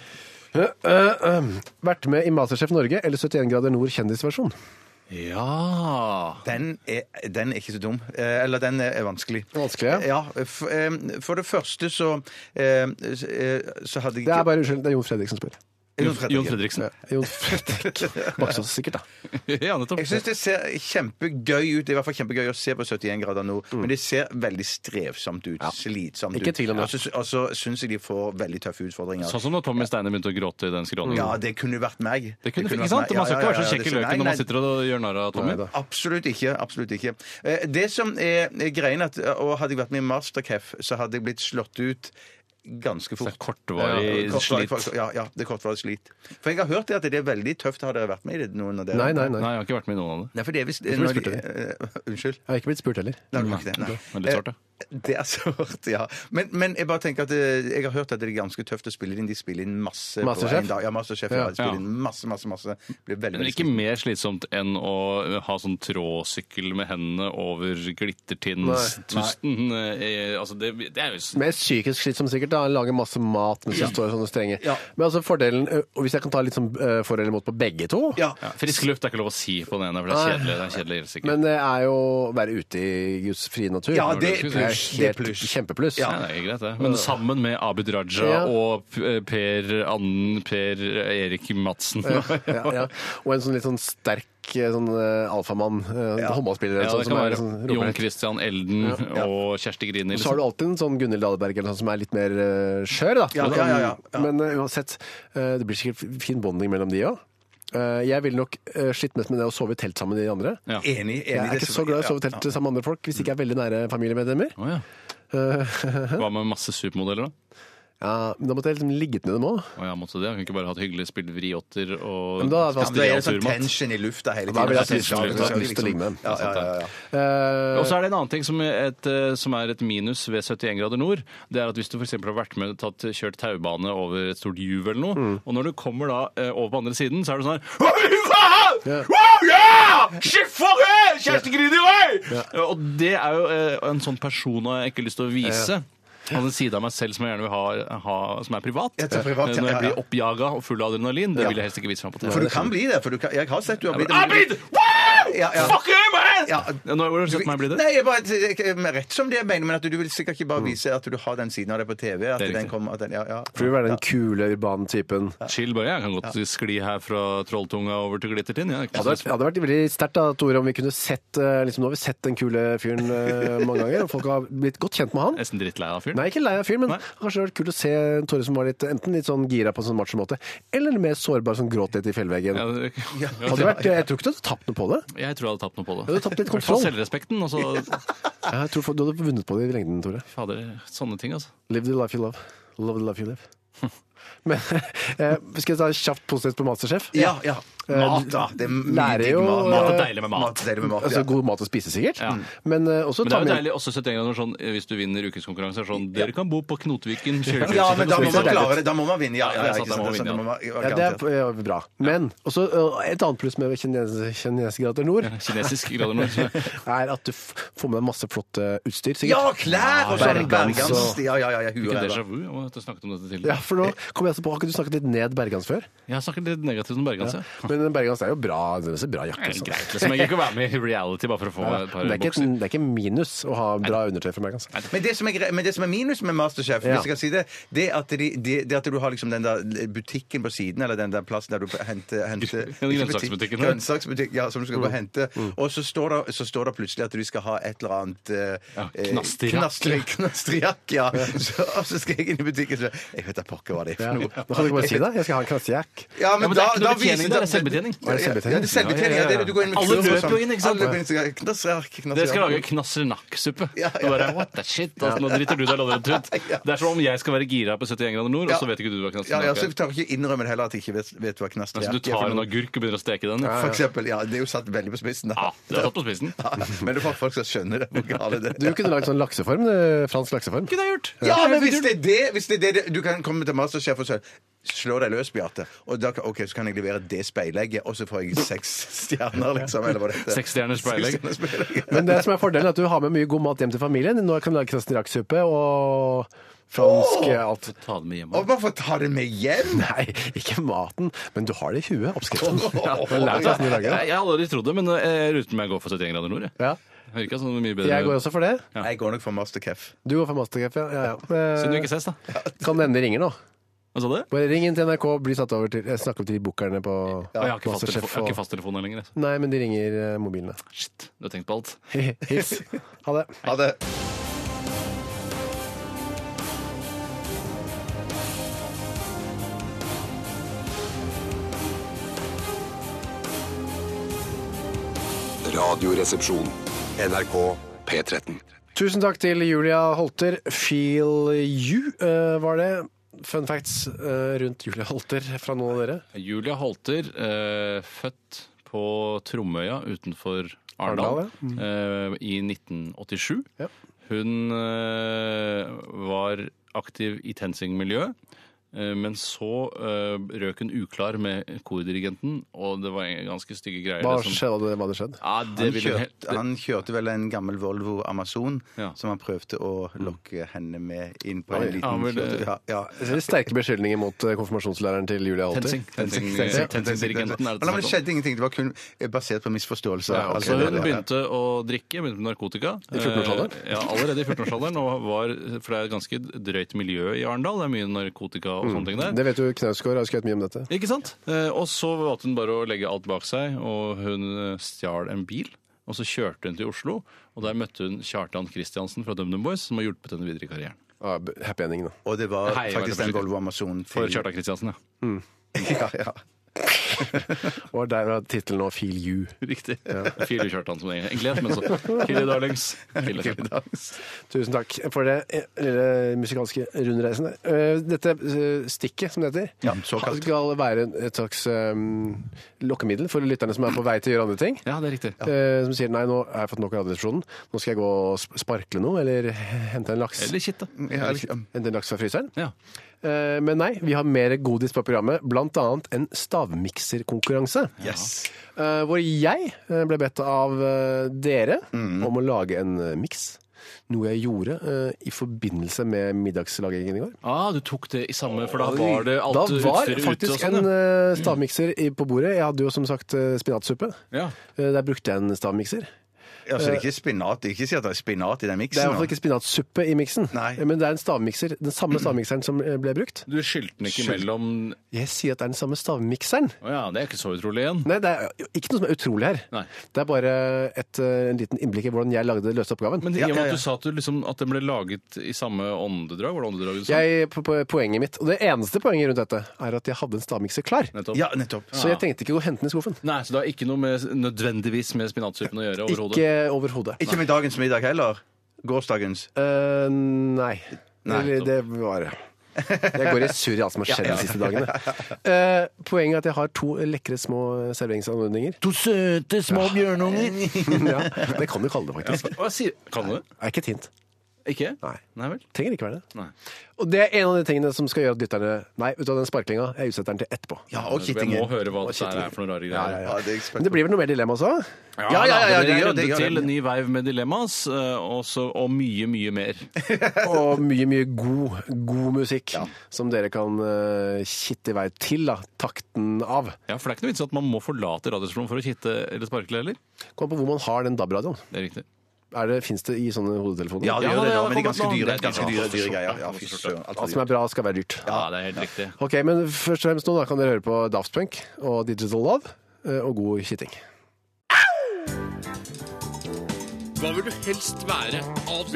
Speaker 6: høre. Eh, eh, Vært med i Masterchef Norge eller 71 grader nord kjendisversjon?
Speaker 8: Ja!
Speaker 7: Den er, den er ikke så dum. Eh, Eller den er er vanskelig.
Speaker 6: Vanskelig, ja.
Speaker 7: Ja, f- eh, for det første så eh, s- eh, Så hadde jeg
Speaker 6: Det er
Speaker 7: ikke
Speaker 6: bare unnskyld, det er Jon Fredrik som spør.
Speaker 7: Jon
Speaker 8: Jon
Speaker 7: Fredrik.
Speaker 8: Fredriksen.
Speaker 6: Jon Fredrik Baksås, sikkert, da.
Speaker 8: Ja, nettopp.
Speaker 7: Jeg syns det ser kjempegøy ut. Det er i hvert fall kjempegøy å se på 71 grader nå, men det ser veldig strevsomt ut. Slitsomt
Speaker 6: Ikke
Speaker 7: ut.
Speaker 6: tvil om det.
Speaker 7: Og så- Og så syns jeg de får veldig tøffe utfordringer.
Speaker 8: Sånn som da Tommy Steine begynte å gråte i den skråningen.
Speaker 7: Ja, det kunne vært meg.
Speaker 8: Det kunne,
Speaker 7: vært
Speaker 8: ikke sant?
Speaker 7: meg.
Speaker 8: Man
Speaker 7: Ja, ja,
Speaker 8: skal ikke være
Speaker 7: ja,
Speaker 8: så
Speaker 7: ja,
Speaker 8: kjekk
Speaker 7: det-
Speaker 8: i løken
Speaker 7: Nei,
Speaker 8: når man
Speaker 7: nei,
Speaker 8: sitter og gjør narr av Tommy.
Speaker 6: Neida.
Speaker 7: Absolutt ikke. absolutt ikke. Eh, Det som er er greien at, eh, og Hadde jeg vært med i Mastercaf, så hadde jeg blitt slått ut ganske fort.
Speaker 8: Så kortvarig slit.
Speaker 7: Ja, ja, det er kortvarig slit. For jeg har hørt det at det er veldig tøft. Har dere vært med i det? noen av dere?
Speaker 6: Nei, nei, nei.
Speaker 8: Nei, jeg har ikke vært med i noen av det.
Speaker 7: Nei, for det er visst
Speaker 6: tror jeg
Speaker 7: når de-
Speaker 6: spurte
Speaker 7: eh, Unnskyld?
Speaker 6: Jeg har ikke blitt spurt heller.
Speaker 7: Nei, det var ikke det. Nei.
Speaker 8: Det er litt svart, ja.
Speaker 7: Eh, Det er sårt, ja. Men, men jeg bare tenker at eh, jeg har hørt at det er ganske tøft å spille inn. De spiller inn masse på
Speaker 6: Masterchef?
Speaker 7: en dag. Ja, Masterchef. Ja,
Speaker 6: Ja.
Speaker 7: de spiller
Speaker 8: Ja.
Speaker 7: inn masse, masse, masse. Blir veldig,
Speaker 8: Men
Speaker 7: veldig
Speaker 8: ikke mer slitsomt enn å ha sånn trådsykkel med hendene over glittertinnstusten. eh, Altså, det, det er jo s-
Speaker 6: Mer psykisk slitsom sikkert. da, Lager masse mat mens det står sånne strenger.
Speaker 7: Ja.
Speaker 6: Men altså fordelen, ø, og hvis jeg kan ta litt sånn ø, for eller mot på begge to
Speaker 7: Ja.
Speaker 8: ja, Frisk luft er ikke lov å si på den ene, for det er
Speaker 6: Nei.
Speaker 8: kjedelig. Det er kjedelig helt sikkert.
Speaker 6: Men det er jo å være ute i Guds frie natur.
Speaker 7: Ja, det er
Speaker 6: er
Speaker 7: pluss, det er
Speaker 6: helt
Speaker 7: pluss.
Speaker 6: kjempepluss.
Speaker 8: Ja, det er greit, det. Men sammen med Abid Raja
Speaker 6: Ja.
Speaker 8: og eh, Per Anden Per Erik Madsen.
Speaker 6: Ja, ja. Og en sånn litt sånn sterk eh, sånn, eh, alfamann, eh, håndballspiller.
Speaker 8: Ja,
Speaker 6: sånn,
Speaker 8: det
Speaker 6: som
Speaker 8: kan
Speaker 6: er
Speaker 8: være
Speaker 6: sånn roper
Speaker 8: Jon
Speaker 6: litt.
Speaker 8: Christian Elden
Speaker 6: ja.
Speaker 8: og Kjersti Grini.
Speaker 6: Så har du
Speaker 8: liksom.
Speaker 6: alltid en sånn Gunhild Dahlberg eller sånn som er litt mer eh, skjør, da.
Speaker 7: Ja, ja, ja, ja, ja.
Speaker 6: Men eh, uansett, eh, det blir sikkert fin bonding mellom de òg. jeg ville nok eh, slitt mest med det å sove i telt sammen med de andre.
Speaker 8: Ja.
Speaker 7: Enig. enig
Speaker 6: Jeg
Speaker 7: det
Speaker 6: er ikke så glad i å sove i
Speaker 7: ja,
Speaker 6: telt sammen med andre folk hvis ikke jeg er veldig nære familiemedlemmer.
Speaker 8: Å, ja. Hva med masse supermodeller, da?
Speaker 6: Ja, men da måtte jeg liksom ligget med dem òg.
Speaker 8: Å, ja, måtte det. Hun kunne ikke bare hatt hyggelig, spilt vriotter og
Speaker 6: Men da er det
Speaker 7: Ja, men det er
Speaker 8: spist
Speaker 7: sånn
Speaker 8: turmat.
Speaker 7: tension i lufta hele tiden.
Speaker 6: Da vil jeg
Speaker 8: ha lyst til å-
Speaker 7: Ja,
Speaker 6: lyst til å ligge med dem.
Speaker 7: Ja, ja, ja, ja.
Speaker 6: Eh,
Speaker 8: Og så er det en annen ting som er, et, eh, som er et minus ved 71 grader nord. Det er at hvis du f.eks. har vært med tatt, kjørt taubane over et stort juv eller noe,
Speaker 7: Mm.
Speaker 8: og når du kommer da eh, over på andre siden, så er det sånn her «Oi, faen! Wow, ja! Shit, eh! for det! Kjersti Grini, oi! Og det er jo eh, en sånn person jeg ikke har lyst til å vise. Og en side av meg selv som jeg gjerne vil ha, ha som er privat.
Speaker 7: Ja, det er privat,
Speaker 8: Eh,
Speaker 7: ja,
Speaker 8: Når
Speaker 7: ja, ja.
Speaker 8: jeg blir oppjaga og full av adrenalin, det vil jeg helst ikke vise meg på TV.
Speaker 7: For du kan bli det. for du kan, Jeg har sett du har blitt
Speaker 8: Abid! Wow!
Speaker 7: Ja, ja.
Speaker 8: Fuck you, man!
Speaker 7: Ja.
Speaker 8: Nå, hvordan har du sett meg bli det?
Speaker 7: Nei, jeg bare, jeg- men rett som det jeg mener, men at du vil sikkert ikke bare vise at du har den siden av deg på TV. At
Speaker 8: Det er
Speaker 7: den
Speaker 8: riktig.
Speaker 7: kommer, at den, ja, ja.
Speaker 6: Mm. For du vil være den kule, urbane typen.
Speaker 8: Chill bare, jeg kan godt skli her fra Trolltunga over til Glittertind. Ja, ikke
Speaker 6: Ja, det
Speaker 8: sant?
Speaker 6: hadde vært veldig sterkt da, Tore, om vi kunne sett eh, liksom, Nå har vi sett den kule fyren eh, mange ganger, og folk har blitt godt kjent med han.
Speaker 8: Nesten drittlei av fyren.
Speaker 6: Nei, ikke lei av fyren, men
Speaker 8: Nei.
Speaker 6: kanskje det hadde vært kult å se Tore som var litt, enten litt sånn gira på en sånn macho-måte, eller mer sårbar som gråt litt i fjellveggen.
Speaker 8: Ja, det-
Speaker 6: Hadde det vært, jeg tror ikke du hadde tapt noe på det.
Speaker 8: Jeg tror jeg hadde tapt noe på det.
Speaker 6: Du hadde tapt litt
Speaker 8: I hvert fall
Speaker 6: kontroll.
Speaker 8: selvrespekten. Og så,
Speaker 6: Jeg tror du hadde vunnet på det i lengden, Tore.
Speaker 8: fader, sånne ting, altså.
Speaker 6: Live the life you love. Love the life you live. Men eh, skal jeg ta kjapt positivt på Masterchef?
Speaker 7: Ja, ja. Mat, da. Det er mye
Speaker 6: Eh, Lærer
Speaker 7: digg
Speaker 6: jo,
Speaker 7: mat.
Speaker 6: Mat
Speaker 8: er deilig med mat.
Speaker 7: er deilig med mat,
Speaker 6: Altså
Speaker 7: ja.
Speaker 6: god mat å spise, sikkert. Men eh, også
Speaker 8: Men det
Speaker 6: ta
Speaker 8: er jo
Speaker 6: med
Speaker 8: deilig også 71 grader sånn, eh, hvis du vinner ukens konkurranse. er Sånn, Dere kan bo på Knotviken. kjølekurset,
Speaker 7: Ja, men da må
Speaker 8: så-
Speaker 7: man klare det. Da må man vinne. Ja,
Speaker 8: Ja,
Speaker 7: ja,
Speaker 8: det er sant,
Speaker 7: ikke
Speaker 8: da
Speaker 7: sant,
Speaker 8: må
Speaker 7: det er sånn sant,
Speaker 8: man
Speaker 7: da må man-
Speaker 6: Ja, det er eh, bra. Men også, eh, et annet pluss med kines- kinesgrader nord
Speaker 8: Kinesisk grader nord. så-
Speaker 6: er at du f- får med deg masse flott eh, utstyr, sikkert.
Speaker 7: Ja, klær og sånn!
Speaker 6: Bergans
Speaker 7: Bergans. Ja, ja, ja. ja
Speaker 8: Ikke
Speaker 7: huet, ja.
Speaker 8: déjà vu. Jeg må- Jeg snakket om dette tidligere.
Speaker 6: Ja, for nå kom jeg altså på, Har ikke du snakket litt ned Bergans før?
Speaker 8: Jeg har snakket litt negativt om Bergans, ja.
Speaker 6: Men Men Bergans det er jo bra, det ser bra jakke.
Speaker 8: Det er
Speaker 6: altså.
Speaker 8: greit, liksom. Jeg gikk ikke være med i reality bare for å få
Speaker 6: Ja,
Speaker 8: et
Speaker 6: men
Speaker 8: par
Speaker 6: det, er ikke,
Speaker 8: bukser.
Speaker 6: det er ikke minus å ha bra undertøy fra Bergans.
Speaker 7: Men det, som er, gre- men det som er minus med Masterchef,
Speaker 6: Ja.
Speaker 7: hvis jeg kan si det, det er at, de, det, det at du har liksom den der butikken på siden, eller den der plassen der du henter, henter
Speaker 8: Den grønnsaksbutikken Mm. der.
Speaker 7: Grønnsaksbutikk, ja, som du skal gå og hente. Og så står, det, så står det plutselig at du skal ha et eller annet eh,
Speaker 8: Ja,
Speaker 7: eh,
Speaker 8: knastrijakk.
Speaker 7: knastri- Knastrijakk, ja. Så, og så skal jeg inn i butikken og så Jeg vet da pokker hva det er for
Speaker 6: Ja. Nå
Speaker 7: noe.
Speaker 6: kan du ikke bare si det. Jeg skal ha en klassejack.
Speaker 7: Ja,
Speaker 8: Ja, men det er ikke noe
Speaker 7: da
Speaker 8: betjening
Speaker 7: viser
Speaker 8: der, det
Speaker 7: Ja, ja, det er selvbetjening.
Speaker 8: er selvbetjening. Ja, ja,
Speaker 7: Ja,
Speaker 8: ja.
Speaker 7: det er det du går inn med
Speaker 8: Alle
Speaker 7: kniv og
Speaker 8: løper
Speaker 7: sånn.
Speaker 8: jo inn, ikke sant?
Speaker 7: Alle løper inn, så- Knastrijakk, knastrijakk.
Speaker 8: Dere skal lage knasrenakksuppe.
Speaker 7: Ja,
Speaker 8: Og bare, what the shit, altså, Nå driter du deg loddrett ut. Det er som om jeg skal være gira på 71 grader nord, og så vet ikke du hva
Speaker 7: Ja, ja, så
Speaker 8: knasrenakk er.
Speaker 7: tar ikke innrømmer heller at jeg ikke vet, vet hva knast er.
Speaker 8: Altså, du tar en agurk og begynner å steke den.
Speaker 7: For eksempel, ja, det er jo satt veldig på spissen. da.
Speaker 8: Ja, det er satt på spissen.
Speaker 7: Ja, men det er for at folk skal skjønne det. Hvor gale det
Speaker 6: Du kunne lagd sånn lakseform. eh, Fransk lakseform.
Speaker 8: Kunne jeg gjort.
Speaker 7: Ja, men hvis det er det, hvis det, er det Du kan komme til Masterchef og si Slå deg løs, Bjarte. Og da kan, ok, så kan jeg levere det speilegget, og så får jeg seks stjerner, liksom. Eller hva det heter.
Speaker 8: Seksstjerners speilegg.
Speaker 7: Seks stjerners speilegg.
Speaker 6: Men det som er fordelen, er at du har med mye god mat hjem til familien. Nå kan du lage knassejakksuppe og fransk eh, alt.
Speaker 8: Ta den med hjem.
Speaker 7: Og man får ta det med hjem!
Speaker 6: Nei, ikke maten, men du har det i huet, oppskriften. Ja,
Speaker 7: Åh.
Speaker 6: du har lært hvordan du lager det.
Speaker 8: Jeg, jeg hadde aldri trodd det, men jeg ruter meg å gå for 71 grader nord. Jeg.
Speaker 6: Ja.
Speaker 8: Hører ikke sånn mye bedre
Speaker 6: Jeg går også for det.
Speaker 7: Jeg går nok for Masterchef.
Speaker 6: Du går for mastergrep, ja. ja, ja.
Speaker 8: Siden du
Speaker 6: Eh,
Speaker 8: ikke ses, da.
Speaker 6: Kan nevne ringer nå.
Speaker 8: Hva sa du?
Speaker 6: Bare ring inn til NRK, bli satt over til, eh, snakk opp til de bookerne på
Speaker 8: Å, jeg har ikke
Speaker 6: Masterchef
Speaker 8: fasttelefon- jeg har
Speaker 6: og-
Speaker 8: ikke fasttelefoner lenger. jeg.
Speaker 6: Nei, men de ringer eh, mobilene.
Speaker 8: Shit, du har tenkt på alt.
Speaker 6: Hiss. Ha det.
Speaker 7: Ha det.
Speaker 1: Radioresepsjon. NRK P13.
Speaker 6: Tusen takk til Julia Holter. Feel you eh, var det. Fun facts eh, rundt Julia Holter fra noen av dere.
Speaker 8: Julia Holter, eh, født på Tromøya utenfor
Speaker 6: Arendal,
Speaker 8: Arendal eh, i 1987.
Speaker 6: Ja.
Speaker 8: Hun eh, var aktiv i TenSing-miljøet. eh, Men så eh, røk hun uklar med kordirigenten, og det var ganske stygge greier.
Speaker 6: Hva
Speaker 8: det som-
Speaker 6: skjedde? Hva hadde skjedd?
Speaker 8: Ja, det
Speaker 7: Han
Speaker 8: vil hun helt...
Speaker 7: kjørte, han kjørte vel en gammel Volvo Amazon
Speaker 8: Ja.
Speaker 7: som han prøvde å lokke henne med inn på en
Speaker 8: Ja,
Speaker 7: liten
Speaker 8: men eh, det-
Speaker 7: kjørte. Ja, ja.
Speaker 6: Jeg ser sterke beskyldninger mot eh, konfirmasjonslæreren til Julia Holter.
Speaker 8: Tensing. Tensing-
Speaker 7: Tensing- Tensing-
Speaker 8: Tensing-dirigenten eh, er
Speaker 7: Men
Speaker 8: det som
Speaker 7: det
Speaker 8: heter.
Speaker 7: skjedde ingenting. Det var kun basert på misforståelser.
Speaker 8: Ja,
Speaker 7: Altså,
Speaker 8: så
Speaker 7: det-
Speaker 8: hun
Speaker 7: det-
Speaker 8: begynte å drikke, begynte med narkotika.
Speaker 6: I 14-årsalderen?
Speaker 8: Eh, Ja, allerede i 14-årsalderen. og var- For det er et ganske drøyt miljø i Arendal. Det er mye narkotika og sånne ting der.
Speaker 6: Det vet jo Knausgård har skrevet mye om dette.
Speaker 8: Ikke sant? Eh, Og så valgte hun bare å legge alt bak seg, og hun eh, stjal en bil. Og så kjørte hun til Oslo, og der møtte hun Kjartan Kristiansen fra DumDum Boys, som har hjulpet henne videre i karrieren.
Speaker 6: Ah, happy ending, da.
Speaker 7: Og det var
Speaker 8: Hei, jeg
Speaker 7: faktisk
Speaker 8: var
Speaker 7: en
Speaker 8: det
Speaker 7: Volvo Amazon
Speaker 8: For Kjartan Kristiansen, ja.
Speaker 7: Ja, ja.
Speaker 6: Og der var tittelen nå 'Feel you'.
Speaker 8: Riktig. Fire Kjartan som det egentlig het, men så Kille Darlings. Kille Kjartan.
Speaker 6: Tusen takk for det eh, lille musikalske rundreisen. der. Eh, Dette eh, stikket, som det heter,
Speaker 7: Ja, såkalt.
Speaker 6: skal være et slags eh, lokkemiddel for lytterne som er på vei til å gjøre andre ting.
Speaker 8: Ja, det er riktig.
Speaker 6: Eh, Som sier nei, nå har jeg fått nok av Radioresepsjonen, nå skal jeg gå og sp- sparkle noe, eller hente en laks.
Speaker 8: Eller kitte.
Speaker 7: Ja, ja.
Speaker 6: Hente en laks fra fryseren.
Speaker 8: Ja.
Speaker 6: Eh, Men nei, vi har mer godis på programmet, blant annet en stavmikserkonkurranse.
Speaker 7: Yes.
Speaker 6: Eh, hvor jeg eh, ble bedt av eh, dere om å lage en eh, miks. Noe jeg gjorde eh, i forbindelse med middagslagingen i går.
Speaker 8: Ah, du tok det i samme, for da var det alt
Speaker 6: Da var
Speaker 8: utstyret ute og
Speaker 6: faktisk
Speaker 8: sånn.
Speaker 6: en
Speaker 8: ja.
Speaker 6: eh, stavmikser i- på bordet. Jeg hadde jo som sagt eh, spinatsuppe.
Speaker 8: Ja.
Speaker 6: Eh, Der brukte jeg en stavmikser.
Speaker 7: Ja, så det er ikke spinat. Ikke si at det er spinat i den miksen.
Speaker 6: Det er i
Speaker 7: nå.
Speaker 6: hvert fall ikke spinatsuppe i miksen,
Speaker 7: Nei.
Speaker 6: men det er en stavmikser. Den samme stavmikseren som eh, ble brukt.
Speaker 8: Du skyldte den ikke mellom
Speaker 6: Jeg sier at det er den samme stavmikseren.
Speaker 8: Å ja, det er ikke så utrolig igjen.
Speaker 6: Nei, det er jo ikke noe som er utrolig her.
Speaker 8: Nei.
Speaker 6: Det er bare et, eh, en liten innblikk i hvordan jeg lagde løse oppgaven.
Speaker 8: Men i og med
Speaker 7: ja,
Speaker 8: at
Speaker 7: ja.
Speaker 8: du sa at, du liksom, at den ble laget i samme åndedrag, var det åndedraget du sa?
Speaker 6: jeg, på, på, poenget mitt, og det eneste poenget rundt dette, er at jeg hadde en stavmikser klar.
Speaker 8: Nettopp.
Speaker 7: Ja, nettopp.
Speaker 6: Så jeg tenkte ikke å hente den i skuffen.
Speaker 8: Nei, så det har ikke noe med, nødvendigvis med spinatsuppen å gjøre overhodet?
Speaker 6: Ikke overhodet.
Speaker 7: Ikke med dagens middag heller. Gårsdagens.
Speaker 6: Eh, nei.
Speaker 7: Nei.
Speaker 6: Eller, det var Jeg går i surr i alt som har skjedd de siste dagene. Eh, poenget er at jeg har to lekre små serveringsanordninger.
Speaker 7: To søte små bjørnunger.
Speaker 6: ja, det kan du kalle det, faktisk.
Speaker 8: Hva sier Kan du det?
Speaker 6: Det er ikke et hint.
Speaker 8: Ikke?
Speaker 6: Nei.
Speaker 8: Nei vel?
Speaker 6: Trenger ikke være det.
Speaker 8: Nei.
Speaker 6: Og det er en av de tingene som skal gjøre at lytterne Nei, vet du hva, den sparklinga jeg utsetter den til etterpå.
Speaker 7: Ja, og
Speaker 8: Jeg må
Speaker 7: kittingen.
Speaker 8: høre hva dette her er for noen rare greier.
Speaker 7: Ja, det er jeg
Speaker 6: Men det blir vel noe mer dilemma også?
Speaker 7: Ja, ja, ja, ja, det
Speaker 8: det blir en
Speaker 7: gjør det,
Speaker 8: runde
Speaker 7: gjør det.
Speaker 8: til, ny veiv med dilemmas, eh, også, og mye, mye mer.
Speaker 6: Og mye, mye god, god musikk som dere kan eh, kitte i vei til da, takten av.
Speaker 8: Ja, For det er ikke noe vits at man må forlate Radiosplonen for å kitte eller sparkle heller.
Speaker 6: Kom på hvor man har den DAB-radioen.
Speaker 8: Det er riktig.
Speaker 6: Fins det i sånne hodetelefoner?
Speaker 7: Ja, det
Speaker 8: Ja,
Speaker 7: gjør det,
Speaker 8: det
Speaker 7: ja,
Speaker 8: har
Speaker 7: men det er ganske
Speaker 8: kommet
Speaker 7: dyre,
Speaker 8: noen-
Speaker 7: ganske dyre, dyre greier. Ja,
Speaker 8: Ja,
Speaker 7: fy
Speaker 8: for
Speaker 7: søren. alt for
Speaker 6: Alt som
Speaker 7: dyrt.
Speaker 6: er bra, skal være dyrt.
Speaker 8: Ja, det er helt riktig.
Speaker 6: Ok, men først og fremst nå da kan dere høre på Daft Punk og Digital Love eh, og god kitting.
Speaker 9: Hva vil du helst være?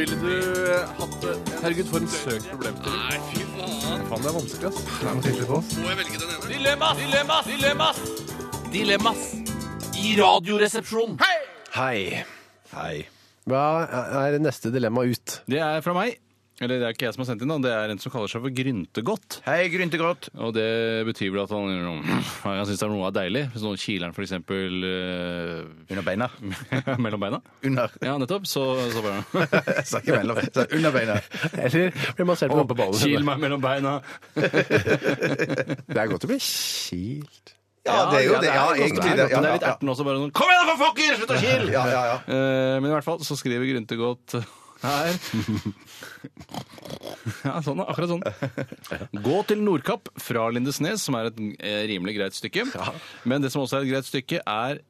Speaker 9: Ville du eh, hatt det? Herregud, for en søk problemstilling. Nei, fy faen. Faen, det er vanskelig, ass. Må jeg velge den ene?
Speaker 10: Dilemmas! Dilemmas! Dilemmas! Dilemmas i Radioresepsjonen.
Speaker 6: Hei.
Speaker 7: Hei.
Speaker 6: Hva er neste dilemma ut?
Speaker 8: Det er fra meg. Eller det er ikke jeg som har sendt inn, da. det er en som kaller seg for Gryntegodt.
Speaker 7: Hei, Gryntegodt.
Speaker 8: Og det betyr vel at han, han syns det er noe er deilig. Hvis noen kiler han f.eks.
Speaker 7: Under beina.
Speaker 8: Uh, mellom beina.
Speaker 7: Under.
Speaker 8: Ja, nettopp. Så, så bare
Speaker 7: Jeg sa ikke mellom, jeg sa under beina.
Speaker 6: Eller blir man selv på
Speaker 8: Kil
Speaker 6: rumpeballen?
Speaker 8: meg mellom beina.
Speaker 6: Det er godt å bli kilt.
Speaker 7: Ja, det er jo det. Ja, egentlig. Det,
Speaker 8: Det er,
Speaker 7: ja,
Speaker 8: men det er litt
Speaker 7: ja,
Speaker 8: erten også, bare sånn Kom igjen, da, for fucker! Slutt å kile!
Speaker 7: ja, ja, ja.
Speaker 8: Eh, men i hvert fall så skriver Gryntegodt her Ja, sånn, da, akkurat sånn. Gå til Nordkapp fra Lindesnes, som er et eh, rimelig greit stykke. Men det som også er et greit stykke, er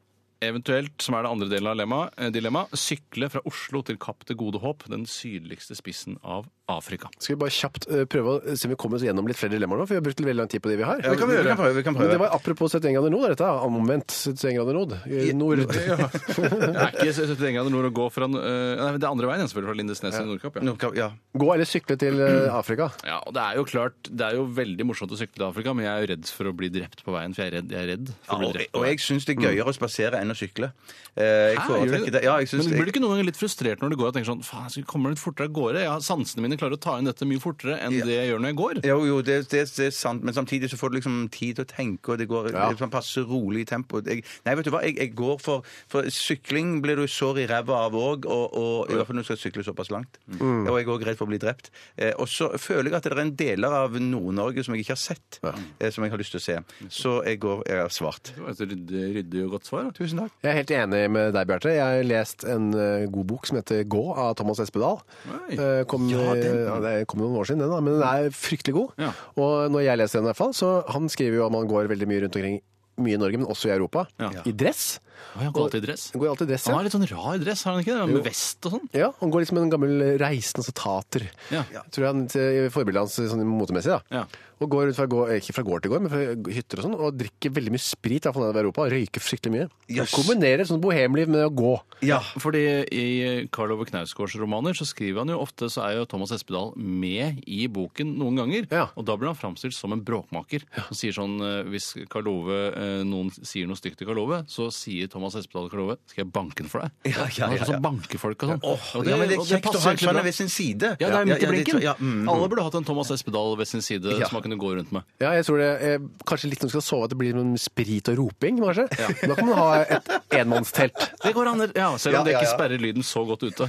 Speaker 8: eventuelt, som er det andre delen av dilemma, eh, dilemma sykle fra Oslo til Kapp til Gode Håp, den sydligste spissen av Afrika.
Speaker 6: Skal vi bare kjapt eh, prøve å se om vi kommer oss gjennom litt flere dilemmaer nå? For vi har brukt veldig lang tid på de vi har.
Speaker 7: Det kan vi gjøre. Vi kan prøve. Vi kan
Speaker 6: Men det
Speaker 7: prøve.
Speaker 6: var apropos 71 grader nord, dette. er Omvendt 71 grader nord. I Nord.
Speaker 8: Det er ikke 71 grader nord å gå fra eh, Nei, men det er andre veien, selvfølgelig, fra Lindesnes til Nordkapp. Ja.
Speaker 7: Nordkapp, ja.
Speaker 6: Gå eller sykle til eh, Afrika.
Speaker 8: Ja, og Det er jo klart, det er jo veldig morsomt å sykle til Afrika, men jeg er jo redd for å bli drept på veien. For jeg er redd, jeg er redd for å bli
Speaker 7: Og,
Speaker 8: drept på
Speaker 7: og
Speaker 8: veien.
Speaker 7: jeg syns det er gøyere å spasere enn å sykle. Eh, Jeg
Speaker 8: Mm. Hæ, gjør du
Speaker 7: foretrekker
Speaker 8: det?
Speaker 7: det. Ja, jeg syns
Speaker 8: men
Speaker 7: det.
Speaker 8: blir du ikke noen ganger litt frustrert når du går og tenker sånn faen, jeg kommer litt fortere av gårde? Ja, sansene mine klarer å ta inn dette mye fortere enn det jeg gjør når jeg går.
Speaker 7: Jo, jo, det, det, det er sant, men samtidig så får du liksom tid til å tenke, og det går
Speaker 6: Ja.
Speaker 7: det er sånn passe rolig i tempo. Jeg, nei, vet du hva, jeg, jeg går for, for Sykling blir du sår i ræva av òg, og, og i hvert fall når du skal sykle såpass langt.
Speaker 8: Mm.
Speaker 7: Og jeg er òg redd for å bli drept. Eh, og så føler jeg at det er en deler av Nord-Norge som jeg ikke har sett, eh, som jeg har lyst til å se. Så jeg går jeg har svart.
Speaker 8: Det var et ryddig, ryddig og godt svar. da.
Speaker 7: Tusen takk.
Speaker 6: Jeg er helt enig med deg, Bjarte. Jeg har lest en eh, god bok som heter Gå av Thomas Espedal.
Speaker 8: Oi.
Speaker 6: Eh, kom, ja, ja, det kom noen år siden, den, da, men den er fryktelig god.
Speaker 8: Ja.
Speaker 6: Og når jeg leser den, i hvert fall, så han skriver jo at man går veldig mye rundt omkring, mye i Norge, men også i Europa,
Speaker 8: Ja.
Speaker 6: i dress.
Speaker 8: Å, Han går alltid i dress.
Speaker 6: Han går alltid i dress,
Speaker 8: Han
Speaker 6: ja.
Speaker 8: har litt sånn rar dress, har han ikke det? Med vest og sånn.
Speaker 6: Ja, han går liksom en gammel reisende altså tater.
Speaker 8: Ja.
Speaker 6: Tror jeg han til- i forbildet hans sånn motemessig, da.
Speaker 8: Ja.
Speaker 6: Og går rundt fra gård, eh, ikke fra gård til gård, men fra hytter og sånn, og drikker veldig mye sprit, i hvert fall nedover i Europa, og røyker fryktelig mye.
Speaker 7: Yes.
Speaker 6: Og kombinerer sånn bohemliv med å gå.
Speaker 7: Ja.
Speaker 8: Fordi i Karl Ove Knausgårds romaner så skriver han jo ofte så er jo Thomas Espedal med i boken noen ganger.
Speaker 6: Ja.
Speaker 8: Og da blir han framstilt som en bråkmaker. Han sier sånn eh, Hvis Karl Ove, eh, noen sier noe stygt til Karl Ove, så sier Thomas Espedal til Karl Ove skal jeg banke den for deg.
Speaker 7: Ja, ja,
Speaker 8: Han
Speaker 7: ja,
Speaker 8: er sånn bankefolk og sånn.
Speaker 7: Åh,
Speaker 8: Og
Speaker 7: ja, men det er
Speaker 8: og det
Speaker 7: kjekt å
Speaker 8: passer
Speaker 7: ha en
Speaker 8: egentlig
Speaker 7: sånn
Speaker 8: bra.
Speaker 7: ved sin side.
Speaker 8: Ja, det er midt i
Speaker 7: det
Speaker 8: blinken.
Speaker 7: tror- Ja, mm.
Speaker 8: Alle burde hatt en Thomas Espedal ved sin side
Speaker 7: Ja.
Speaker 8: som han kunne gå rundt med.
Speaker 6: Ja, jeg tror det eh, Kanskje litt når du skal sove, at det blir som sprit og roping, kanskje. Da kan man ha et enmannstelt.
Speaker 8: Det går an, å- ja, Selv om
Speaker 7: Ja,
Speaker 8: det
Speaker 7: ja,
Speaker 8: ikke
Speaker 7: ja.
Speaker 8: sperrer lyden så godt ute.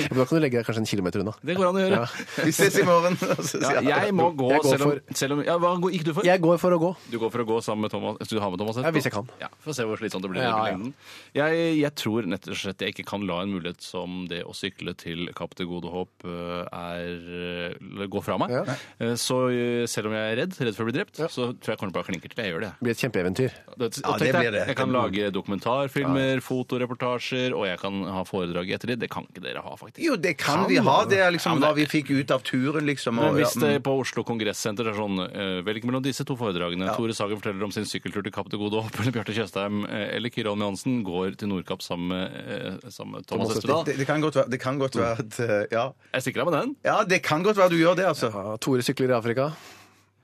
Speaker 6: Da kan du legge deg kanskje en kilometer unna.
Speaker 8: Det går an å gjøre.
Speaker 7: Vi ses i morgen.
Speaker 8: Ja, jeg må gå,
Speaker 6: Jeg går
Speaker 8: selv om, selv om ja, Hva gikk du for?
Speaker 6: Jeg går for å gå.
Speaker 8: Du går for å gå sammen med Thomas? Skal du ha med Thomas? etterpå?
Speaker 6: Ja, hvis jeg kan.
Speaker 8: Ja, Få se hvor slitsomt det blir.
Speaker 6: Ja, ja.
Speaker 8: i lengden. Jeg, jeg tror nett og slett jeg ikke kan la en mulighet som det å sykle til Kapp til Gode Håp øh, er øh, gå fra meg.
Speaker 6: Ja.
Speaker 8: Eh, Så øh, selv om jeg er redd, redd for å bli drept, så tror jeg jeg kommer til å klinke til. Jeg gjør det. jeg.
Speaker 6: Det blir et kjempeeventyr.
Speaker 8: Det,
Speaker 7: Ja, det
Speaker 8: og tenk deg,
Speaker 7: blir det.
Speaker 8: Jeg kan lage dokumentarfilmer, fotoreportasjer, og jeg kan ha foredrag etter det. Det kan ikke dere ha, faktisk.
Speaker 7: Jo, det kan vi ha. Det er liksom
Speaker 8: Ja, men
Speaker 7: hva
Speaker 8: det-
Speaker 7: vi fikk ut av turen, liksom.
Speaker 8: Men
Speaker 7: og-
Speaker 8: hvis
Speaker 7: ja,
Speaker 8: det
Speaker 7: mm.
Speaker 8: på Oslo Kongressenter er sånn eh, Velg mellom disse to foredragene. Tore Sagen forteller om sin sykkeltur til Kapp til Gode Håp, eller Bjarte Tjøstheim eh, eller Kyrre Holm Johansen går til Nordkapp sammen med, eh, sammen med Thomas Espedal.
Speaker 7: Det, det kan godt være, det kan godt være at eh, ja.
Speaker 8: Jeg stikker av med den.
Speaker 7: ja, det kan godt være du gjør det, altså.
Speaker 6: Ja, Tore sykler i Afrika.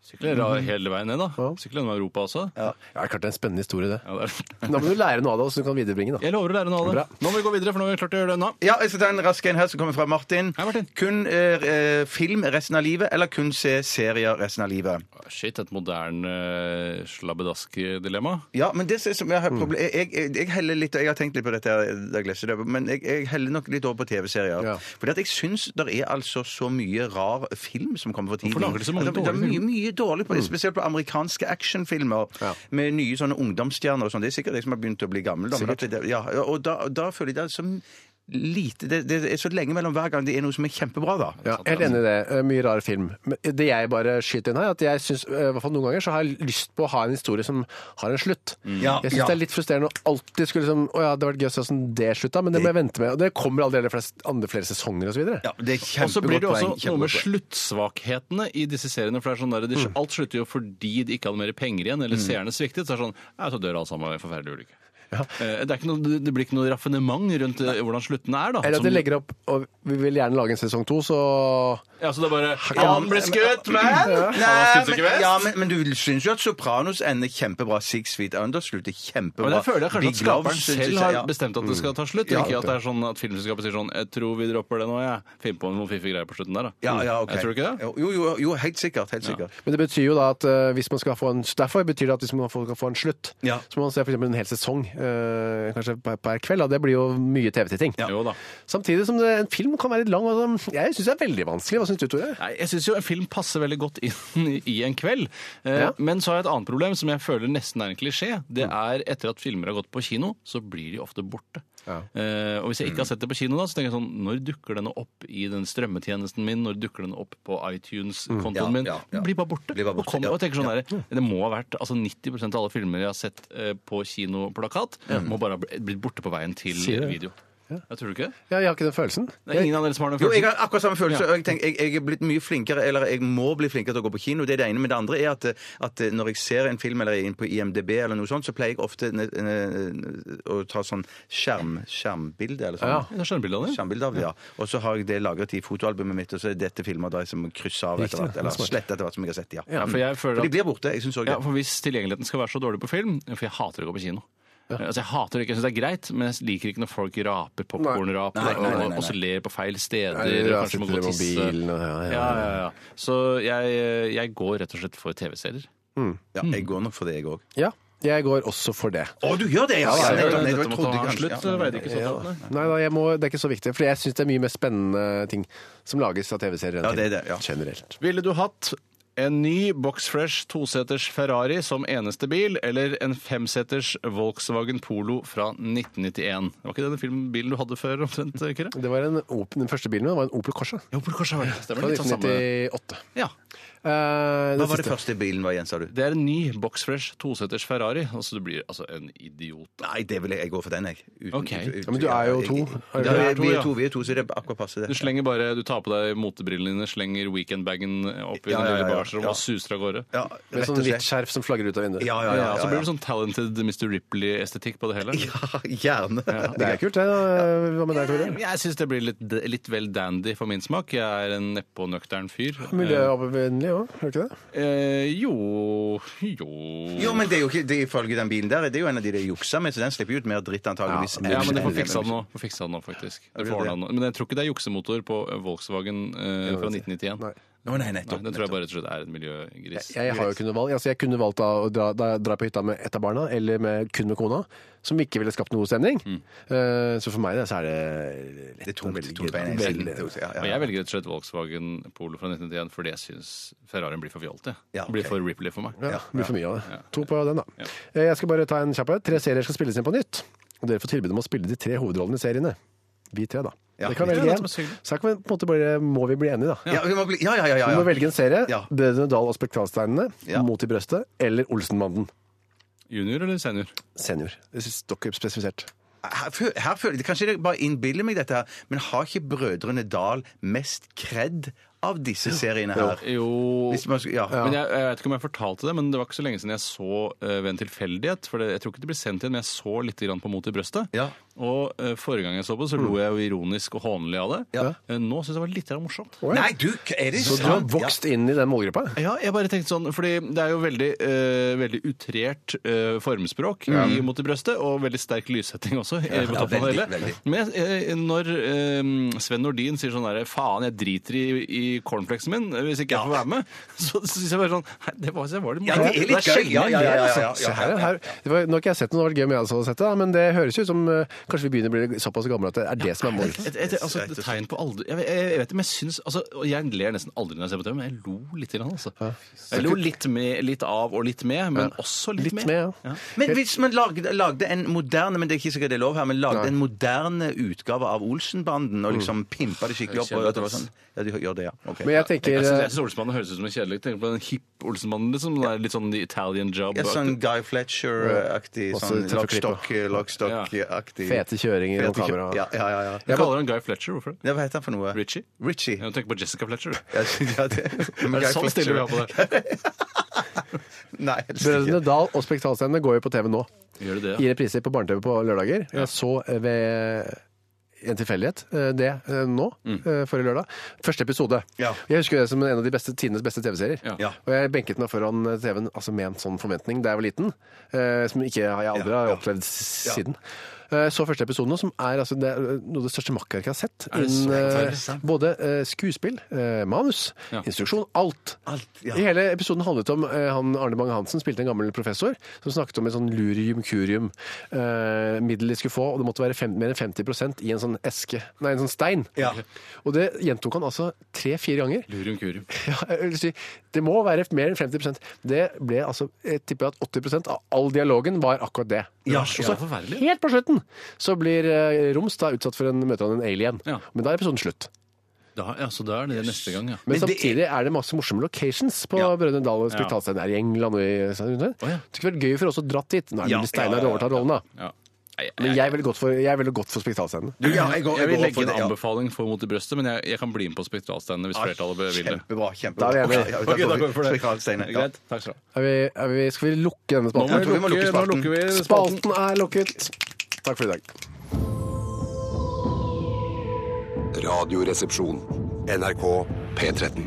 Speaker 8: Sykler da hele veien ned, da. Sykler gjennom Europa også. Mm. Ja.
Speaker 6: Ja, det er klart det er en spennende historie, det.
Speaker 8: det er.
Speaker 6: Da må du lære noe av det, så du kan viderebringe, da.
Speaker 8: Jeg lover å lære noe av det.
Speaker 6: Bra.
Speaker 8: Nå må vi gå videre, for nå har vi klart å gjøre det unna.
Speaker 7: Ja, jeg skal ta en rask en her som kommer fra Martin.
Speaker 8: Hei, Martin.
Speaker 7: Kun eh, eh, film resten av livet, eller kun se serier resten av livet?
Speaker 8: Shit, et moderne eh, slabbedask-dilemma.
Speaker 7: Ja, men det som- som jeg har
Speaker 8: Mm.
Speaker 7: problem... Jeg, jeg, jeg heller litt, jeg har tenkt litt på dette, her da jeg leste det, men jeg, jeg heller nok litt over på TV-serier.
Speaker 6: Ja.
Speaker 7: Fordi at jeg syns det er altså så mye rar film som kommer for tiden.
Speaker 8: lager de så mange
Speaker 7: det, det er
Speaker 8: dårlige Mm.
Speaker 7: mye, mye dårlig, på, spesielt på amerikanske actionfilmer med nye sånne ungdomsstjerner og sånn. Det er sikkert jeg som har begynt å bli gammel. Da, men at det, ja, og da, da føler jeg det er så lite det, det er så lenge mellom hver gang det er noe som er kjempebra, da.
Speaker 6: Ja, helt enig i det. Eh, Mye rar film. Men det jeg bare skyter inn her, at jeg synes, eh, i hvert fall noen ganger så har jeg lyst på å ha en historie som har en slutt.
Speaker 7: Ja,
Speaker 6: jeg syns
Speaker 7: ja.
Speaker 6: det er litt frustrerende å alltid skulle liksom Å ja, det hadde vært gøy å se hvordan det slutta, men det må jeg vente med. Og det kommer aldri de flest, andre flere sesonger og så videre.
Speaker 7: Ja, det er
Speaker 8: Og så
Speaker 7: kjempegodt
Speaker 8: blir det
Speaker 7: poeng,
Speaker 8: også noe med
Speaker 7: kjempegodt poeng. Mm.
Speaker 8: sluttsvakhetene i disse seriene. for det er sånn der, de, Alt slutter jo fordi de ikke hadde mer penger igjen, eller seerne sviktet. Så er det sånn «Nei, så dør alle sammen av en forferdelig ulykke. Eh, Det, er ikke noe, det- det blir ikke noe raffinement rundt eh, hvordan sluttene er, da.
Speaker 6: Eller
Speaker 8: Som-
Speaker 6: at de legger opp og vi vil gjerne lage en sesong to, så
Speaker 8: ja, så det er bare Han ble skutt, men!
Speaker 7: Nei,
Speaker 8: Syns du
Speaker 7: men,
Speaker 8: ikke vel?
Speaker 7: ja, men, men du syns jo at Sopranos ender kjempebra. Six Feet Under slutter kjempebra.
Speaker 8: Men jeg føler jeg kanskje at
Speaker 7: Big Love
Speaker 8: skaperen
Speaker 7: synes
Speaker 8: selv
Speaker 7: jeg-
Speaker 8: har
Speaker 7: ja. Mm.
Speaker 8: bestemt at det skal ta slutt. og
Speaker 7: Ja,
Speaker 8: ikke at
Speaker 7: ok.
Speaker 8: det er sånn at filmselskapet sier sånn Jeg tror vi dropper det nå, jeg. Finn på noen fiffige greier på slutten der, da. Mm.
Speaker 7: ja, ja, ok.
Speaker 8: Jeg tror ikke det?
Speaker 7: Jo, Jo, jo, jo helt sikkert. Helt sikkert.
Speaker 6: Men det betyr jo da at eh, hvis man skal få en Derfor betyr det at hvis man får- kan få en slutt,
Speaker 7: Ja.
Speaker 6: så må man se for eksempel en hel sesong eh, kanskje per, per kveld. Da. Det blir jo mye TV-titting.
Speaker 8: Jo da.
Speaker 6: Samtidig som det, en film kan være litt lang. og sånn, jeg syns det er veldig vanskelig. Hva syns du, Tore?
Speaker 8: Nei, jeg syns jo en film passer veldig godt inn i en kveld. Eh,
Speaker 6: Ja.
Speaker 8: Men så har jeg et annet problem som jeg føler nesten er en klisjé.
Speaker 7: Mm.
Speaker 8: Det er etter at filmer har gått på kino, så blir de ofte borte. Eh, og hvis jeg ikke
Speaker 7: Mm.
Speaker 8: har sett det på kino, da, så tenker jeg sånn Når dukker denne opp i den strømmetjenesten min? Når dukker den opp på
Speaker 7: Mm.
Speaker 8: iTunes-kontoen
Speaker 7: Ja,
Speaker 8: min?
Speaker 7: ja, ja.
Speaker 8: Blir bare borte.
Speaker 7: Blir bare borte,
Speaker 8: og kommer,
Speaker 7: ja.
Speaker 8: og tenker sånn der, Det må ha vært altså 90 av alle filmer jeg har sett eh, på kinoplakat, må bare ha bl- blitt borte på veien til
Speaker 6: Sier du det?
Speaker 8: video. Jeg tror du ikke det?
Speaker 6: Ja, jeg har ikke den følelsen.
Speaker 8: Det er ingen av dere som har den
Speaker 7: Jo, jeg
Speaker 8: følelsen.
Speaker 7: har akkurat samme følelse. og Jeg, tenker, jeg, jeg er blitt mye flinkere, eller jeg må bli flinkere til å gå på kino. Det er det ene. Men det andre er at, at når jeg ser en film eller er inne på IMDb, eller noe sånt, så pleier jeg ofte ne- ne- å ta sånn skjerm, skjermbilde eller sånn.
Speaker 6: Ja.
Speaker 8: Det er skjermbildene dine.
Speaker 7: Skjermbilde av det, ja. Og så har jeg det lagret i fotoalbumet mitt, og så er dette filmer da jeg som krysser av etter
Speaker 6: Riktig,
Speaker 7: hvert, eller
Speaker 6: smart.
Speaker 7: slett etter hvert som jeg har sett, ja.
Speaker 8: Ja, for jeg føler
Speaker 7: For
Speaker 8: at
Speaker 7: de blir borte, jeg synes også.
Speaker 8: Ja, for Hvis tilgjengeligheten skal være så dårlig på film For jeg hater å gå på kino. Altså, Jeg hater det ikke, jeg syns det er greit, men jeg liker ikke når folk raper
Speaker 7: Nei,
Speaker 8: popkornrap og,
Speaker 7: nei, nei, nei,
Speaker 8: og- og så ler på feil steder.
Speaker 6: Eller,
Speaker 8: og
Speaker 6: ja,
Speaker 8: kanskje må
Speaker 6: sitter
Speaker 8: gå og
Speaker 6: i
Speaker 8: tisse.
Speaker 6: mobilen og- ja,
Speaker 8: ja,
Speaker 6: ja,
Speaker 8: ja, ja, Så jeg, jeg går rett og slett for TV-serier.
Speaker 7: Ja, jeg går nok for det, jeg òg.
Speaker 6: Ja, jeg går også for det.
Speaker 7: Å, du gjør det, ja!
Speaker 8: Ja,
Speaker 7: Nei,
Speaker 8: dette
Speaker 7: nei,
Speaker 8: måtte
Speaker 7: jeg trodde
Speaker 8: ha en
Speaker 7: kanskje-
Speaker 8: slutt,
Speaker 7: ja.
Speaker 8: veide ikke så
Speaker 6: Ja.
Speaker 8: tatt, nei.
Speaker 6: Nei, da, jeg må, det er ikke så viktig, for jeg syns det er mye mer spennende ting som lages av TV-serier enn
Speaker 7: Ja, det er det, ja.
Speaker 6: film, generelt.
Speaker 8: Ville du hatt en ny Boxfresh toseters Ferrari som eneste bil, eller en femseters Volkswagen Polo fra 1991? Det var ikke denne filmen- bilen du hadde før, omtrent, Kyrre?
Speaker 6: Det var en Opel, den første bilen min var en Opel Corsa
Speaker 8: Jo, på korset var det. Stemmer
Speaker 6: fra
Speaker 8: litt av samme.
Speaker 6: 1998.
Speaker 8: Ja.
Speaker 6: Eh,
Speaker 7: sånn Hva var det
Speaker 6: siste.
Speaker 7: første bilen var igjen, sa du?
Speaker 8: Det er en ny Boxfresh toseters Ferrari. Altså, du blir altså en idiot.
Speaker 7: Nei, det vil jeg. Jeg går for den, jeg. Uten-
Speaker 8: Ok.
Speaker 7: uten-
Speaker 6: Ja, men du er jo
Speaker 7: jeg-
Speaker 6: to.
Speaker 7: Ja,
Speaker 8: Dere er to,
Speaker 7: vi
Speaker 8: ja.
Speaker 7: er to, vi er to, så det er akkurat passe, det.
Speaker 8: Du slenger bare, du tar på deg motebrillene dine, slenger weekendbagen opp i
Speaker 7: Ja,
Speaker 8: den
Speaker 7: ja,
Speaker 8: lille
Speaker 7: ja, ja.
Speaker 8: bagasjerommet
Speaker 7: Ja.
Speaker 8: og suser av gårde.
Speaker 7: Ja,
Speaker 6: Med
Speaker 7: rett
Speaker 6: sånn
Speaker 7: og
Speaker 6: hvitt
Speaker 7: slett.
Speaker 6: skjerf som flagrer ut av vinduet.
Speaker 7: Ja, ja, ja.
Speaker 8: Så
Speaker 7: ja,
Speaker 8: blir det sånn talented Mr. Ripley-estetikk på det hele.
Speaker 7: ja. Gjerne.
Speaker 6: Det er kult, det. da. Hva med deg, Tore?
Speaker 8: Jeg syns det blir litt, litt vel dandy for min smak. Jeg er en neppe og nøktern fyr.
Speaker 6: Miljøvennlig òg, hører du ikke det?
Speaker 8: Eh, jo jo
Speaker 7: Jo, men det er jo ikke det er ifølge den bilen der. Det er jo en av de de juksa med, så den slipper jo ut mer dritt antageligvis.
Speaker 8: Ja, men du får fiksa den nå, får fiksa den nå faktisk. Du
Speaker 7: det
Speaker 8: får
Speaker 7: det?
Speaker 8: den nå. Men jeg tror ikke det er juksemotor på Volkswagen eh, fra 1991.
Speaker 6: Nei.
Speaker 7: Å, nei,
Speaker 8: Nei,
Speaker 7: nettopp.
Speaker 8: Den tror jeg bare rett og slett er en miljøgris.
Speaker 6: Jeg, har jo kunnet valg. Altså, jeg kunne valgt da å dra, da, dra på hytta med ett av barna, eller med, kun med kona, som ikke ville skapt noe stemning. Eh, så for meg da, så er det lett
Speaker 7: Mm. Det er tungt.
Speaker 6: å velge-
Speaker 7: tungt på en ene siden. Det er jo- ja, ja,
Speaker 8: Men
Speaker 7: ja.
Speaker 8: jeg velger rett og slett Volkswagen Polo fra 1991 fordi jeg syns Ferrarien blir for fjolte.
Speaker 7: Ja,
Speaker 8: Det Blir
Speaker 7: ok.
Speaker 8: for Ripley for meg.
Speaker 6: Ja, det blir for mye av det. To på den, da. Eh, Jeg skal bare ta en kjapp her. Tre serier skal spilles inn på nytt. Og dere får tilbud om å spille de tre hovedrollene i seriene. Vi tre, da.
Speaker 7: Ja,
Speaker 6: dere kan
Speaker 7: vi tre,
Speaker 6: velge
Speaker 8: det er
Speaker 6: en.
Speaker 8: så hyggelig.
Speaker 6: Så her kan vi på en måte bare, må vi bli enige, da.
Speaker 7: Ja, vi må bli- ja, ja, ja, ja,
Speaker 6: Vi må
Speaker 7: ja.
Speaker 6: velge en serie.
Speaker 7: Ja.
Speaker 6: Brødrene Dal og Spektralsteinene,
Speaker 7: Ja.
Speaker 6: Mot i brøstet eller Olsenbanden
Speaker 8: Junior eller senior?
Speaker 6: senior. Det synes dere er spesifisert.
Speaker 7: Her, fø- her føler jeg, Kanskje jeg bare innbiller meg dette, her, men har ikke brødrene Dal mest kred av disse seriene her.
Speaker 8: Jo
Speaker 7: Hvis man, sk- ja.
Speaker 8: Men jeg, jeg vet ikke om jeg fortalte det, men det var ikke så lenge siden jeg så eh, ved en tilfeldighet. For det, jeg tror ikke det ble sendt igjen, men jeg så litt grann på Mot i brøstet.
Speaker 7: Ja. Mm.
Speaker 8: Og eh, forrige gang jeg så på, så lo jeg jo ironisk og hånlig av det.
Speaker 7: Ja.
Speaker 8: Eh, nå syns jeg det var litt grann morsomt.
Speaker 7: Nei, du, er det
Speaker 6: Så du har vokst inn i den målgruppa?
Speaker 8: Ja, jeg bare tenkte sånn, fordi det er jo veldig, eh, veldig utrert eh, formspråk i mot i brøstet, og veldig sterk lyssetting også. eh, på toppen av det
Speaker 7: Mm. veldig,
Speaker 8: hele. Men eh, når eh, Sven Nordin sier sånn der, faen, jeg driter i, i cornflakesen min hvis ikke jeg får være med, så syns jeg bare sånn, nei, det var, det var det
Speaker 7: Ja, det er litt gøy. Ja, ja, ja, ja, ja,
Speaker 6: Se
Speaker 7: ja.
Speaker 6: her, ja, her. Det var, nå har ikke jeg sett den, det hadde vært gøy om jeg hadde sett det, da, men det høres ut som eh, kanskje vi begynner å bli såpass gamle at det er det som er målet.
Speaker 8: Et, et, altså, et tegn på alder Jeg, vet- jeg vet det, men jeg syns altså, og Jeg ler nesten aldri når jeg ser på TV, men jeg lo litt. Grann, altså. Jeg lo litt, med, litt av og litt med, men også litt,
Speaker 6: Litt
Speaker 8: med.
Speaker 6: med, ja.
Speaker 7: Men hvis man lagde, lagde en moderne men det er ikke sikkert det er lov her, men lagde en moderne utgave av Olsenbanden
Speaker 6: Mm.
Speaker 7: og liksom pimpa det skikkelig opp og at det var sånn, ja, du gjør det, ja. ok.
Speaker 6: Men jeg tenker
Speaker 8: Jeg synes- jeg
Speaker 6: eh,
Speaker 8: synes Olsenmannen høres ut som en kjedelig. Tenk på den hipp Olsenmannen. Liksom, Det er litt sånn Italian job.
Speaker 7: Ja, sånn Guy Fletcher-aktig,
Speaker 6: Masse
Speaker 7: sånn
Speaker 6: tøffe klipper.
Speaker 7: lockstock- lockstock-aktig.
Speaker 6: fete kjøringer og
Speaker 7: Fete kjø-
Speaker 6: kamera.
Speaker 7: Ja, ja, ja. ja.
Speaker 8: Du kaller han Guy Fletcher. Hvorfor det?
Speaker 7: Ja, Hva heter han for noe?
Speaker 8: Richie?
Speaker 7: Richie.
Speaker 8: Jeg tenker på Jessica Fletcher. du.
Speaker 7: Ja, ja, det.
Speaker 8: Er det sånn stiller vi av på det?
Speaker 7: Nei, helst
Speaker 6: Brødrene
Speaker 7: ikke.
Speaker 6: Dal og Spektralstjernene går jo på TV nå.
Speaker 8: Gjør du det?
Speaker 6: I
Speaker 8: ja?
Speaker 6: repriser på barne-TV på lørdager. Jeg så eh, ved en tilfeldighet eh, det eh, nå,
Speaker 8: Mm.
Speaker 6: eh, forrige lørdag. Første episode.
Speaker 7: Ja.
Speaker 6: Jeg husker det som en av de beste, tidenes beste TV-serier.
Speaker 8: Ja.
Speaker 7: Ja.
Speaker 6: Og jeg benket meg foran TV-en altså med en sånn forventning da jeg var liten, eh, som ikke jeg aldri
Speaker 7: Ja,
Speaker 6: har
Speaker 7: ja.
Speaker 6: opplevd s- siden. Eh, Så første episoden, nå, som er altså, det er noe av det største makkverket jeg har sett.
Speaker 8: Er det så-
Speaker 6: eh,
Speaker 8: er det sant?
Speaker 6: både eh, skuespill, eh, manus,
Speaker 8: Ja.
Speaker 6: instruksjon, alt.
Speaker 7: Alt, ja.
Speaker 6: I hele episoden handlet om eh, han Arne Bang Hansen spilte en gammel professor som snakket om en sånn lurium curium eh, middel de skulle få, og det måtte være fem, mer enn 50 i en sånn eske, nei, en sånn stein.
Speaker 7: Ja.
Speaker 6: Og det gjentok han altså tre-fire ganger.
Speaker 8: Lurium curium.
Speaker 6: Ja, jeg vil si, det må være mer enn 50 Det ble altså, jeg tipper at 80 av all dialogen var akkurat det.
Speaker 7: Ja,
Speaker 6: Og
Speaker 7: ja.
Speaker 6: så
Speaker 8: Forferdelig.
Speaker 6: helt på slutten så blir eh, Roms da utsatt for en møte av en alien.
Speaker 8: Ja.
Speaker 6: Men da er episoden slutt.
Speaker 8: Da, ja, så da er det neste gang, ja.
Speaker 6: Men,
Speaker 7: Men det-
Speaker 6: samtidig er det masse morsomme locations på Brødrene Dal og Spektralstein. Er i England og i
Speaker 8: ja.
Speaker 6: Det kunne vært gøy for oss å dratt dit. Nå er det
Speaker 7: Ja,
Speaker 6: vel Steinar
Speaker 7: ja, ja, ja.
Speaker 6: overtar rollen, da.
Speaker 8: ja. Nei,
Speaker 6: Men jeg ville gått for, jeg ville gått for Spektralsteinen.
Speaker 7: Du, ja, jeg, går,
Speaker 8: jeg vil
Speaker 7: går
Speaker 8: legge
Speaker 7: for
Speaker 8: en
Speaker 7: det, ja. Ah,
Speaker 8: anbefaling for Mot i brøstet, men jeg, jeg kan bli med på Spektralsteinene hvis flertallet vil det.
Speaker 7: Kjempebra.
Speaker 6: Da
Speaker 7: kjempebra.
Speaker 6: er vi
Speaker 7: Ok,
Speaker 6: enige.
Speaker 7: ja,
Speaker 8: Ok, da
Speaker 7: da
Speaker 8: går vi for det.
Speaker 7: Spektralsteiner, ja.
Speaker 8: Greit. Takk skal du ha.
Speaker 6: Er vi, er vi, skal vi lukke denne
Speaker 8: Nå, må
Speaker 6: spalten?
Speaker 7: tror vi må
Speaker 8: vi
Speaker 7: lukke
Speaker 8: lukke, nå
Speaker 7: spalten.
Speaker 8: lukker vi spalten.
Speaker 6: Spalten er lukket. Takk for i dag.
Speaker 1: Radioresepsjon. NRK P13.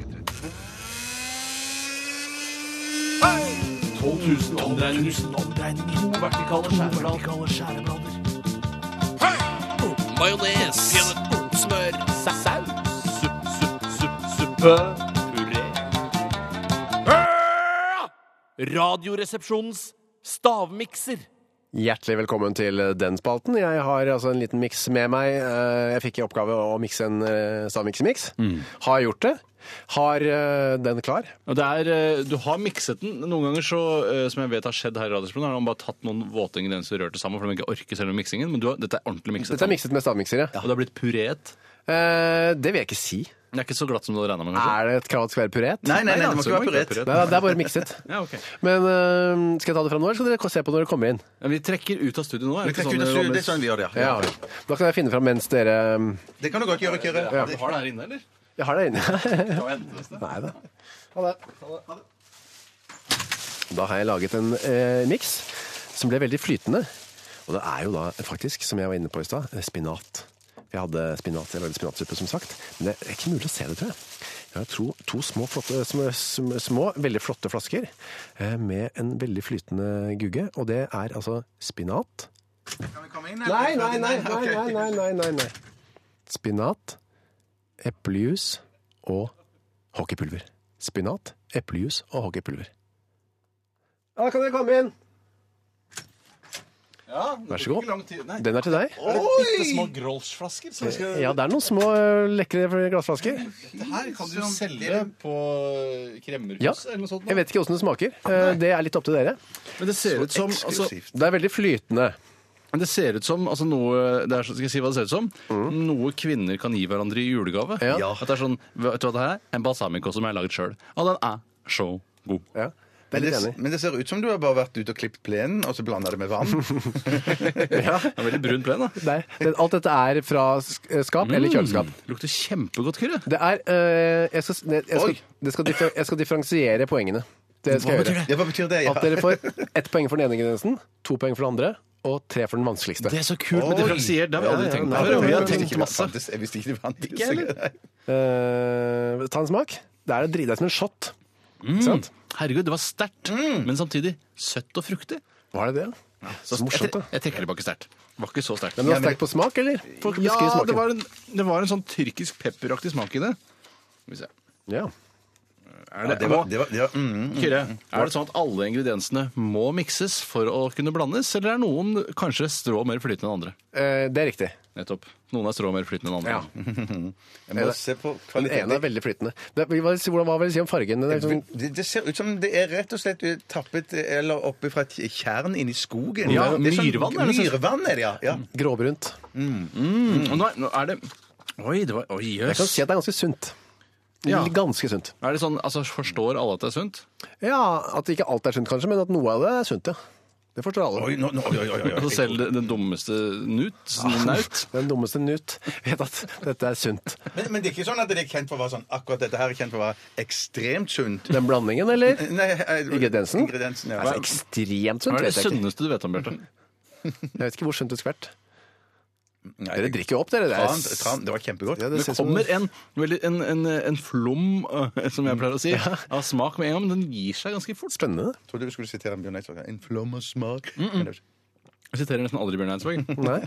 Speaker 10: 12 000 omdreininger. 000 omdreininger. To vertikale skjæreblader. Majones. Smør. Saus. Supp, supp, supp, suppe. Puré. Radioresepsjonens stavmikser.
Speaker 6: Hjertelig velkommen til den spalten. Jeg har altså en liten miks med meg. Eh, Jeg fikk i oppgave å mikse en eh, stavmiksemiks. Har jeg gjort det? Har eh, den klar?
Speaker 8: Og det er, eh, du har mikset den. Noen ganger så, eh, som jeg vet har skjedd her i Radiospillet, har man bare tatt noen våtinger i den som rørte sammen, for de ikke orker selve miksingen. Men du har, dette er ordentlig mikset.
Speaker 6: Dette er mikset med stavmikser, ja.
Speaker 8: Og det har blitt pureet.
Speaker 6: Eh, Det vil jeg ikke si.
Speaker 8: Det er ikke så glatt som du hadde regna med, kanskje?
Speaker 6: Er det et krav at det skal være puret?
Speaker 7: Nei, nei, nei, det må ikke
Speaker 8: altså,
Speaker 7: være
Speaker 8: det må ikke
Speaker 7: purett.
Speaker 8: være
Speaker 6: Nei, det er bare mikset.
Speaker 8: Ja, ok.
Speaker 6: Men eh, skal jeg ta det fram nå, eller skal dere se på når dere kommer inn?
Speaker 8: Men vi trekker ut av studio nå. Er
Speaker 7: Vi
Speaker 8: det, ikke
Speaker 7: trekker ut av
Speaker 8: sånn, eh,
Speaker 7: studio, Det
Speaker 8: Rommes?
Speaker 7: er sånn vi gjør det, ja.
Speaker 6: Ja. Da kan jeg finne fram mens dere
Speaker 7: Det kan du godt gjøre, Kyrre.
Speaker 8: Du har den her inne, eller?
Speaker 6: Jeg har det inne.
Speaker 8: Ja, jeg henter den.
Speaker 6: Nei da. Ha det. Da har jeg laget en eh, miks som ble veldig flytende. Og det er jo da faktisk, som jeg var inne på i stad, eh, spinat. Jeg hadde spinat, jeg lagde spinatsuppe, som sagt. Men det er ikke mulig å se det, tror jeg. Jeg har to, to små, flotte, små, sm- små, veldig flotte flasker eh, med en veldig flytende gugge. Og det er altså spinat
Speaker 7: Kan vi komme inn?
Speaker 6: Nei, nei, nei,
Speaker 7: Ok.
Speaker 6: nei, nei, nei, nei, nei, nei. Spinat, eplejus og hockeypulver. Spinat, eplejus og hockeypulver. Ja, da kan dere komme inn. Vær så god. Den er til deg.
Speaker 8: Bitte små Grolsch-flasker. som vi skal-
Speaker 6: Ja, det er noen små ø, lekre glassflasker.
Speaker 8: Det her kan du jo selge på
Speaker 6: Ja.
Speaker 8: kremmerhuset eller noe sånt.
Speaker 6: Jeg vet ikke åssen det smaker. Eh, Det er litt opp til dere.
Speaker 8: Men det ser ut som altså,
Speaker 7: Eksklusivt.
Speaker 6: Det er veldig flytende.
Speaker 8: Men Det ser ut som altså noe det er, så- Skal jeg si hva det ser ut som? Noe kvinner kan gi hverandre i julegave.
Speaker 6: Ja.
Speaker 8: At det er sånn, Vet du hva det her er? En balsamico som jeg har laget sjøl. Og den er så god.
Speaker 6: Ja. Det er
Speaker 5: Men det,
Speaker 6: jeg litt enig. i.
Speaker 5: men det ser ut som du har bare vært ute og klippet plenen, og så blanda det med vann.
Speaker 8: Det er veldig brun plen, da.
Speaker 6: Nei, det- alt dette er fra sk- eh, skap eller kjøleskap.
Speaker 8: Mm, Lukter kjempegodt, Kyrre.
Speaker 6: Det er øh, jeg, skal, jeg, skal,
Speaker 5: Oi.
Speaker 6: det skal, differ, jeg skal differensiere poengene. Det skal jeg gjøre.
Speaker 5: Ja, hva betyr det? Ja.
Speaker 6: At dere får ett poeng for den ene ingrediensen, to poeng for den andre og tre for den vanskeligste.
Speaker 8: Det er så kult med
Speaker 5: Oi.
Speaker 8: differensiert. Det har vi aldri
Speaker 6: Ja, ja,
Speaker 8: tenkt
Speaker 6: nei,
Speaker 5: Ja,
Speaker 8: på før.
Speaker 6: det er-
Speaker 8: Vi har
Speaker 5: jeg visste
Speaker 8: tenkt
Speaker 5: ikke det
Speaker 8: masse.
Speaker 5: fantes- Jeg visste ikke det fantes.
Speaker 8: Ikke heller.
Speaker 5: Nei.
Speaker 6: Eh, ta en smak. Det er å drite deg som en shot. Ikke sant?
Speaker 8: Herregud, det var sterkt, men samtidig søtt og fruktig.
Speaker 6: Var det det? Ja, så
Speaker 8: Jeg,
Speaker 6: morsomt, da.
Speaker 8: tre- jeg trekker tilbake sterkt. Det var ikke så sterkt.
Speaker 6: Men det var sterk på smak, eller? For å beskrive
Speaker 8: Ja, det
Speaker 6: smaken.
Speaker 8: var, en, det var en sånn tyrkisk pepperaktig smak i det. Skal vi se.
Speaker 6: Ja.
Speaker 8: Er det,
Speaker 5: Det var, det var, det var, mm,
Speaker 8: Kyrre, er det sånn at alle ingrediensene må mikses for å kunne blandes, eller er noen kanskje strå mer flytende enn andre?
Speaker 6: Eh, det er riktig.
Speaker 8: Nettopp. Noen er strå mer flytende enn andre.
Speaker 5: jeg må se på
Speaker 6: Den ene er
Speaker 5: kvaliteten.
Speaker 6: veldig flytende. Det, vi- hva, hvordan, hva vil du si om fargen? Den er sånn,
Speaker 5: Det, det ser ut som det er rett og slett tappet eller oppe fra et tjern inni skogen.
Speaker 8: Ja,
Speaker 5: Det sånn-
Speaker 8: myrvann er det sånn-
Speaker 5: Myrvann er det, ja. ja.
Speaker 6: gråbrunt.
Speaker 8: Mm. Og nå, er, nå er det Oi, det var Oi,
Speaker 6: Jeg kan
Speaker 8: jøss.
Speaker 6: si at det er ganske sunt.
Speaker 8: Ja.
Speaker 6: Ganske sunt.
Speaker 8: Er det sånn, altså Forstår alle at det er sunt?
Speaker 6: Ja, At ikke alt er sunt, kanskje, men at noe av det er sunt, ja. Det forstår alle.
Speaker 5: Oi, nå, nå, oi, oi, oi,
Speaker 8: Og så
Speaker 5: oi.
Speaker 8: Altså, selv den dummeste nut, naut
Speaker 6: Den dummeste nut vet at dette er sunt.
Speaker 5: Men, men det er ikke sånn at det er kjent for å være sånn akkurat dette her er kjent for å være ekstremt sunt.
Speaker 6: Den blandingen, eller?
Speaker 5: Nei, eh,
Speaker 6: Ingrediensen?
Speaker 5: Ingrediensen, ja.
Speaker 6: Altså, ekstremt sunt,
Speaker 8: Hva er det
Speaker 6: vet jeg ikke.
Speaker 8: sunneste du vet om, Bjarte?
Speaker 6: Jeg vet ikke hvor sunt det skulle vært.
Speaker 5: Nei,
Speaker 6: Dere drikker jo opp, dere. Det er
Speaker 5: tran, tran, det var kjempegodt.
Speaker 6: Ja, det ser
Speaker 8: Det
Speaker 6: ut som-
Speaker 8: kommer en, veldig- en, en, en flom, eh, som jeg pleier å si, av smak med en gang, men den gir seg ganske fort.
Speaker 6: Spennende.
Speaker 5: Jeg trodde du skulle sitere en Bjørn Eidsvåg. En flom av smak.
Speaker 8: Jeg siterer nesten aldri Bjørn Eidsvåg. Men
Speaker 6: Nei,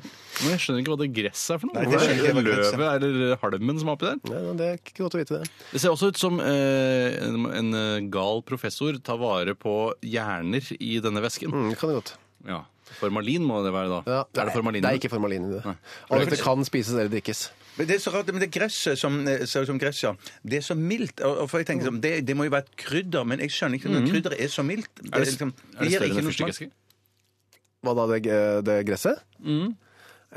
Speaker 8: jeg skjønner ikke hva det gresset er for noe.
Speaker 5: Nei, det
Speaker 8: Hva
Speaker 5: skjønner jeg
Speaker 8: er det
Speaker 5: ikke.
Speaker 8: løvet eller halmen som er oppi der?
Speaker 6: nei, det er ikke godt å vite det.
Speaker 8: Det ser også ut som eh, en, en eh, gal professor tar vare på hjerner i denne væsken.
Speaker 6: Mm, kan det godt.
Speaker 8: Ja. Formalin må det være, da.
Speaker 6: Ja,
Speaker 8: er det formalin?
Speaker 6: Det er ikke formalin i det.
Speaker 8: Nei.
Speaker 6: Alt det kan spises eller drikkes.
Speaker 5: Men det er så rart, men det gresset som eh, ser ut som gress, ja. Det er så mildt. Og, og for jeg tenker sånn, det, det må jo være et krydder, men jeg skjønner ikke når krydderet Mm-hmm. er så mildt. Det,
Speaker 8: Er det,
Speaker 5: liksom-
Speaker 8: er det
Speaker 5: gir
Speaker 8: større
Speaker 5: ikke
Speaker 8: enn en
Speaker 5: noe smak.
Speaker 8: fyrstikkeske?
Speaker 6: Hva da, det, det gresset?
Speaker 8: Mm.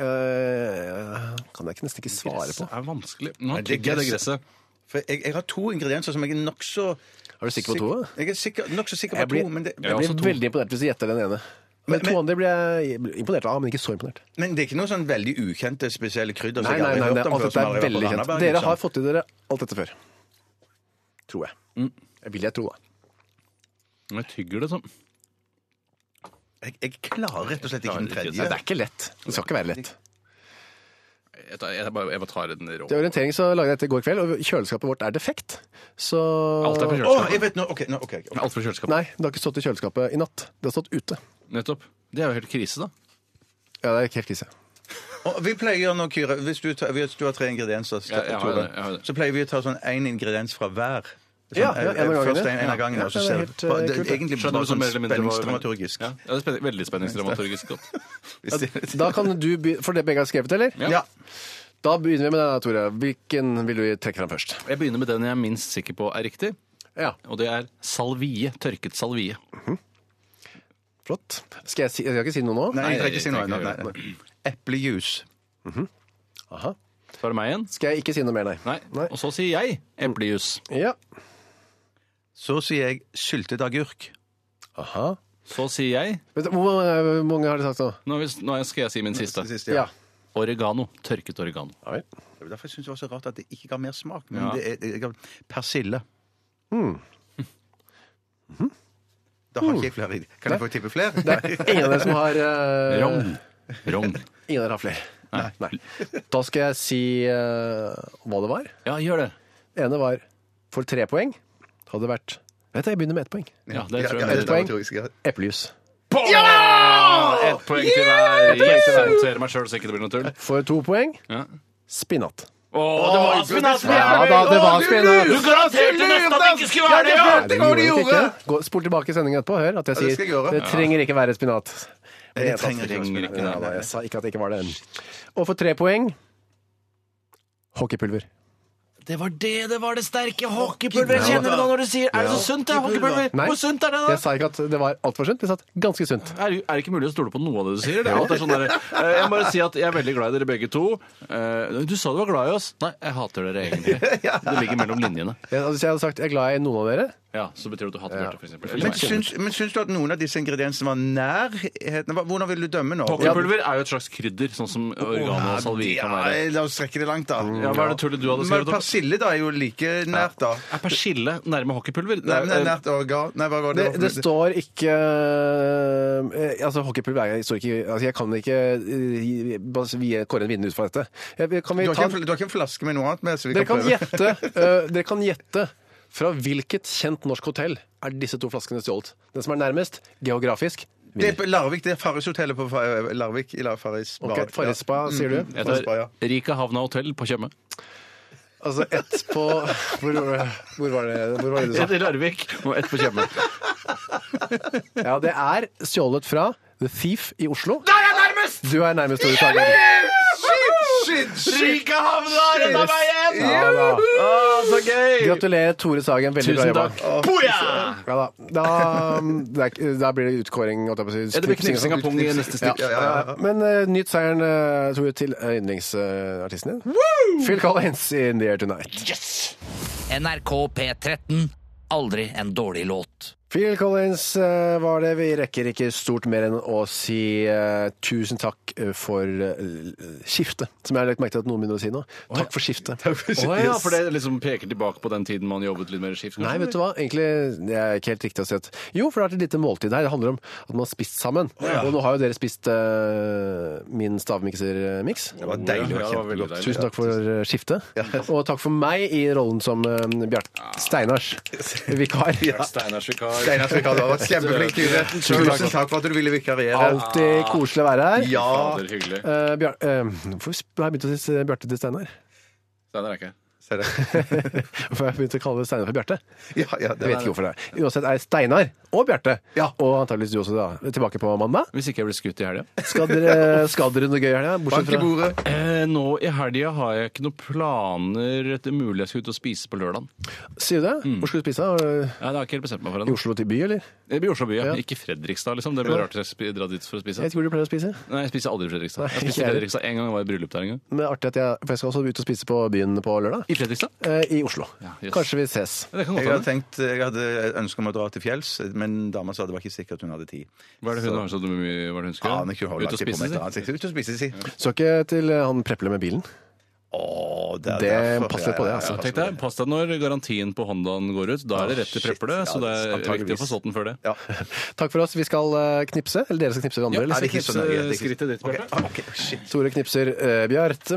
Speaker 6: Eh, kan jeg ikke- nesten ikke svare
Speaker 8: Gresset
Speaker 6: på.
Speaker 8: er vanskelig. Nå
Speaker 5: Nei, det
Speaker 8: tygger jeg det
Speaker 5: gresset-
Speaker 8: gresset.
Speaker 5: For jeg, jeg har to ingredienser som jeg er nokså
Speaker 6: Er du sikker på to? da?
Speaker 5: Jeg er sikker, nokså sikker på
Speaker 6: Jeg blir-
Speaker 5: to, men det,
Speaker 8: Ja.
Speaker 6: Jeg blir
Speaker 8: også to.
Speaker 6: veldig imponert hvis du gjetter den ene. Men
Speaker 5: Men-
Speaker 6: to
Speaker 5: men-
Speaker 6: andre blir jeg imponert av, men ikke så imponert.
Speaker 5: men det er ikke noe sånn veldig ukjente spesielle krydder som
Speaker 6: Nei,
Speaker 5: jeg
Speaker 6: nei,
Speaker 5: aldri
Speaker 6: nei,
Speaker 5: har
Speaker 6: nei,
Speaker 5: hørt om
Speaker 6: alt
Speaker 5: før.
Speaker 6: dette
Speaker 5: som
Speaker 6: er
Speaker 5: aldri har vært på
Speaker 6: veldig kjent.
Speaker 5: Randaberg,
Speaker 6: Dere
Speaker 5: liksom.
Speaker 6: har fått i dere alt dette før. Tror jeg. Jeg vil jeg tro, da.
Speaker 8: Men Jeg tygger det sånn.
Speaker 5: jeg, jeg klarer rett og slett ikke den
Speaker 8: Klarer ikke.
Speaker 6: Nei,
Speaker 5: tredje.
Speaker 6: det er ikke lett. Det skal ikke være lett.
Speaker 8: Jeg, tar, jeg, bare, jeg bare tar den rå.
Speaker 6: Til orientering så lagde jeg dette i går kveld, og kjøleskapet vårt er defekt. Så
Speaker 8: Alt er på
Speaker 5: Å,
Speaker 8: kjøleskapet.
Speaker 5: jeg vet nå, ok, nå, ok, ok.
Speaker 8: Alt fra kjøleskapet.
Speaker 6: Nei, det har ikke stått i kjøleskapet i natt. Det har stått ute.
Speaker 8: Nettopp. Det er jo helt krise, da.
Speaker 6: Ja, det er ikke helt krise.
Speaker 5: Og vi pleier nå, Kyrre, hvis du, tar, hvis du har tre ingredienser,
Speaker 8: Ja, jeg har
Speaker 5: Tore,
Speaker 8: det, jeg har det.
Speaker 5: så pleier vi å ta sånn én ingrediens fra hver. Sånn,
Speaker 6: Ja, ja, en av
Speaker 5: eh,
Speaker 6: gangen,
Speaker 5: Først
Speaker 6: ja.
Speaker 5: en, en av gangen,
Speaker 6: Ja,
Speaker 5: og så
Speaker 6: det er
Speaker 5: ser
Speaker 6: helt,
Speaker 5: vi.
Speaker 6: eh,
Speaker 5: Det
Speaker 6: kult,
Speaker 5: er
Speaker 6: ja.
Speaker 5: egentlig
Speaker 8: Skjønner
Speaker 5: bare
Speaker 8: du som
Speaker 5: sånn
Speaker 8: mer eller mindre var-
Speaker 5: spenningsdramaturgisk.
Speaker 8: Ja, det er spen- veldig spenningsdramaturgisk godt.
Speaker 5: Hvis det-
Speaker 6: Da kan du be For det begge har skrevet, eller?
Speaker 8: Ja.
Speaker 5: Ja.
Speaker 6: Da begynner vi med denne, Tore. Hvilken vil du trekke fram først?
Speaker 8: Jeg begynner med den jeg er minst sikker på er riktig,
Speaker 6: Ja,
Speaker 8: og det er salvie. Tørket salvie.
Speaker 6: flott. Skal jeg, si, jeg skal ikke si noe nå?
Speaker 5: Nei, jeg
Speaker 8: Nei,
Speaker 5: trenger ikke si noe.
Speaker 8: jeg
Speaker 5: Nei,
Speaker 8: trenger
Speaker 5: nei, nei. Eplejus.
Speaker 6: Aha.
Speaker 8: Så er det meg igjen.
Speaker 6: Skal jeg ikke si noe mer, nei?
Speaker 8: Nei. Og så sier jeg eplejus.
Speaker 6: Ja.
Speaker 5: Så sier jeg syltet agurk.
Speaker 6: Aha.
Speaker 8: Så sier jeg
Speaker 6: Vet du, hvor mange- hvor mange har de sagt nå?
Speaker 8: Nå, hvis, nå skal jeg si min siste.
Speaker 5: Sist,
Speaker 6: Ja.
Speaker 8: Oregano. Tørket oregano.
Speaker 6: Oi.
Speaker 5: Det var Derfor syns jeg det var så rart at det ikke ga mer smak. Men
Speaker 8: Ja.
Speaker 5: det er, jeg har persille. Mhm. Da har ikke jeg flere. Kan jeg få tippe flere?
Speaker 6: Ingen av dere som har eh,
Speaker 8: Rogn. Rogn.
Speaker 6: Ingen av dere har flere? Nei. Da skal jeg si eh, hva det var.
Speaker 8: Ja, gjør det.
Speaker 6: Det ene var for tre poeng. Hadde det vært Vet du, jeg begynner med ett poeng.
Speaker 8: Ja, det tror
Speaker 5: Ja, ja,
Speaker 8: jeg er
Speaker 5: det
Speaker 8: et
Speaker 6: poeng.
Speaker 5: dramaturgisk, ja.
Speaker 6: Eplejus.
Speaker 8: Ett poeng til hver. Yes! Jeg noterer meg sjøl så ikke det blir noe tull.
Speaker 6: For to poeng
Speaker 8: Ja.
Speaker 6: spinat.
Speaker 8: Å, det var spinat!
Speaker 6: Ja da, det var spinat!
Speaker 8: Du garanterte nesten at det ikke skulle være det! ja!
Speaker 6: Nei, det gjorde det ikke. Gå, spol tilbake i sendingen etterpå og hør at
Speaker 5: Ja, det
Speaker 6: jeg
Speaker 5: skal jeg
Speaker 6: sier
Speaker 5: gjøre.
Speaker 6: det trenger ikke være spinat.
Speaker 5: Det trenger
Speaker 6: jeg
Speaker 5: ikke være
Speaker 8: spinat.
Speaker 6: Ja, da, jeg sa ikke at det ikke var det. Og for tre poeng hockeypulver.
Speaker 8: Det var det, det var det sterke hockeypulveret. Kjenner du nå når du sier Er det så sunt, det er hockeypulver?
Speaker 6: Nei,
Speaker 8: Hvor sunt er det, da?
Speaker 6: jeg sa ikke at det var altfor sunt. Jeg sa at ganske sunt.
Speaker 8: er, er det ikke mulig å stole på noe av det du sier? Det er alt er sånn der, eh, jeg må bare si at jeg er veldig glad i dere begge to. Eh, Du sa du var glad i oss. Nei, jeg hater dere egentlig. Det ligger mellom linjene.
Speaker 6: Jeg, altså, hvis jeg hadde sagt jeg er glad i noen av dere,
Speaker 8: Ja, så betyr det at du hater Bjarte, for eksempel. Eller
Speaker 5: Men
Speaker 8: meg.
Speaker 5: syns, men syns du at noen av disse ingrediensene var nærheten? Hva- Hvordan vil du dømme nå?
Speaker 8: Hockeypulver er jo et slags krydder, sånn som oregano og salvie kan være.
Speaker 5: Ja, la oss strekke det langt, da.
Speaker 8: Ja, hva er det tullet du hadde
Speaker 5: Men
Speaker 8: skrevet opp?
Speaker 5: persille da er jo like nært, da.
Speaker 8: Er persille nærme
Speaker 5: Nei,
Speaker 8: hockeypulver? Det
Speaker 5: nei,
Speaker 8: er-
Speaker 5: nært organ... Nei, hva var det?
Speaker 6: Det, det står ikke eh, Altså, hockeypulver er- står ikke altså, Jeg kan ikke eh, bas- vie- kåre en vinner ut fra dette. Jeg- Kan vi
Speaker 5: du, har
Speaker 6: ta
Speaker 5: ikke, en- du har ikke en flaske med noe annet med? Så vi
Speaker 6: Dere kan
Speaker 5: prøve.
Speaker 6: gjette eh, Dere kan gjette fra hvilket kjent norsk hotell er disse to flaskene stjålet. Den som er nærmest geografisk,
Speaker 5: Det er
Speaker 6: vinner.
Speaker 5: på Larvik, det er Farrishotellet på Fa- eh, Larvik. I La- Farris
Speaker 6: Ok,
Speaker 5: Bar.
Speaker 6: Farris Spa, sier du?
Speaker 5: Mm, mm,
Speaker 8: Jeg
Speaker 5: Farris Bar, ja.
Speaker 8: tar Rika Havna Hotell på Tjøme.
Speaker 6: Altså ett på hvor, hvor, var det, hvor var det du sa?
Speaker 8: Et i Larvik og ett på Tjøme.
Speaker 6: Ja, det er stjålet fra The Thief i Oslo. Der er nærmest! Du er nærmest, Tore Sagen. Ja, da.
Speaker 8: Ah, Så gøy!
Speaker 6: Gratulerer, Tore Sagen. Veldig bra
Speaker 8: Tusen
Speaker 6: jobba.
Speaker 8: takk. Boja!
Speaker 6: Ja, da. Da, um, det er, ikke- da blir det utkåring. holdt jeg på å si.
Speaker 8: Ja, det blir knipsing av pung i neste stikk.
Speaker 6: Ja, ja, ja. Men eh, nyt seieren, eh, Tore, til yndlingsartisten din. Phil Collins in The Air Tonight.
Speaker 3: NRK P13. Aldri en dårlig låt.
Speaker 6: Phil Collins eh, var det. Vi rekker ikke stort mer enn å si eh, tusen takk eh, for eh, skiftet, som jeg har lagt merke til at noen begynner å si nå. Takk for skiftet.
Speaker 8: Å ja, for det liksom peker tilbake på den tiden man jobbet litt mer skift? kanskje?
Speaker 6: Nei, vet du hva? Egentlig det er ikke helt riktig å si at Jo, for det er et lite måltid her. Det handler om at man har spist sammen. Og nå har jo dere spist eh, min stavmiksermiks.
Speaker 5: Det var deilig.
Speaker 8: Ja, det var
Speaker 5: å
Speaker 8: veldig
Speaker 5: kjempe.
Speaker 8: deilig.
Speaker 6: Tusen takk for eh, skiftet. Og takk for meg i rollen som eh, Bjarte Steinars vikar.
Speaker 8: Steinars vikar.
Speaker 5: Steinar Trykkan, du har vært kjempeflink. Yngve. Tusen takk for at du ville vikariere.
Speaker 6: Alltid koselig å være her.
Speaker 5: Ja.
Speaker 8: Fader, hyggelig.
Speaker 6: Eh, Bjar eh, hvorfor sp- har jeg begynt å si eh, Bjarte til Steinar?
Speaker 8: Steinar er ikke her.
Speaker 5: Ser du?
Speaker 6: Hvorfor har jeg begynt å kalle Steinar for Bjarte?
Speaker 5: Ja, ja, det
Speaker 6: Jeg vet ikke hvorfor det er. Uansett er Steinar og Bjarte,
Speaker 5: Ja.
Speaker 6: og antakeligvis du også, da, tilbake på mandag.
Speaker 8: Hvis ikke jeg blir skutt i helga.
Speaker 6: Skal dere, skal dere noe gøy i helga? Bortsett
Speaker 5: Bank i
Speaker 6: fra
Speaker 5: bordet.
Speaker 8: Eh, nå i helga har jeg ikke noen planer etter mulig jeg skal ut og spise på lørdag.
Speaker 6: Sier du det? Hvor skal du spise? da?
Speaker 8: Ja, det har jeg ikke helt bestemt meg for
Speaker 6: I
Speaker 8: ennå.
Speaker 6: Oslo til by, eller?
Speaker 8: Det blir Oslo by, ja.
Speaker 6: Ja.
Speaker 8: Ikke Fredrikstad, liksom. Det blir rart å sp- dra dit for å
Speaker 6: Jeg
Speaker 8: spise.
Speaker 6: vet ikke hvor du pleier å spise.
Speaker 8: Nei, jeg spiser aldri i Fredrikstad.
Speaker 6: Nei,
Speaker 8: Jeg
Speaker 6: ikke
Speaker 8: spiste i
Speaker 6: jeg.
Speaker 8: Fredrikstad en gang, jeg var i bryllup der en gang.
Speaker 6: Men det er artig at jeg, for jeg skal også ut og spise på byen på lørdag.
Speaker 8: I Fredrikstad?
Speaker 6: Eh, I Oslo.
Speaker 8: Ja, yes.
Speaker 6: Kanskje vi ses.
Speaker 8: Ja, det kan
Speaker 5: Jeg
Speaker 8: godt
Speaker 5: hadde,
Speaker 8: hende.
Speaker 5: tenkt, jeg hadde et ønske om å dra til fjells, men dama sa det var ikke sikkert hun hadde tid.
Speaker 8: Hva er det hun har så mye Hva er det hun skal
Speaker 5: Aner ikke, hun har
Speaker 8: Ut og
Speaker 5: lagt seg på
Speaker 8: spise, liksom?
Speaker 5: med et
Speaker 8: si?
Speaker 5: annet. Ut og spise, si.
Speaker 6: Så ikke til eh, han preple med bilen.
Speaker 5: Åh, er
Speaker 6: Det
Speaker 5: derfor.
Speaker 6: passer litt på
Speaker 5: Ja,
Speaker 6: det,
Speaker 5: ja,
Speaker 6: altså.
Speaker 8: Ja,
Speaker 5: ja,
Speaker 8: tenk deg, pass deg når garantien på Hondaen går ut. Da er det rett til
Speaker 5: shit.
Speaker 8: preple, så
Speaker 5: Ja,
Speaker 8: det er
Speaker 5: antageligvis.
Speaker 8: viktig å få solgt den før det.
Speaker 6: Takk for oss. Vi skal eh, knipse. Eller dere skal knipse hverandre.
Speaker 5: Er
Speaker 6: eller?
Speaker 5: det ikke så nøye? Er det ikke-
Speaker 8: Skrittet ditt, Bjarte.
Speaker 5: Ok, ok, shit. altså.
Speaker 6: Tore knipser eh, Bjarte.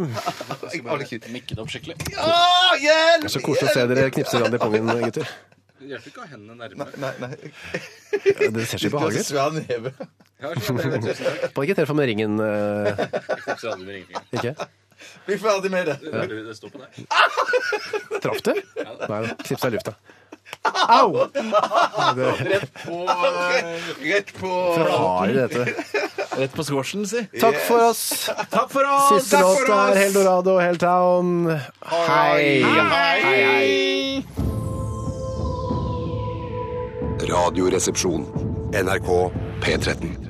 Speaker 5: Jeg var litt cute.
Speaker 8: Mikket opp skikkelig.
Speaker 5: Åh, hjelp!
Speaker 6: Så koselig å se dere knipse hverandre i pungen, gutter.
Speaker 8: Det hjelper ikke å ha hendene nærme.
Speaker 5: Nei, nei.
Speaker 6: Eh, Dere ser så
Speaker 5: Du har
Speaker 6: behagelige ut.
Speaker 5: svær neve.
Speaker 6: Kan ikke treffe med ringen, eh,
Speaker 8: Det
Speaker 6: ikke?
Speaker 5: Vi er ferdig med det.
Speaker 8: står på deg.
Speaker 6: Traff du? Nei, knipsa i lufta. Au! Det er
Speaker 8: eh,
Speaker 5: Rett på
Speaker 6: harde, dette.
Speaker 8: Rett på squashen, si.
Speaker 6: Takk for oss.
Speaker 8: Takk for oss!
Speaker 6: Siste låt er Heldorado, Helltown. Hei! Hei, hei.
Speaker 1: Radioresepsjon. NRK P13.